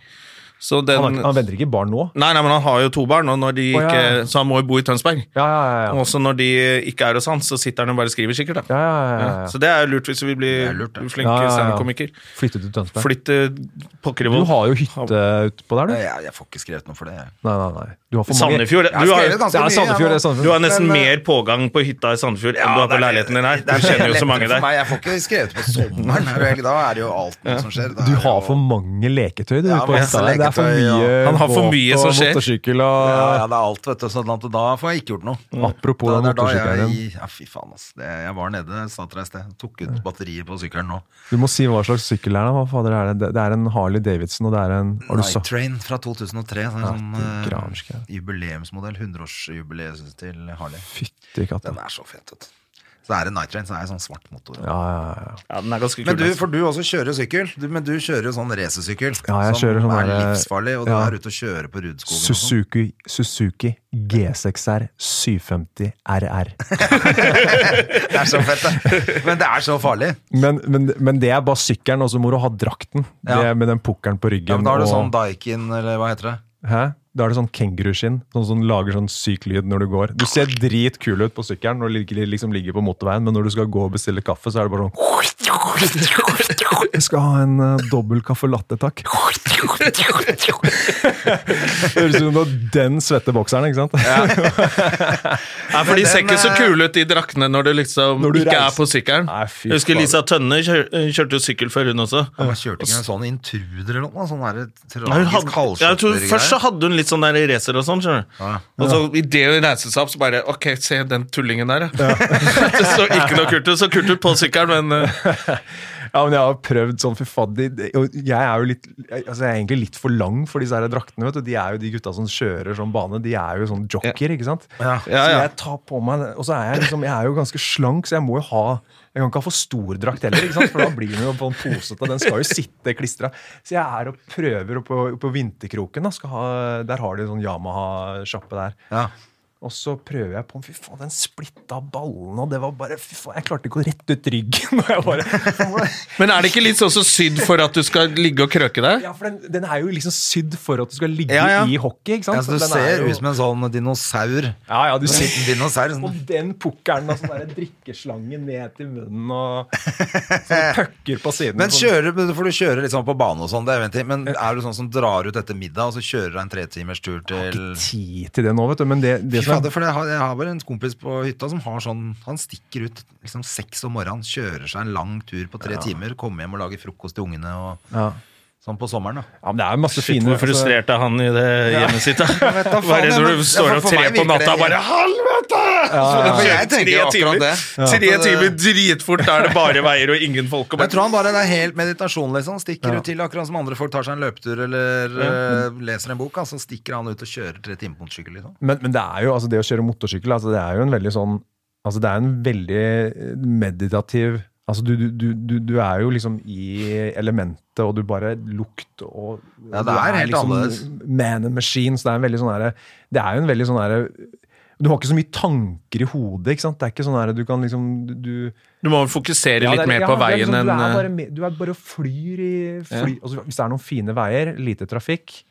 [SPEAKER 1] Så den
[SPEAKER 3] Han, har- han venter ikke barn nå.
[SPEAKER 1] Nei, nei, men han har jo to barn, og når de
[SPEAKER 3] Å, ja,
[SPEAKER 1] ikke,
[SPEAKER 3] ja.
[SPEAKER 1] så han må jo bo i Tønsberg.
[SPEAKER 3] Ja, ja, ja.
[SPEAKER 1] Og
[SPEAKER 3] ja.
[SPEAKER 1] Også når de ikke er hos han, så sitter han og bare skriver, sikkert. da.
[SPEAKER 3] ja, ja, ja, ja.
[SPEAKER 1] Så det er jo lurt hvis vi
[SPEAKER 2] Det
[SPEAKER 1] blir
[SPEAKER 2] er lurt, det.
[SPEAKER 1] flinke
[SPEAKER 3] Ja, ja, ja.
[SPEAKER 1] standup-komiker.
[SPEAKER 3] Flytte til Tønsberg.
[SPEAKER 1] Flytt eh, pokker i
[SPEAKER 3] Du
[SPEAKER 1] vold.
[SPEAKER 3] har jo hytte utpå der, du.
[SPEAKER 2] Ja, jeg får ikke skrevet noe for det. jeg.
[SPEAKER 3] Nei, nei, nei. Du har for mange
[SPEAKER 1] Sandefjord.
[SPEAKER 2] Jeg har
[SPEAKER 1] Du har,
[SPEAKER 2] skrevet
[SPEAKER 1] jo-
[SPEAKER 2] ganske
[SPEAKER 3] Det er
[SPEAKER 2] mye, jeg,
[SPEAKER 3] Sandefjord, det er
[SPEAKER 2] nå.
[SPEAKER 3] Sandefjord.
[SPEAKER 1] du har nesten
[SPEAKER 2] Men, eh,
[SPEAKER 1] mer pågang på hytta i Sandefjord enn du har
[SPEAKER 2] det
[SPEAKER 1] på
[SPEAKER 2] er-
[SPEAKER 1] leiligheten din her.
[SPEAKER 2] det er
[SPEAKER 1] Du kjenner jo
[SPEAKER 2] lettere
[SPEAKER 1] så mange
[SPEAKER 2] For
[SPEAKER 1] der.
[SPEAKER 2] meg, jeg får ikke skrevet på sommeren. er det vel? Da er det jo alt noe som skjer. Da er
[SPEAKER 3] Du
[SPEAKER 2] det
[SPEAKER 3] har
[SPEAKER 2] jo-
[SPEAKER 3] for mange leketøy du,
[SPEAKER 2] Ja,
[SPEAKER 3] på
[SPEAKER 2] masse
[SPEAKER 3] hytta. der. Det det er for
[SPEAKER 2] leketøy, og-
[SPEAKER 3] mye
[SPEAKER 1] Han har for
[SPEAKER 3] båt
[SPEAKER 1] mye
[SPEAKER 3] og
[SPEAKER 1] som skjer.
[SPEAKER 3] motorsykkel og
[SPEAKER 2] Ja, ja, det er alt, vet du. Sånn at da får jeg ikke gjort noe.
[SPEAKER 3] (laughs) Apropos
[SPEAKER 2] Da-
[SPEAKER 3] den
[SPEAKER 2] det er da
[SPEAKER 3] motorsykkelen din.
[SPEAKER 2] jeg- Ja, fy faen, ass. Det, jeg var nede, sa til deg i sted. Tok ut batteriet på sykkelen nå.
[SPEAKER 3] Du må si hva slags sykkel det er. da. Hva fader er det? Det- Det er en Harley Davidson, og det er en Har du
[SPEAKER 2] Night
[SPEAKER 3] sagt
[SPEAKER 2] Train fra 2003. Sånn, sånn
[SPEAKER 3] det er
[SPEAKER 2] eh,
[SPEAKER 3] gransk, ja.
[SPEAKER 2] jubileumsmodell. 100-årsjubileet til Harley.
[SPEAKER 3] Fytti katta.
[SPEAKER 2] Den er så fet, vet du. Så er det Night Train, så er det sånn svart motor.
[SPEAKER 3] Ja, ja, ja.
[SPEAKER 1] Ja, den er ganske kul.
[SPEAKER 2] Men du,
[SPEAKER 1] ass.
[SPEAKER 2] for du også kjører sykkel, du, men du kjører jo sånn racersykkel.
[SPEAKER 3] Ja, jeg
[SPEAKER 2] som
[SPEAKER 3] kjører sånn
[SPEAKER 2] er
[SPEAKER 3] der-
[SPEAKER 2] livsfarlig, og
[SPEAKER 3] ja.
[SPEAKER 2] du er ute og kjører på Rudskogen. og sånn.
[SPEAKER 3] Suzuki, Suzuki G6R 750 RR.
[SPEAKER 2] Det er så fett, det.
[SPEAKER 3] (laughs)
[SPEAKER 2] Men det er så farlig.
[SPEAKER 3] Men, men, men det er bare sykkelen, og så må du ha drakten.
[SPEAKER 2] Ja.
[SPEAKER 3] Det er med den pukkelen på ryggen.
[SPEAKER 2] Ja, men da har du
[SPEAKER 3] og-
[SPEAKER 2] sånn Daikin, eller hva heter det?
[SPEAKER 3] Hæ? Da er det sånn kenguruskinn sånn som lager sånn syk lyd når du går. Du ser dritkul ut på sykkelen når du ligger- liksom ligger på motorveien, men når du skal gå og bestille kaffe, så er det bare sånn Jeg skal ha en uh, dobbel caffè latte, takk. (laughs) Høres ut som du har den svette bokseren, ikke sant?
[SPEAKER 1] Nei, for de
[SPEAKER 2] Men
[SPEAKER 1] ser
[SPEAKER 2] den,
[SPEAKER 1] ikke så
[SPEAKER 2] eh,
[SPEAKER 1] kule ut, de draktene, når du liksom
[SPEAKER 3] Når du
[SPEAKER 1] ikke
[SPEAKER 3] reiser.
[SPEAKER 1] er på sykkelen.
[SPEAKER 3] Nei, fy
[SPEAKER 1] Jeg husker
[SPEAKER 3] faen.
[SPEAKER 1] Lisa Tønne kjør, kjørte jo sykkel før, hun også.
[SPEAKER 2] Hun kjørte ikke en sånn intruder eller noe, sånn der
[SPEAKER 1] Nei, hun hadde,
[SPEAKER 2] tragisk
[SPEAKER 1] jeg tror, først så
[SPEAKER 2] halskjøttergreie.
[SPEAKER 1] hadde hun litt sånn der racer og sånn, skjønner du.
[SPEAKER 2] Ja.
[SPEAKER 1] Og så idet hun reiste seg opp, så bare Ok, se den tullingen der, ja. (laughs) det så ikke noe kult ut. Så kult ut på sykkelen, men eh,
[SPEAKER 3] Ja, men jeg har prøvd sånn, fy faen, de- de- og Jeg er jo litt, altså jeg er egentlig litt for lang for disse her draktene. vet du. De er jo de gutta som kjører sånn bane. De er jo sånn jockeyer, ikke sant?
[SPEAKER 2] Ja.
[SPEAKER 1] Ja,
[SPEAKER 3] Så
[SPEAKER 1] ja.
[SPEAKER 3] jeg tar på meg det, Og så er jeg liksom, jeg er jo ganske slank, så jeg må jo ha jeg kan ikke ha for stor drakt heller, ikke sant? for da blir den jo sånn posete. Den skal jo sitte klistra. Så jeg er og prøver oppå på vinterkroken. Da, skal ha, der har de sånn Yamaha-sjappe der.
[SPEAKER 2] Ja.
[SPEAKER 3] Og så prøver jeg på den. Fy faen, den splitta ballen, og det var bare fy faen, Jeg klarte ikke å rette ut ryggen. (laughs) og jeg bare...
[SPEAKER 1] Men er det ikke litt sånn som sydd for at du skal ligge og krøke deg?
[SPEAKER 3] Ja, for den, den er jo liksom sydd for at du skal ligge
[SPEAKER 1] Ja, ja.
[SPEAKER 3] i hockey, ikke sant?
[SPEAKER 2] Ja, så du
[SPEAKER 3] den er
[SPEAKER 2] ser
[SPEAKER 3] jo-
[SPEAKER 2] ut som en sånn
[SPEAKER 3] (laughs)
[SPEAKER 2] dinosaur.
[SPEAKER 3] Ja, ja, du
[SPEAKER 2] En
[SPEAKER 3] sitter
[SPEAKER 2] liten dinosaur.
[SPEAKER 3] Og
[SPEAKER 2] Sånn.
[SPEAKER 3] den pukkelen og sånn derre drikkeslange ned til munnen og sånne pucker på siden.
[SPEAKER 2] Men
[SPEAKER 3] sånn-
[SPEAKER 2] kjører, for du kjører liksom på bane og sånn, det er jo en ting, men er du sånn som drar ut etter middag, og så kjører du en tretimers tur til
[SPEAKER 3] Ikke tid til det nå, vet du, men det, det
[SPEAKER 2] Fy
[SPEAKER 3] som er
[SPEAKER 2] fader, for jeg har, jeg har bare en kompis på hytta som har sånn Han stikker ut liksom seks om morgenen, kjører seg en lang tur på tre timer, kommer hjem og lager frokost til ungene og
[SPEAKER 3] ja.
[SPEAKER 2] sånn på
[SPEAKER 1] (laughs)
[SPEAKER 2] sommeren, da.
[SPEAKER 3] ja, men det er jo masse
[SPEAKER 1] Shit,
[SPEAKER 3] fine
[SPEAKER 1] hvor
[SPEAKER 2] altså.
[SPEAKER 1] frustrert er han i det hjemmet sitt,
[SPEAKER 2] (laughs)
[SPEAKER 1] da?
[SPEAKER 2] vet da faen,
[SPEAKER 1] Bare
[SPEAKER 2] men-
[SPEAKER 1] når du
[SPEAKER 2] ja,
[SPEAKER 1] står
[SPEAKER 2] for-
[SPEAKER 1] opp
[SPEAKER 2] for
[SPEAKER 1] tre
[SPEAKER 2] meg
[SPEAKER 1] på
[SPEAKER 2] virker
[SPEAKER 1] natta
[SPEAKER 2] det-
[SPEAKER 1] bare Helvete!
[SPEAKER 2] ja, ja.
[SPEAKER 1] Så
[SPEAKER 2] Jeg tenker jo
[SPEAKER 1] tre
[SPEAKER 2] akkurat
[SPEAKER 1] timer-
[SPEAKER 2] det. Ja.
[SPEAKER 1] Tre
[SPEAKER 2] At det-
[SPEAKER 1] timer dritfort, da er det bare veier og ingen folk. Og
[SPEAKER 2] Jeg
[SPEAKER 1] bare,
[SPEAKER 2] tror han bare det er helt meditasjon, liksom. Stikker ut til akkurat som andre folk tar seg en løpetur eller eh, leser en bok, da, så stikker han ut og kjører tre timer på motorsykkel, liksom.
[SPEAKER 3] Men, men det er jo, altså det å kjøre motorsykkel, altså det er jo en veldig sånn Altså det er en veldig eh, meditativ Altså du, du, du, du, du er jo liksom i elementet, og du bare lukt og
[SPEAKER 2] Ja, det
[SPEAKER 3] du liksom
[SPEAKER 2] er helt annerledes.
[SPEAKER 3] Man and machine, så det er en veldig sånn herre Det er jo en veldig sånn herre Du har ikke så mye tanker i hodet, ikke sant? Det er ikke sånn herre du kan liksom Du, du-
[SPEAKER 1] du må vel fokusere
[SPEAKER 3] Ja,
[SPEAKER 1] litt
[SPEAKER 3] det er-
[SPEAKER 1] mer
[SPEAKER 3] ja,
[SPEAKER 1] på
[SPEAKER 3] det er
[SPEAKER 1] veien
[SPEAKER 3] liksom,
[SPEAKER 1] enn
[SPEAKER 3] du er,
[SPEAKER 1] eh,
[SPEAKER 3] bare, med- du er bare og flyr i fly, altså, Hvis det er noen fine veier, lite trafikk,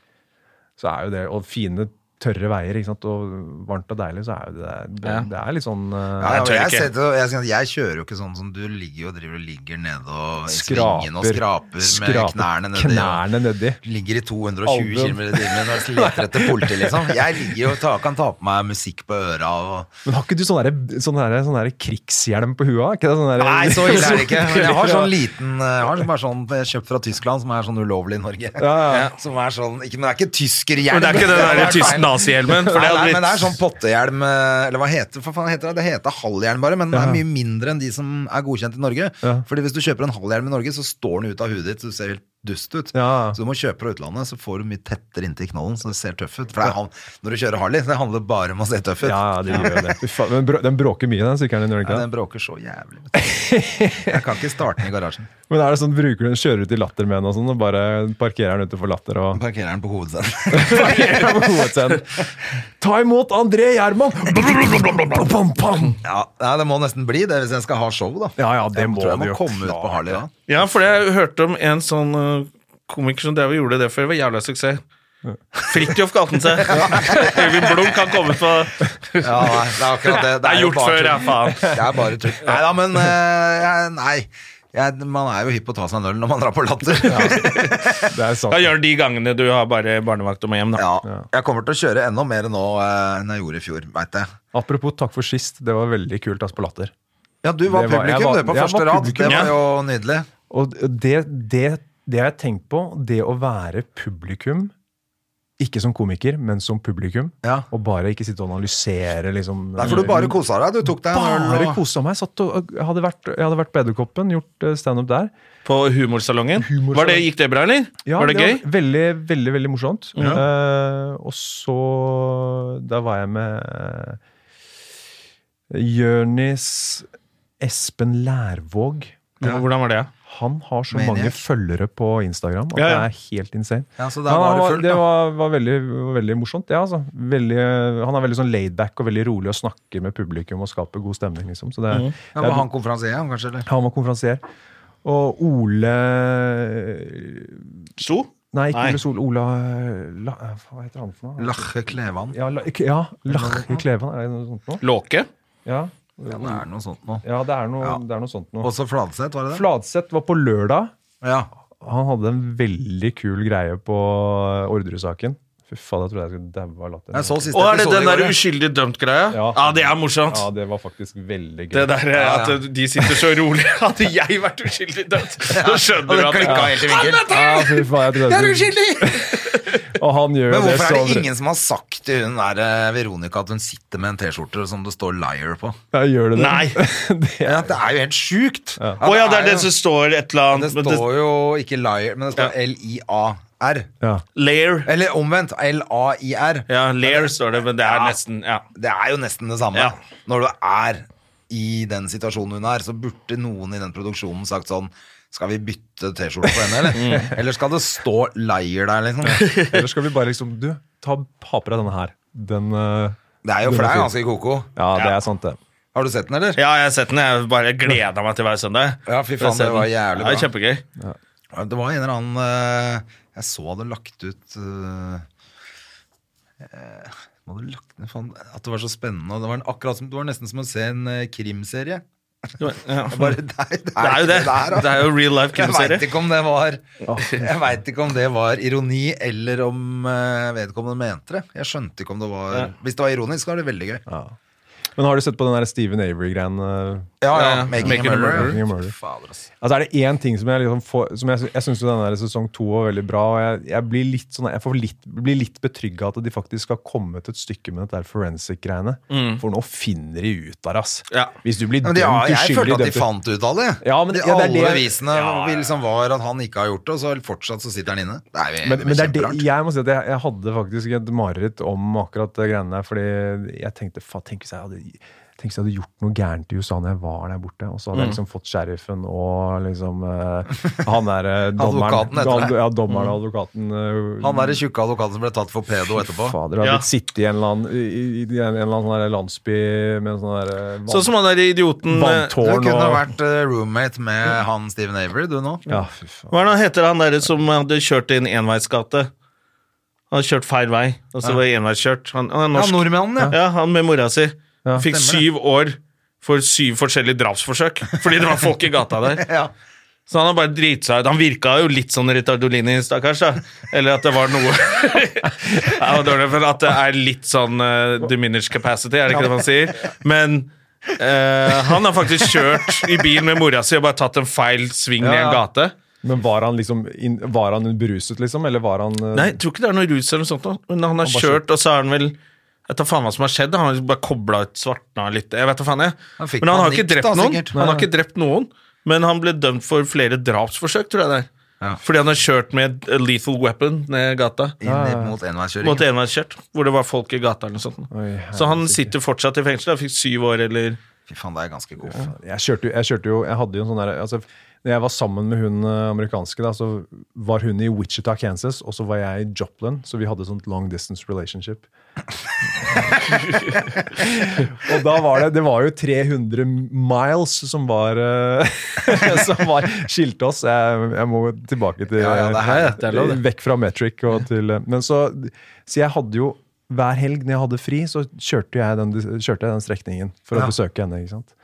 [SPEAKER 3] så er jo det Og fine, tørre veier, ikke sant, og varmt og deilig, så er jo det Det,
[SPEAKER 1] Ja.
[SPEAKER 3] det er litt sånn
[SPEAKER 2] Ja,
[SPEAKER 3] eh,
[SPEAKER 1] jeg
[SPEAKER 2] ja,
[SPEAKER 1] tør
[SPEAKER 2] jeg,
[SPEAKER 1] ikke.
[SPEAKER 2] setter- jeg, skal- jeg kjører jo ikke sånn som du ligger og driver og ligger nede og i svingen og skraper med knærne nedi. og-
[SPEAKER 3] knærne nedi.
[SPEAKER 2] Ligger i 220
[SPEAKER 3] Albuen.
[SPEAKER 2] km i timen og leter etter politi, liksom. Jeg ligger og ta, kan ta på meg musikk på øra og
[SPEAKER 3] Men har ikke du sånn derre- sånn derre sånn derre krigshjelm på huet? Ikke det, sånn derre-
[SPEAKER 2] Nei, så ille er det ikke. Men jeg har sånn
[SPEAKER 3] Ja.
[SPEAKER 2] liten eh, Jeg har sånn- bare sånn eh, kjøpt fra Tyskland som er sånn ulovlig i Norge.
[SPEAKER 3] ja.
[SPEAKER 2] Som er sånn ikke, Men det er ikke tyskerhjelm.
[SPEAKER 1] Men det er ikke den der
[SPEAKER 2] hadde vært
[SPEAKER 1] tysk
[SPEAKER 2] feil.
[SPEAKER 1] nazihjelmen. For
[SPEAKER 2] Nei,
[SPEAKER 1] det
[SPEAKER 2] nei,
[SPEAKER 1] hadde
[SPEAKER 2] men det er
[SPEAKER 1] blitt
[SPEAKER 2] sånn pottehjelm eh, Eller hva heter, for faen heter det? Det heter halvhjelm bare, men den er
[SPEAKER 3] Ja.
[SPEAKER 2] mye mindre enn de som er godkjent i Norge.
[SPEAKER 3] Ja.
[SPEAKER 2] Fordi hvis du kjøper en halvhjelm i Norge, så står den ut av hudet ditt, så du ser helt dust ut.
[SPEAKER 3] Ja.
[SPEAKER 2] Så du må kjøpe fra utlandet, så får du mye tettere inntil knollen, så du ser tøff ut. For det er, han- når du kjører Harley, det handler bare om å se tøff ut.
[SPEAKER 3] Ja, ja, det gjør jo det. Fy faen, men brå- Den bråker mye, den sykkelen din, gjør den
[SPEAKER 2] Ja,
[SPEAKER 3] ikke
[SPEAKER 2] den
[SPEAKER 3] det?
[SPEAKER 2] bråker så jævlig. vet du. Jeg kan ikke starte den i (laughs) garasjen.
[SPEAKER 3] Men er det sånn, bruker du den, kjører du til latter med den og sånn, og bare parkerer den utenfor latter og
[SPEAKER 2] Parkerer den på hovedscenen.
[SPEAKER 3] på hovedscenen. Ta imot André Gjerman! Pam, pam.
[SPEAKER 2] Ja, nei, det må nesten bli det hvis jeg skal ha show, da.
[SPEAKER 3] Ja, ja, det
[SPEAKER 2] jeg
[SPEAKER 3] må
[SPEAKER 2] tror jeg
[SPEAKER 3] du
[SPEAKER 2] må
[SPEAKER 3] jo
[SPEAKER 2] komme ut på Harley da.
[SPEAKER 1] Ja, for jeg hørte om en sånn eh, komiker som drev og gjorde det før. Det var jævla suksess. Fridtjof kalte han seg. Øyvind Blom kan komme på
[SPEAKER 2] Ja, nei, det er akkurat (laughs) det.
[SPEAKER 1] Det er
[SPEAKER 2] jo
[SPEAKER 1] gjort
[SPEAKER 2] bare
[SPEAKER 1] før,
[SPEAKER 2] tull.
[SPEAKER 1] ja, faen.
[SPEAKER 2] Det er bare (laughs) tull. Nei da, men eh, jeg- Nei. Jeg, man er jo hypp på å ta seg en øl når man drar på latter. (laughs) Ja.
[SPEAKER 3] Det er sant.
[SPEAKER 1] Da gjør de gangene du har bare barnevakt og må hjem, da.
[SPEAKER 2] Jeg kommer til å kjøre enda mer nå eh, enn jeg gjorde i fjor, veit jeg.
[SPEAKER 3] Apropos takk for sist, det var veldig kult ass på latter.
[SPEAKER 2] Ja, du var
[SPEAKER 3] Det var- jeg
[SPEAKER 2] publikum,
[SPEAKER 3] var-
[SPEAKER 2] du, på
[SPEAKER 3] jeg
[SPEAKER 2] første
[SPEAKER 3] var
[SPEAKER 2] rad.
[SPEAKER 3] publikum,
[SPEAKER 2] Det var
[SPEAKER 1] ja.
[SPEAKER 2] jo nydelig.
[SPEAKER 3] Og det, det, det har jeg tenkt på, det å være publikum Ikke som komiker, men som publikum.
[SPEAKER 2] Ja.
[SPEAKER 3] Og bare ikke sitte og analysere, liksom.
[SPEAKER 2] Derfor du bare kosa deg. Du tok deg en øl.
[SPEAKER 3] Bare
[SPEAKER 2] og-
[SPEAKER 3] kosa meg. Satt og, jeg, hadde vært, jeg hadde vært på Edderkoppen, gjort eh, standup der.
[SPEAKER 1] På humorsalongen.
[SPEAKER 3] Humorsalongen.
[SPEAKER 1] Var det, gikk det bra, eller?
[SPEAKER 3] Ja,
[SPEAKER 1] var det, gøy?
[SPEAKER 3] Var veldig, veldig, veldig morsomt. Eh, og så Der var jeg med uh, Jørnis Espen Lærvåg.
[SPEAKER 1] Ja, Hvordan var det?
[SPEAKER 3] Han har så
[SPEAKER 2] Maniac.
[SPEAKER 3] mange følgere på Instagram at
[SPEAKER 1] Ja, ja.
[SPEAKER 3] det er helt insane.
[SPEAKER 2] Ja, så der
[SPEAKER 3] Han,
[SPEAKER 2] var
[SPEAKER 3] han
[SPEAKER 2] det
[SPEAKER 3] var,
[SPEAKER 2] fullt,
[SPEAKER 3] det
[SPEAKER 2] da.
[SPEAKER 3] var, var veldig, var veldig morsomt, det. altså. Veldig, han er veldig sånn laidback og veldig rolig og snakker med publikum og skaper god stemning. liksom. Så det,
[SPEAKER 1] Mhm.
[SPEAKER 3] er-
[SPEAKER 2] Ja,
[SPEAKER 3] det
[SPEAKER 2] var
[SPEAKER 3] er,
[SPEAKER 2] han konferansier, han kanskje? Eller?
[SPEAKER 3] han var konferansier. Og Ole
[SPEAKER 1] Sto?
[SPEAKER 3] Nei, ikke
[SPEAKER 1] Nei.
[SPEAKER 3] Ole Sol. Ola eh, La, Hva heter han for noe?
[SPEAKER 2] Lache Klevan.
[SPEAKER 3] Ja, la, ikke- ja Lach i Kleven, er det noe sånt noe?
[SPEAKER 1] Låke?
[SPEAKER 3] Ja,
[SPEAKER 2] Ja, det er noe sånt nå.
[SPEAKER 3] ja, det, er noe,
[SPEAKER 2] Ja.
[SPEAKER 3] det er noe sånt noe.
[SPEAKER 2] Også Fladseth, var det det?
[SPEAKER 3] Fladseth var på lørdag.
[SPEAKER 2] Ja.
[SPEAKER 3] Han hadde en veldig kul greie på Orderud-saken. Fy faen, jeg trodde jeg skulle daue av latter.
[SPEAKER 2] Jeg så siste
[SPEAKER 1] Å, er det
[SPEAKER 2] episode
[SPEAKER 1] den
[SPEAKER 2] i går,
[SPEAKER 1] der
[SPEAKER 2] jeg.
[SPEAKER 1] uskyldig dømt-greia? Ja.
[SPEAKER 3] Ja.
[SPEAKER 1] det er morsomt.
[SPEAKER 3] Ja, det var faktisk veldig gøy.
[SPEAKER 1] Det der eh,
[SPEAKER 2] Ja, ja.
[SPEAKER 1] at de sitter så rolig. (laughs) Hadde jeg vært uskyldig dømt, så
[SPEAKER 2] Og
[SPEAKER 1] skjønner du
[SPEAKER 2] det
[SPEAKER 1] at
[SPEAKER 2] klikka helt i vinkel.
[SPEAKER 3] Ja, fy faen, jeg trodde
[SPEAKER 2] Jeg er
[SPEAKER 3] jeg skulle-
[SPEAKER 2] uskyldig!
[SPEAKER 3] Og han gjør
[SPEAKER 2] Men
[SPEAKER 3] jo det
[SPEAKER 2] hvorfor er det
[SPEAKER 3] så-
[SPEAKER 2] ingen som har sagt til hun der eh, Veronica at hun sitter med en T-skjorte som det står 'liar' på?
[SPEAKER 3] Ja, gjør det det?
[SPEAKER 1] Nei.
[SPEAKER 3] (laughs) det
[SPEAKER 2] Ja, det er jo helt sjukt! Ja.
[SPEAKER 1] Å ja, det er det
[SPEAKER 2] jo-
[SPEAKER 1] som står et eller
[SPEAKER 2] Det
[SPEAKER 1] annet men
[SPEAKER 2] står jo ikke 'liar', men det står L-I-A-R. (laughs)
[SPEAKER 3] ja.
[SPEAKER 1] Lair.
[SPEAKER 2] Eller omvendt. L-A-I-R.
[SPEAKER 1] Ja, Lair står det, men det er
[SPEAKER 2] Ja.
[SPEAKER 1] nesten ja.
[SPEAKER 2] Det er jo nesten det samme.
[SPEAKER 1] Ja.
[SPEAKER 2] Når du er i den situasjonen hun er, så burde noen i den produksjonen sagt sånn Skal vi bytte T-skjorte på henne, eller? Eller skal det stå 'liar' der, liksom?
[SPEAKER 3] Eller skal vi bare liksom Du, ta, ha på deg denne her. Den eh,
[SPEAKER 2] Det er jo
[SPEAKER 3] Den
[SPEAKER 2] for
[SPEAKER 3] er
[SPEAKER 2] det er
[SPEAKER 3] fin.
[SPEAKER 2] ganske koko.
[SPEAKER 3] Ja, det
[SPEAKER 1] Ja.
[SPEAKER 3] er sant, det.
[SPEAKER 2] Har du sett den, eller?
[SPEAKER 1] Ja, jeg har sett den. Jeg bare gleda meg til hver søndag.
[SPEAKER 2] Ja, fy faen,
[SPEAKER 1] Jeg ser
[SPEAKER 2] det var
[SPEAKER 1] den.
[SPEAKER 2] jævlig
[SPEAKER 1] Ja,
[SPEAKER 2] bra.
[SPEAKER 1] kjempegøy.
[SPEAKER 2] Det var en eller annen eh, Jeg så hadde lagt ut eh, eh, hva hadde lagt ned, faen, At det var så spennende. og Det var, en, akkurat som, det var nesten som å se en eh, krimserie.
[SPEAKER 1] Ja.
[SPEAKER 2] Jeg (laughs) Bare, det, er,
[SPEAKER 1] Det er jo det.
[SPEAKER 2] der, da.
[SPEAKER 1] Det er jo real life
[SPEAKER 2] (laughs) Jeg veit
[SPEAKER 1] krimserie.
[SPEAKER 2] ikke om det var (laughs) Jeg vet ikke om det var ironi, eller om eh, vedkommende mente det. Jeg skjønte ikke om det var
[SPEAKER 1] Ja.
[SPEAKER 2] Hvis det var ironisk, så var det veldig gøy. Ja,
[SPEAKER 3] Men har du sett på den der Steven Avery-greien? eh?
[SPEAKER 2] ja,
[SPEAKER 1] Ja, ja.
[SPEAKER 2] Making,
[SPEAKER 1] Making
[SPEAKER 2] a
[SPEAKER 1] a
[SPEAKER 2] murder.
[SPEAKER 3] Making a Murderer.
[SPEAKER 2] Fader, ass.
[SPEAKER 3] Altså Er det én ting som jeg liksom får som Jeg, jeg syns den der sesong to var veldig bra, og jeg, jeg blir litt, sånn, jeg får litt, blir litt betrygga at de faktisk har kommet et stykke med dette der forensic-greiene. For nå finner de ut av det, ass.
[SPEAKER 1] Ja.
[SPEAKER 3] Hvis du blir
[SPEAKER 2] Men
[SPEAKER 3] dømt
[SPEAKER 2] de, Mm. ja, jeg
[SPEAKER 3] uskyldig
[SPEAKER 2] følte at de
[SPEAKER 3] dømt-
[SPEAKER 2] fant ut av det.
[SPEAKER 3] Ja, men
[SPEAKER 2] de,
[SPEAKER 3] det- ja, det er
[SPEAKER 2] alle
[SPEAKER 3] det-
[SPEAKER 2] bevisene
[SPEAKER 1] Ja, ja.
[SPEAKER 2] Liksom var at han ikke har gjort det, og så fortsatt så sitter han inne. Det er jo
[SPEAKER 3] Men, men det er det,
[SPEAKER 2] Eh, kjemperart.
[SPEAKER 3] jeg må si at jeg, jeg hadde faktisk et mareritt om akkurat det greiene der. Fordi jeg tenkte faen, tenk hvis jeg hadde Tenk hvis jeg hadde gjort noe gærent i USA når jeg var der borte. Og så hadde jeg liksom fått sheriffen og liksom eh, han der eh, dommeren.
[SPEAKER 2] Advokaten heter det.
[SPEAKER 3] Ja, dommeren og advokaten. eh,
[SPEAKER 2] Han derre tjukke advokaten som ble tatt for pedo etterpå.
[SPEAKER 3] Fader, jeg har
[SPEAKER 1] Ja.
[SPEAKER 3] blitt sittet i en eller annen, i, i, i en, en eller annen sånn der landsby med en sånn der eh, vann,
[SPEAKER 1] Sånn som han der idioten eh,
[SPEAKER 2] Du
[SPEAKER 3] vanntårn
[SPEAKER 2] kunne
[SPEAKER 3] og
[SPEAKER 2] vært eh, roommate med han Steven Avery, du nå.
[SPEAKER 3] Ja, fy faen.
[SPEAKER 1] Hva er det han heter han derre som hadde kjørt i en enveisgate? Han hadde kjørt feil vei, og så var det enveiskjørt. Han, han er
[SPEAKER 2] Ja,
[SPEAKER 1] norsk.
[SPEAKER 2] nordmannen, ja.
[SPEAKER 1] Ja, han med mora si.
[SPEAKER 3] Ja,
[SPEAKER 1] Fikk
[SPEAKER 2] stemmer
[SPEAKER 1] syv år for syv
[SPEAKER 2] (laughs)
[SPEAKER 1] forskjellige drapsforsøk fordi det var folk i gata der.
[SPEAKER 2] Ja.
[SPEAKER 1] Så han har bare driti seg ut. Han virka jo litt sånn Ritardolini, stakkars. da. Eller at det var noe (laughs) ja, det var dårlig, men At det er litt sånn eh, diminished capacity, er det ikke det man sier? Men eh, han har faktisk kjørt i bil med mora si og bare tatt en feil sving i
[SPEAKER 2] ja.
[SPEAKER 1] en gate.
[SPEAKER 3] Men var han liksom inn- Var han beruset, liksom? Eller var han eh,
[SPEAKER 1] Nei, jeg tror ikke det er noe rus eller noe sånt. nå. Men han har
[SPEAKER 3] bare
[SPEAKER 1] kjørt, og så er han vel Jeg tar faen hva som har skjedd. Han har liksom bare kobla ut svartna litt. Jeg vet da faen, jeg.
[SPEAKER 2] Han fikk
[SPEAKER 1] men han har
[SPEAKER 2] panikk
[SPEAKER 1] ikke drept
[SPEAKER 2] da,
[SPEAKER 1] noen.
[SPEAKER 2] sikkert.
[SPEAKER 1] Han har ikke drept noen, men han ble dømt for flere drapsforsøk, tror jeg det er.
[SPEAKER 2] Ja.
[SPEAKER 1] Fordi han har kjørt med a lethal weapon ned gata.
[SPEAKER 2] Inn mot
[SPEAKER 1] Mot
[SPEAKER 2] enveiskjøring.
[SPEAKER 1] enveiskjørt, hvor det var folk i gata eller noe sånt.
[SPEAKER 3] Oi,
[SPEAKER 1] så han sitter fortsatt i fengsel. Han fikk syv år eller
[SPEAKER 2] Fy faen, det er ganske god.
[SPEAKER 3] jeg kjørte, jo- jeg kjørte jo Jeg hadde jo en sånn der altså, Når jeg var sammen med hun eh, amerikanske, da, så var hun i Wichita, Kansas, og så var jeg i Joplin, så vi hadde sånt long distance relationship. (laughs) og da var det Det var jo 300 miles som var eh, (laughs) Som var, skilte oss. Jeg, jeg må tilbake til
[SPEAKER 2] Ja, ja, det er helt- det er lov, det.
[SPEAKER 3] Vekk fra metric og til eh, Men så Så jeg hadde jo hver helg når jeg hadde fri, så kjørte jeg den, kjørte jeg den strekningen for å
[SPEAKER 2] Ja.
[SPEAKER 3] besøke henne. ikke sant?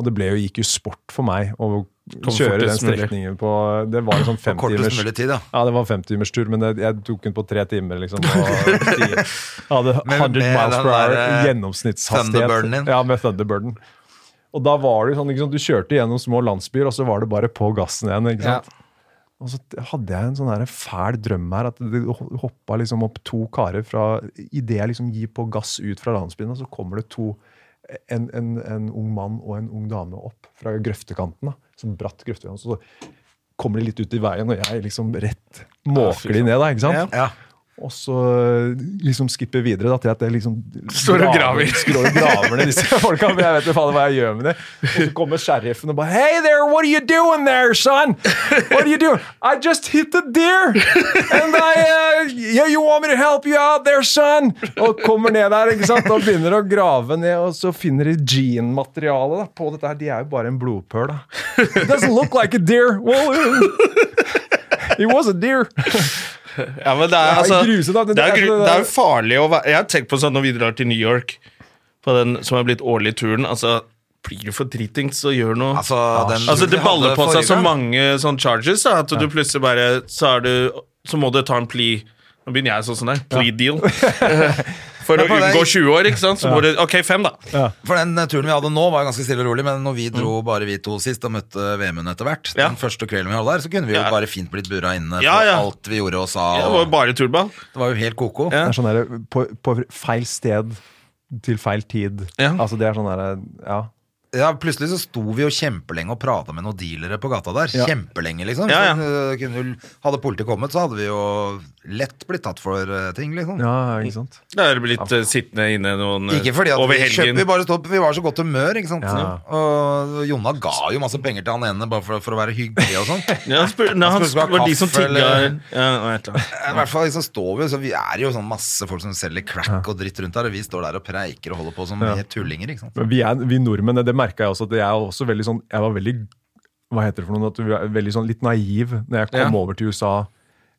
[SPEAKER 3] Og det ble jo, gikk jo sport for meg å kjøre den
[SPEAKER 1] fortest mulig.
[SPEAKER 3] strekningen på Det var jo sånn fem
[SPEAKER 2] Kortest
[SPEAKER 3] timers
[SPEAKER 2] mulig tid, ja.
[SPEAKER 3] ja, det var femtimerstur, men det, jeg tok den på tre timer.
[SPEAKER 2] (laughs)
[SPEAKER 3] liksom. Og jeg hadde
[SPEAKER 2] Med-
[SPEAKER 3] 100
[SPEAKER 2] med
[SPEAKER 3] miles
[SPEAKER 2] den
[SPEAKER 3] per hour
[SPEAKER 2] der, eh,
[SPEAKER 3] gjennomsnittshastighet.
[SPEAKER 2] Thunderbirden din.
[SPEAKER 3] Ja, med Thunderbirden. Og da var det jo sånn, ikke sant, Du kjørte gjennom små landsbyer, og så var det bare på gassen igjen. ikke sant? Og så hadde jeg en sånn her fæl drøm her, at det hoppa liksom opp to karer fra Idet jeg liksom gir på gass ut fra landsbyen, og så kommer det to en, en, en ung mann og en ung dame opp fra grøftekanten. da, Sånn bratt grøftekant. Så kommer de litt ut i veien, og jeg liksom rett måker de ned. da, ikke sant?
[SPEAKER 2] Ja.
[SPEAKER 3] Og så liksom skipper videre da, til at jeg liksom
[SPEAKER 1] Står og graver.
[SPEAKER 3] Skrår og graver ned disse folka. Men jeg vet ikke faen hva jeg gjør med det. Og så kommer sheriffen og bare Hey there, what are you doing there, son? What are you doing? I just hit a deer. And I uh, yeah, You want me to help you out there, son? Og kommer ned der ikke sant? og begynner å grave ned, og så finner de genmateriale da, på dette her. De er jo bare en blodpøl, da. It doesn't look like a deer. Well, uh, it was a deer.
[SPEAKER 1] Ja, men det er,
[SPEAKER 3] er
[SPEAKER 1] altså,
[SPEAKER 3] grusomt, da. Det-
[SPEAKER 1] det er,
[SPEAKER 3] altså,
[SPEAKER 1] gru,
[SPEAKER 3] det-
[SPEAKER 1] det er jo farlig å være Jeg har tenkt på sånn når vi drar til New York, på den som har blitt årlig turen altså, Blir du for dritings og gjør noe
[SPEAKER 2] Altså, den
[SPEAKER 1] Altså, det
[SPEAKER 2] vi
[SPEAKER 1] baller
[SPEAKER 2] hadde
[SPEAKER 1] på seg
[SPEAKER 2] forrige
[SPEAKER 1] så
[SPEAKER 2] gang.
[SPEAKER 1] mange sånn charges da, at du plutselig bare Så, er du, så må du ta en plea. Nå begynner jeg sånn sånn der. Plea
[SPEAKER 2] (laughs)
[SPEAKER 1] deal. For å
[SPEAKER 2] Men på deg-
[SPEAKER 1] unngå 20 år, ikke sant. Så må du Ok, fem, da.
[SPEAKER 2] For den eh, turen vi hadde nå var jo ganske stille og rolig, men når vi dro bare vi to sist og møtte Vemund etter hvert,
[SPEAKER 1] Mm. Ja.
[SPEAKER 2] den første kvelden vi holdt der, så kunne vi jo
[SPEAKER 1] Ja.
[SPEAKER 2] bare fint blitt bura inne
[SPEAKER 1] Ja,
[SPEAKER 2] for
[SPEAKER 1] ja.
[SPEAKER 2] alt vi gjorde og sa.
[SPEAKER 1] Det var jo
[SPEAKER 2] Og,
[SPEAKER 1] bare turball.
[SPEAKER 2] det var jo helt koko.
[SPEAKER 1] Ja.
[SPEAKER 3] Det er sånn der, på, på feil sted til feil tid.
[SPEAKER 1] Ja.
[SPEAKER 3] Altså det er sånn der, ja.
[SPEAKER 2] Ja, Plutselig så sto vi jo kjempelenge og prata med noen dealere på gata der.
[SPEAKER 3] Ja.
[SPEAKER 2] Kjempelenge, liksom.
[SPEAKER 1] Ja, ja.
[SPEAKER 2] Så, eh, kunne, jo- hadde politiet kommet, så hadde vi jo lett blitt tatt for eh, ting, liksom.
[SPEAKER 3] ja, ikke sant?
[SPEAKER 1] Da er det blitt eh, sittende inne noen eh,
[SPEAKER 2] Ikke fordi at
[SPEAKER 1] over
[SPEAKER 2] vi kjøpte,
[SPEAKER 1] helgen.
[SPEAKER 2] vi bare stod, vi var så godt humør, ikke sant.
[SPEAKER 3] Ja.
[SPEAKER 2] Og Jonna ga jo masse penger til han ene bare for, for å være hyggelig og sånn.
[SPEAKER 3] (laughs)
[SPEAKER 1] Ja, han spør, nei,
[SPEAKER 2] Han
[SPEAKER 1] han
[SPEAKER 2] spurte om det var
[SPEAKER 1] var de som
[SPEAKER 2] kaffe,
[SPEAKER 1] tigga
[SPEAKER 2] eller-
[SPEAKER 1] ja, nei, et eller annet.
[SPEAKER 2] I hvert fall liksom står vi, så vi er jo sånn masse folk som selger crack og dritt rundt her, og vi står der og preiker og holder på som helt tullinger, ikke sant.
[SPEAKER 3] Men vi, er, vi nordmenn, det merka jeg også, at jeg er også veldig sånn, jeg var veldig, hva heter det for noe, at du er veldig sånn litt naiv når jeg kom
[SPEAKER 1] Ja.
[SPEAKER 3] over til USA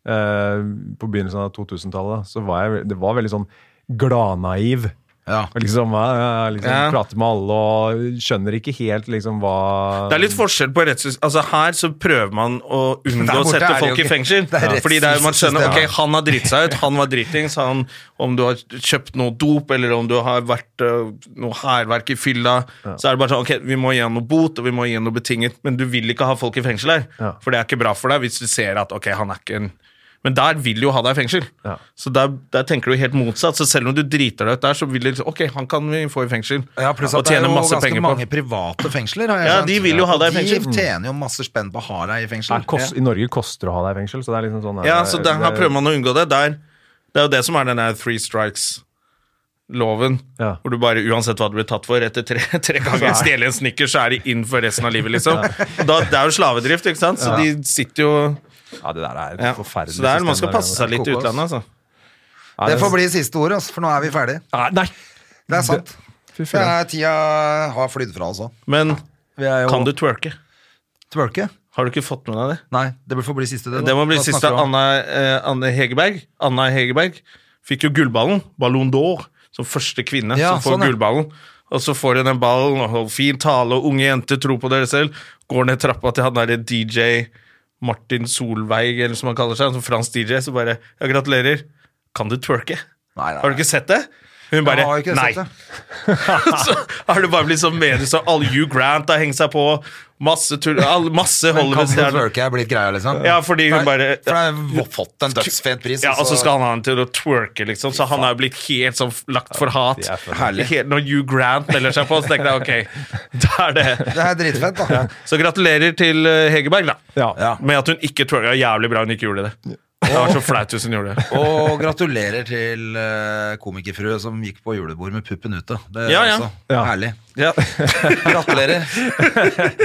[SPEAKER 3] eh, på begynnelsen av 2000-tallet. da, Så var jeg, det var veldig sånn gladnaiv.
[SPEAKER 2] Ja.
[SPEAKER 3] Og Liksom, jeg, liksom
[SPEAKER 1] Ja.
[SPEAKER 3] prater med alle og skjønner ikke helt liksom hva
[SPEAKER 1] Det er litt forskjell på rettssystem. Altså Her så prøver man å unngå
[SPEAKER 2] Der
[SPEAKER 1] å
[SPEAKER 2] borte
[SPEAKER 1] sette
[SPEAKER 2] er det jo
[SPEAKER 1] folk i
[SPEAKER 2] ikke-
[SPEAKER 1] fengsel.
[SPEAKER 2] det er
[SPEAKER 1] Ja. Fordi det er, man skjønner ok,
[SPEAKER 2] rettssystemet.
[SPEAKER 1] han har dritt seg ut, han var dritings. Han, om du har kjøpt noe dop, eller om du har vært øh, noe hærverk i fylla, så er det bare sånn ok, vi må gi han noe bot, og vi må gi han noe betinget, men du vil ikke ha folk i fengsel her.
[SPEAKER 3] Ja.
[SPEAKER 1] For det er ikke bra for deg hvis du ser at ok, han er ikke en men der vil jo ha deg i fengsel.
[SPEAKER 3] Ja.
[SPEAKER 1] Så der, der tenker du helt motsatt. Så selv om du driter deg ut der, så vil du liksom Ok, han kan vi få i fengsel.
[SPEAKER 2] Ja, pluss
[SPEAKER 1] og
[SPEAKER 2] at det er jo
[SPEAKER 1] tjene masse
[SPEAKER 2] ganske
[SPEAKER 1] penger på.
[SPEAKER 2] mange private fengsler. Har jeg
[SPEAKER 1] Ja,
[SPEAKER 2] skjønt.
[SPEAKER 1] de vil jo ha deg i fengsel.
[SPEAKER 2] De tjener jo masse spenn på å ha deg i fengsel.
[SPEAKER 3] Nei, kost, I Norge koster det å ha deg i fengsel, så det er liksom sånn
[SPEAKER 1] sånn, Ja,
[SPEAKER 3] eh,
[SPEAKER 1] så der, her prøver man å unngå det. Der, det er jo det som er den der three strikes-loven.
[SPEAKER 3] Ja.
[SPEAKER 1] Hvor du bare, uansett hva du blir tatt for, etter tre, (laughs) tre ganger stjele en snickers, så er de inn for resten av livet, liksom. Da, det er jo slavedrift, ikke sant? Så de sitter jo
[SPEAKER 3] Ja, det der er et
[SPEAKER 1] ja.
[SPEAKER 3] forferdelig
[SPEAKER 1] Så der, man
[SPEAKER 3] system
[SPEAKER 1] skal
[SPEAKER 3] der,
[SPEAKER 1] passe seg litt i
[SPEAKER 2] Kokos.
[SPEAKER 1] utlandet, altså.
[SPEAKER 3] Ja,
[SPEAKER 2] Det får bli siste ord, altså, for nå er vi ferdige.
[SPEAKER 3] Nei, Nei!
[SPEAKER 2] Det er sant.
[SPEAKER 3] Fy
[SPEAKER 2] Det
[SPEAKER 3] fillen.
[SPEAKER 2] er tida har flydd fra, altså.
[SPEAKER 1] Men
[SPEAKER 2] Vi er jo
[SPEAKER 1] kan du twerke?
[SPEAKER 2] twerke?
[SPEAKER 1] Har du ikke fått med deg det?
[SPEAKER 2] Nei, det får bli siste.
[SPEAKER 1] Det må bli
[SPEAKER 2] Da
[SPEAKER 1] siste.
[SPEAKER 2] snakker vi om-
[SPEAKER 1] Anna, eh, Anne Hegerberg Anna Hegerberg fikk jo gullballen, Ballon d'Or, som første kvinne
[SPEAKER 2] Ja,
[SPEAKER 1] som får
[SPEAKER 2] sånn, ja.
[SPEAKER 1] gullballen. Og så får hun den ballen, og holder fin tale, og unge jenter tror på dere selv. Går ned trappa til han derre DJ Martin Solveig, eller som han kaller seg, som fransk DJ, så bare Ja, gratulerer. Kan du twerke?
[SPEAKER 2] Nei, nei,
[SPEAKER 1] Har du ikke sett det? Hun
[SPEAKER 2] Jeg
[SPEAKER 1] bare
[SPEAKER 2] har jo ikke
[SPEAKER 1] Nei.
[SPEAKER 2] sett det.
[SPEAKER 1] (laughs) så har det bare blitt sånn medie, så all Hugh Grant har hengt seg på. Masse, tull- all- masse
[SPEAKER 2] Men Kan du
[SPEAKER 1] Hollywood-stjerner.
[SPEAKER 2] twerke er blitt greia, liksom?
[SPEAKER 1] Ja, fordi hun
[SPEAKER 2] For-
[SPEAKER 1] bare-
[SPEAKER 2] For hun har fått en dødsfet pris. altså.
[SPEAKER 1] Ja, og så skal han ha den til å twerke, liksom. Så han er jo blitt helt sånn lagt for hat.
[SPEAKER 3] det er for-
[SPEAKER 2] Herlig.
[SPEAKER 1] Helt, når Hugh Grant melder seg på, så tenker jeg ok, (laughs) da er det
[SPEAKER 2] Det er dritfett, da.
[SPEAKER 1] Så gratulerer til eh, Hegerberg, da.
[SPEAKER 3] Ja.
[SPEAKER 2] Ja.
[SPEAKER 1] Med at hun ikke twerka. Jævlig bra hun ikke gjorde det. Det var så flaut hvis hun gjorde det.
[SPEAKER 2] Og gratulerer til eh, komikerfrue som gikk på julebord med puppen ute. Det er
[SPEAKER 1] Ja, ja.
[SPEAKER 2] også
[SPEAKER 3] Ja.
[SPEAKER 2] herlig.
[SPEAKER 1] Ja.
[SPEAKER 2] Gratulerer.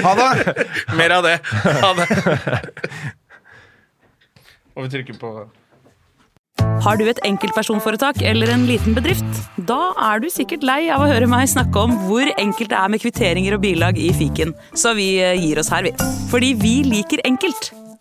[SPEAKER 2] Ha det!
[SPEAKER 1] Mer av det.
[SPEAKER 2] (laughs)
[SPEAKER 1] Ha det. Og vi trykker på
[SPEAKER 5] Har du et enkeltpersonforetak eller en liten bedrift? Da er du sikkert lei av å høre meg snakke om hvor enkelt det er med kvitteringer og bilag i fiken, så vi eh, gir oss her, vi. Fordi vi liker enkelt.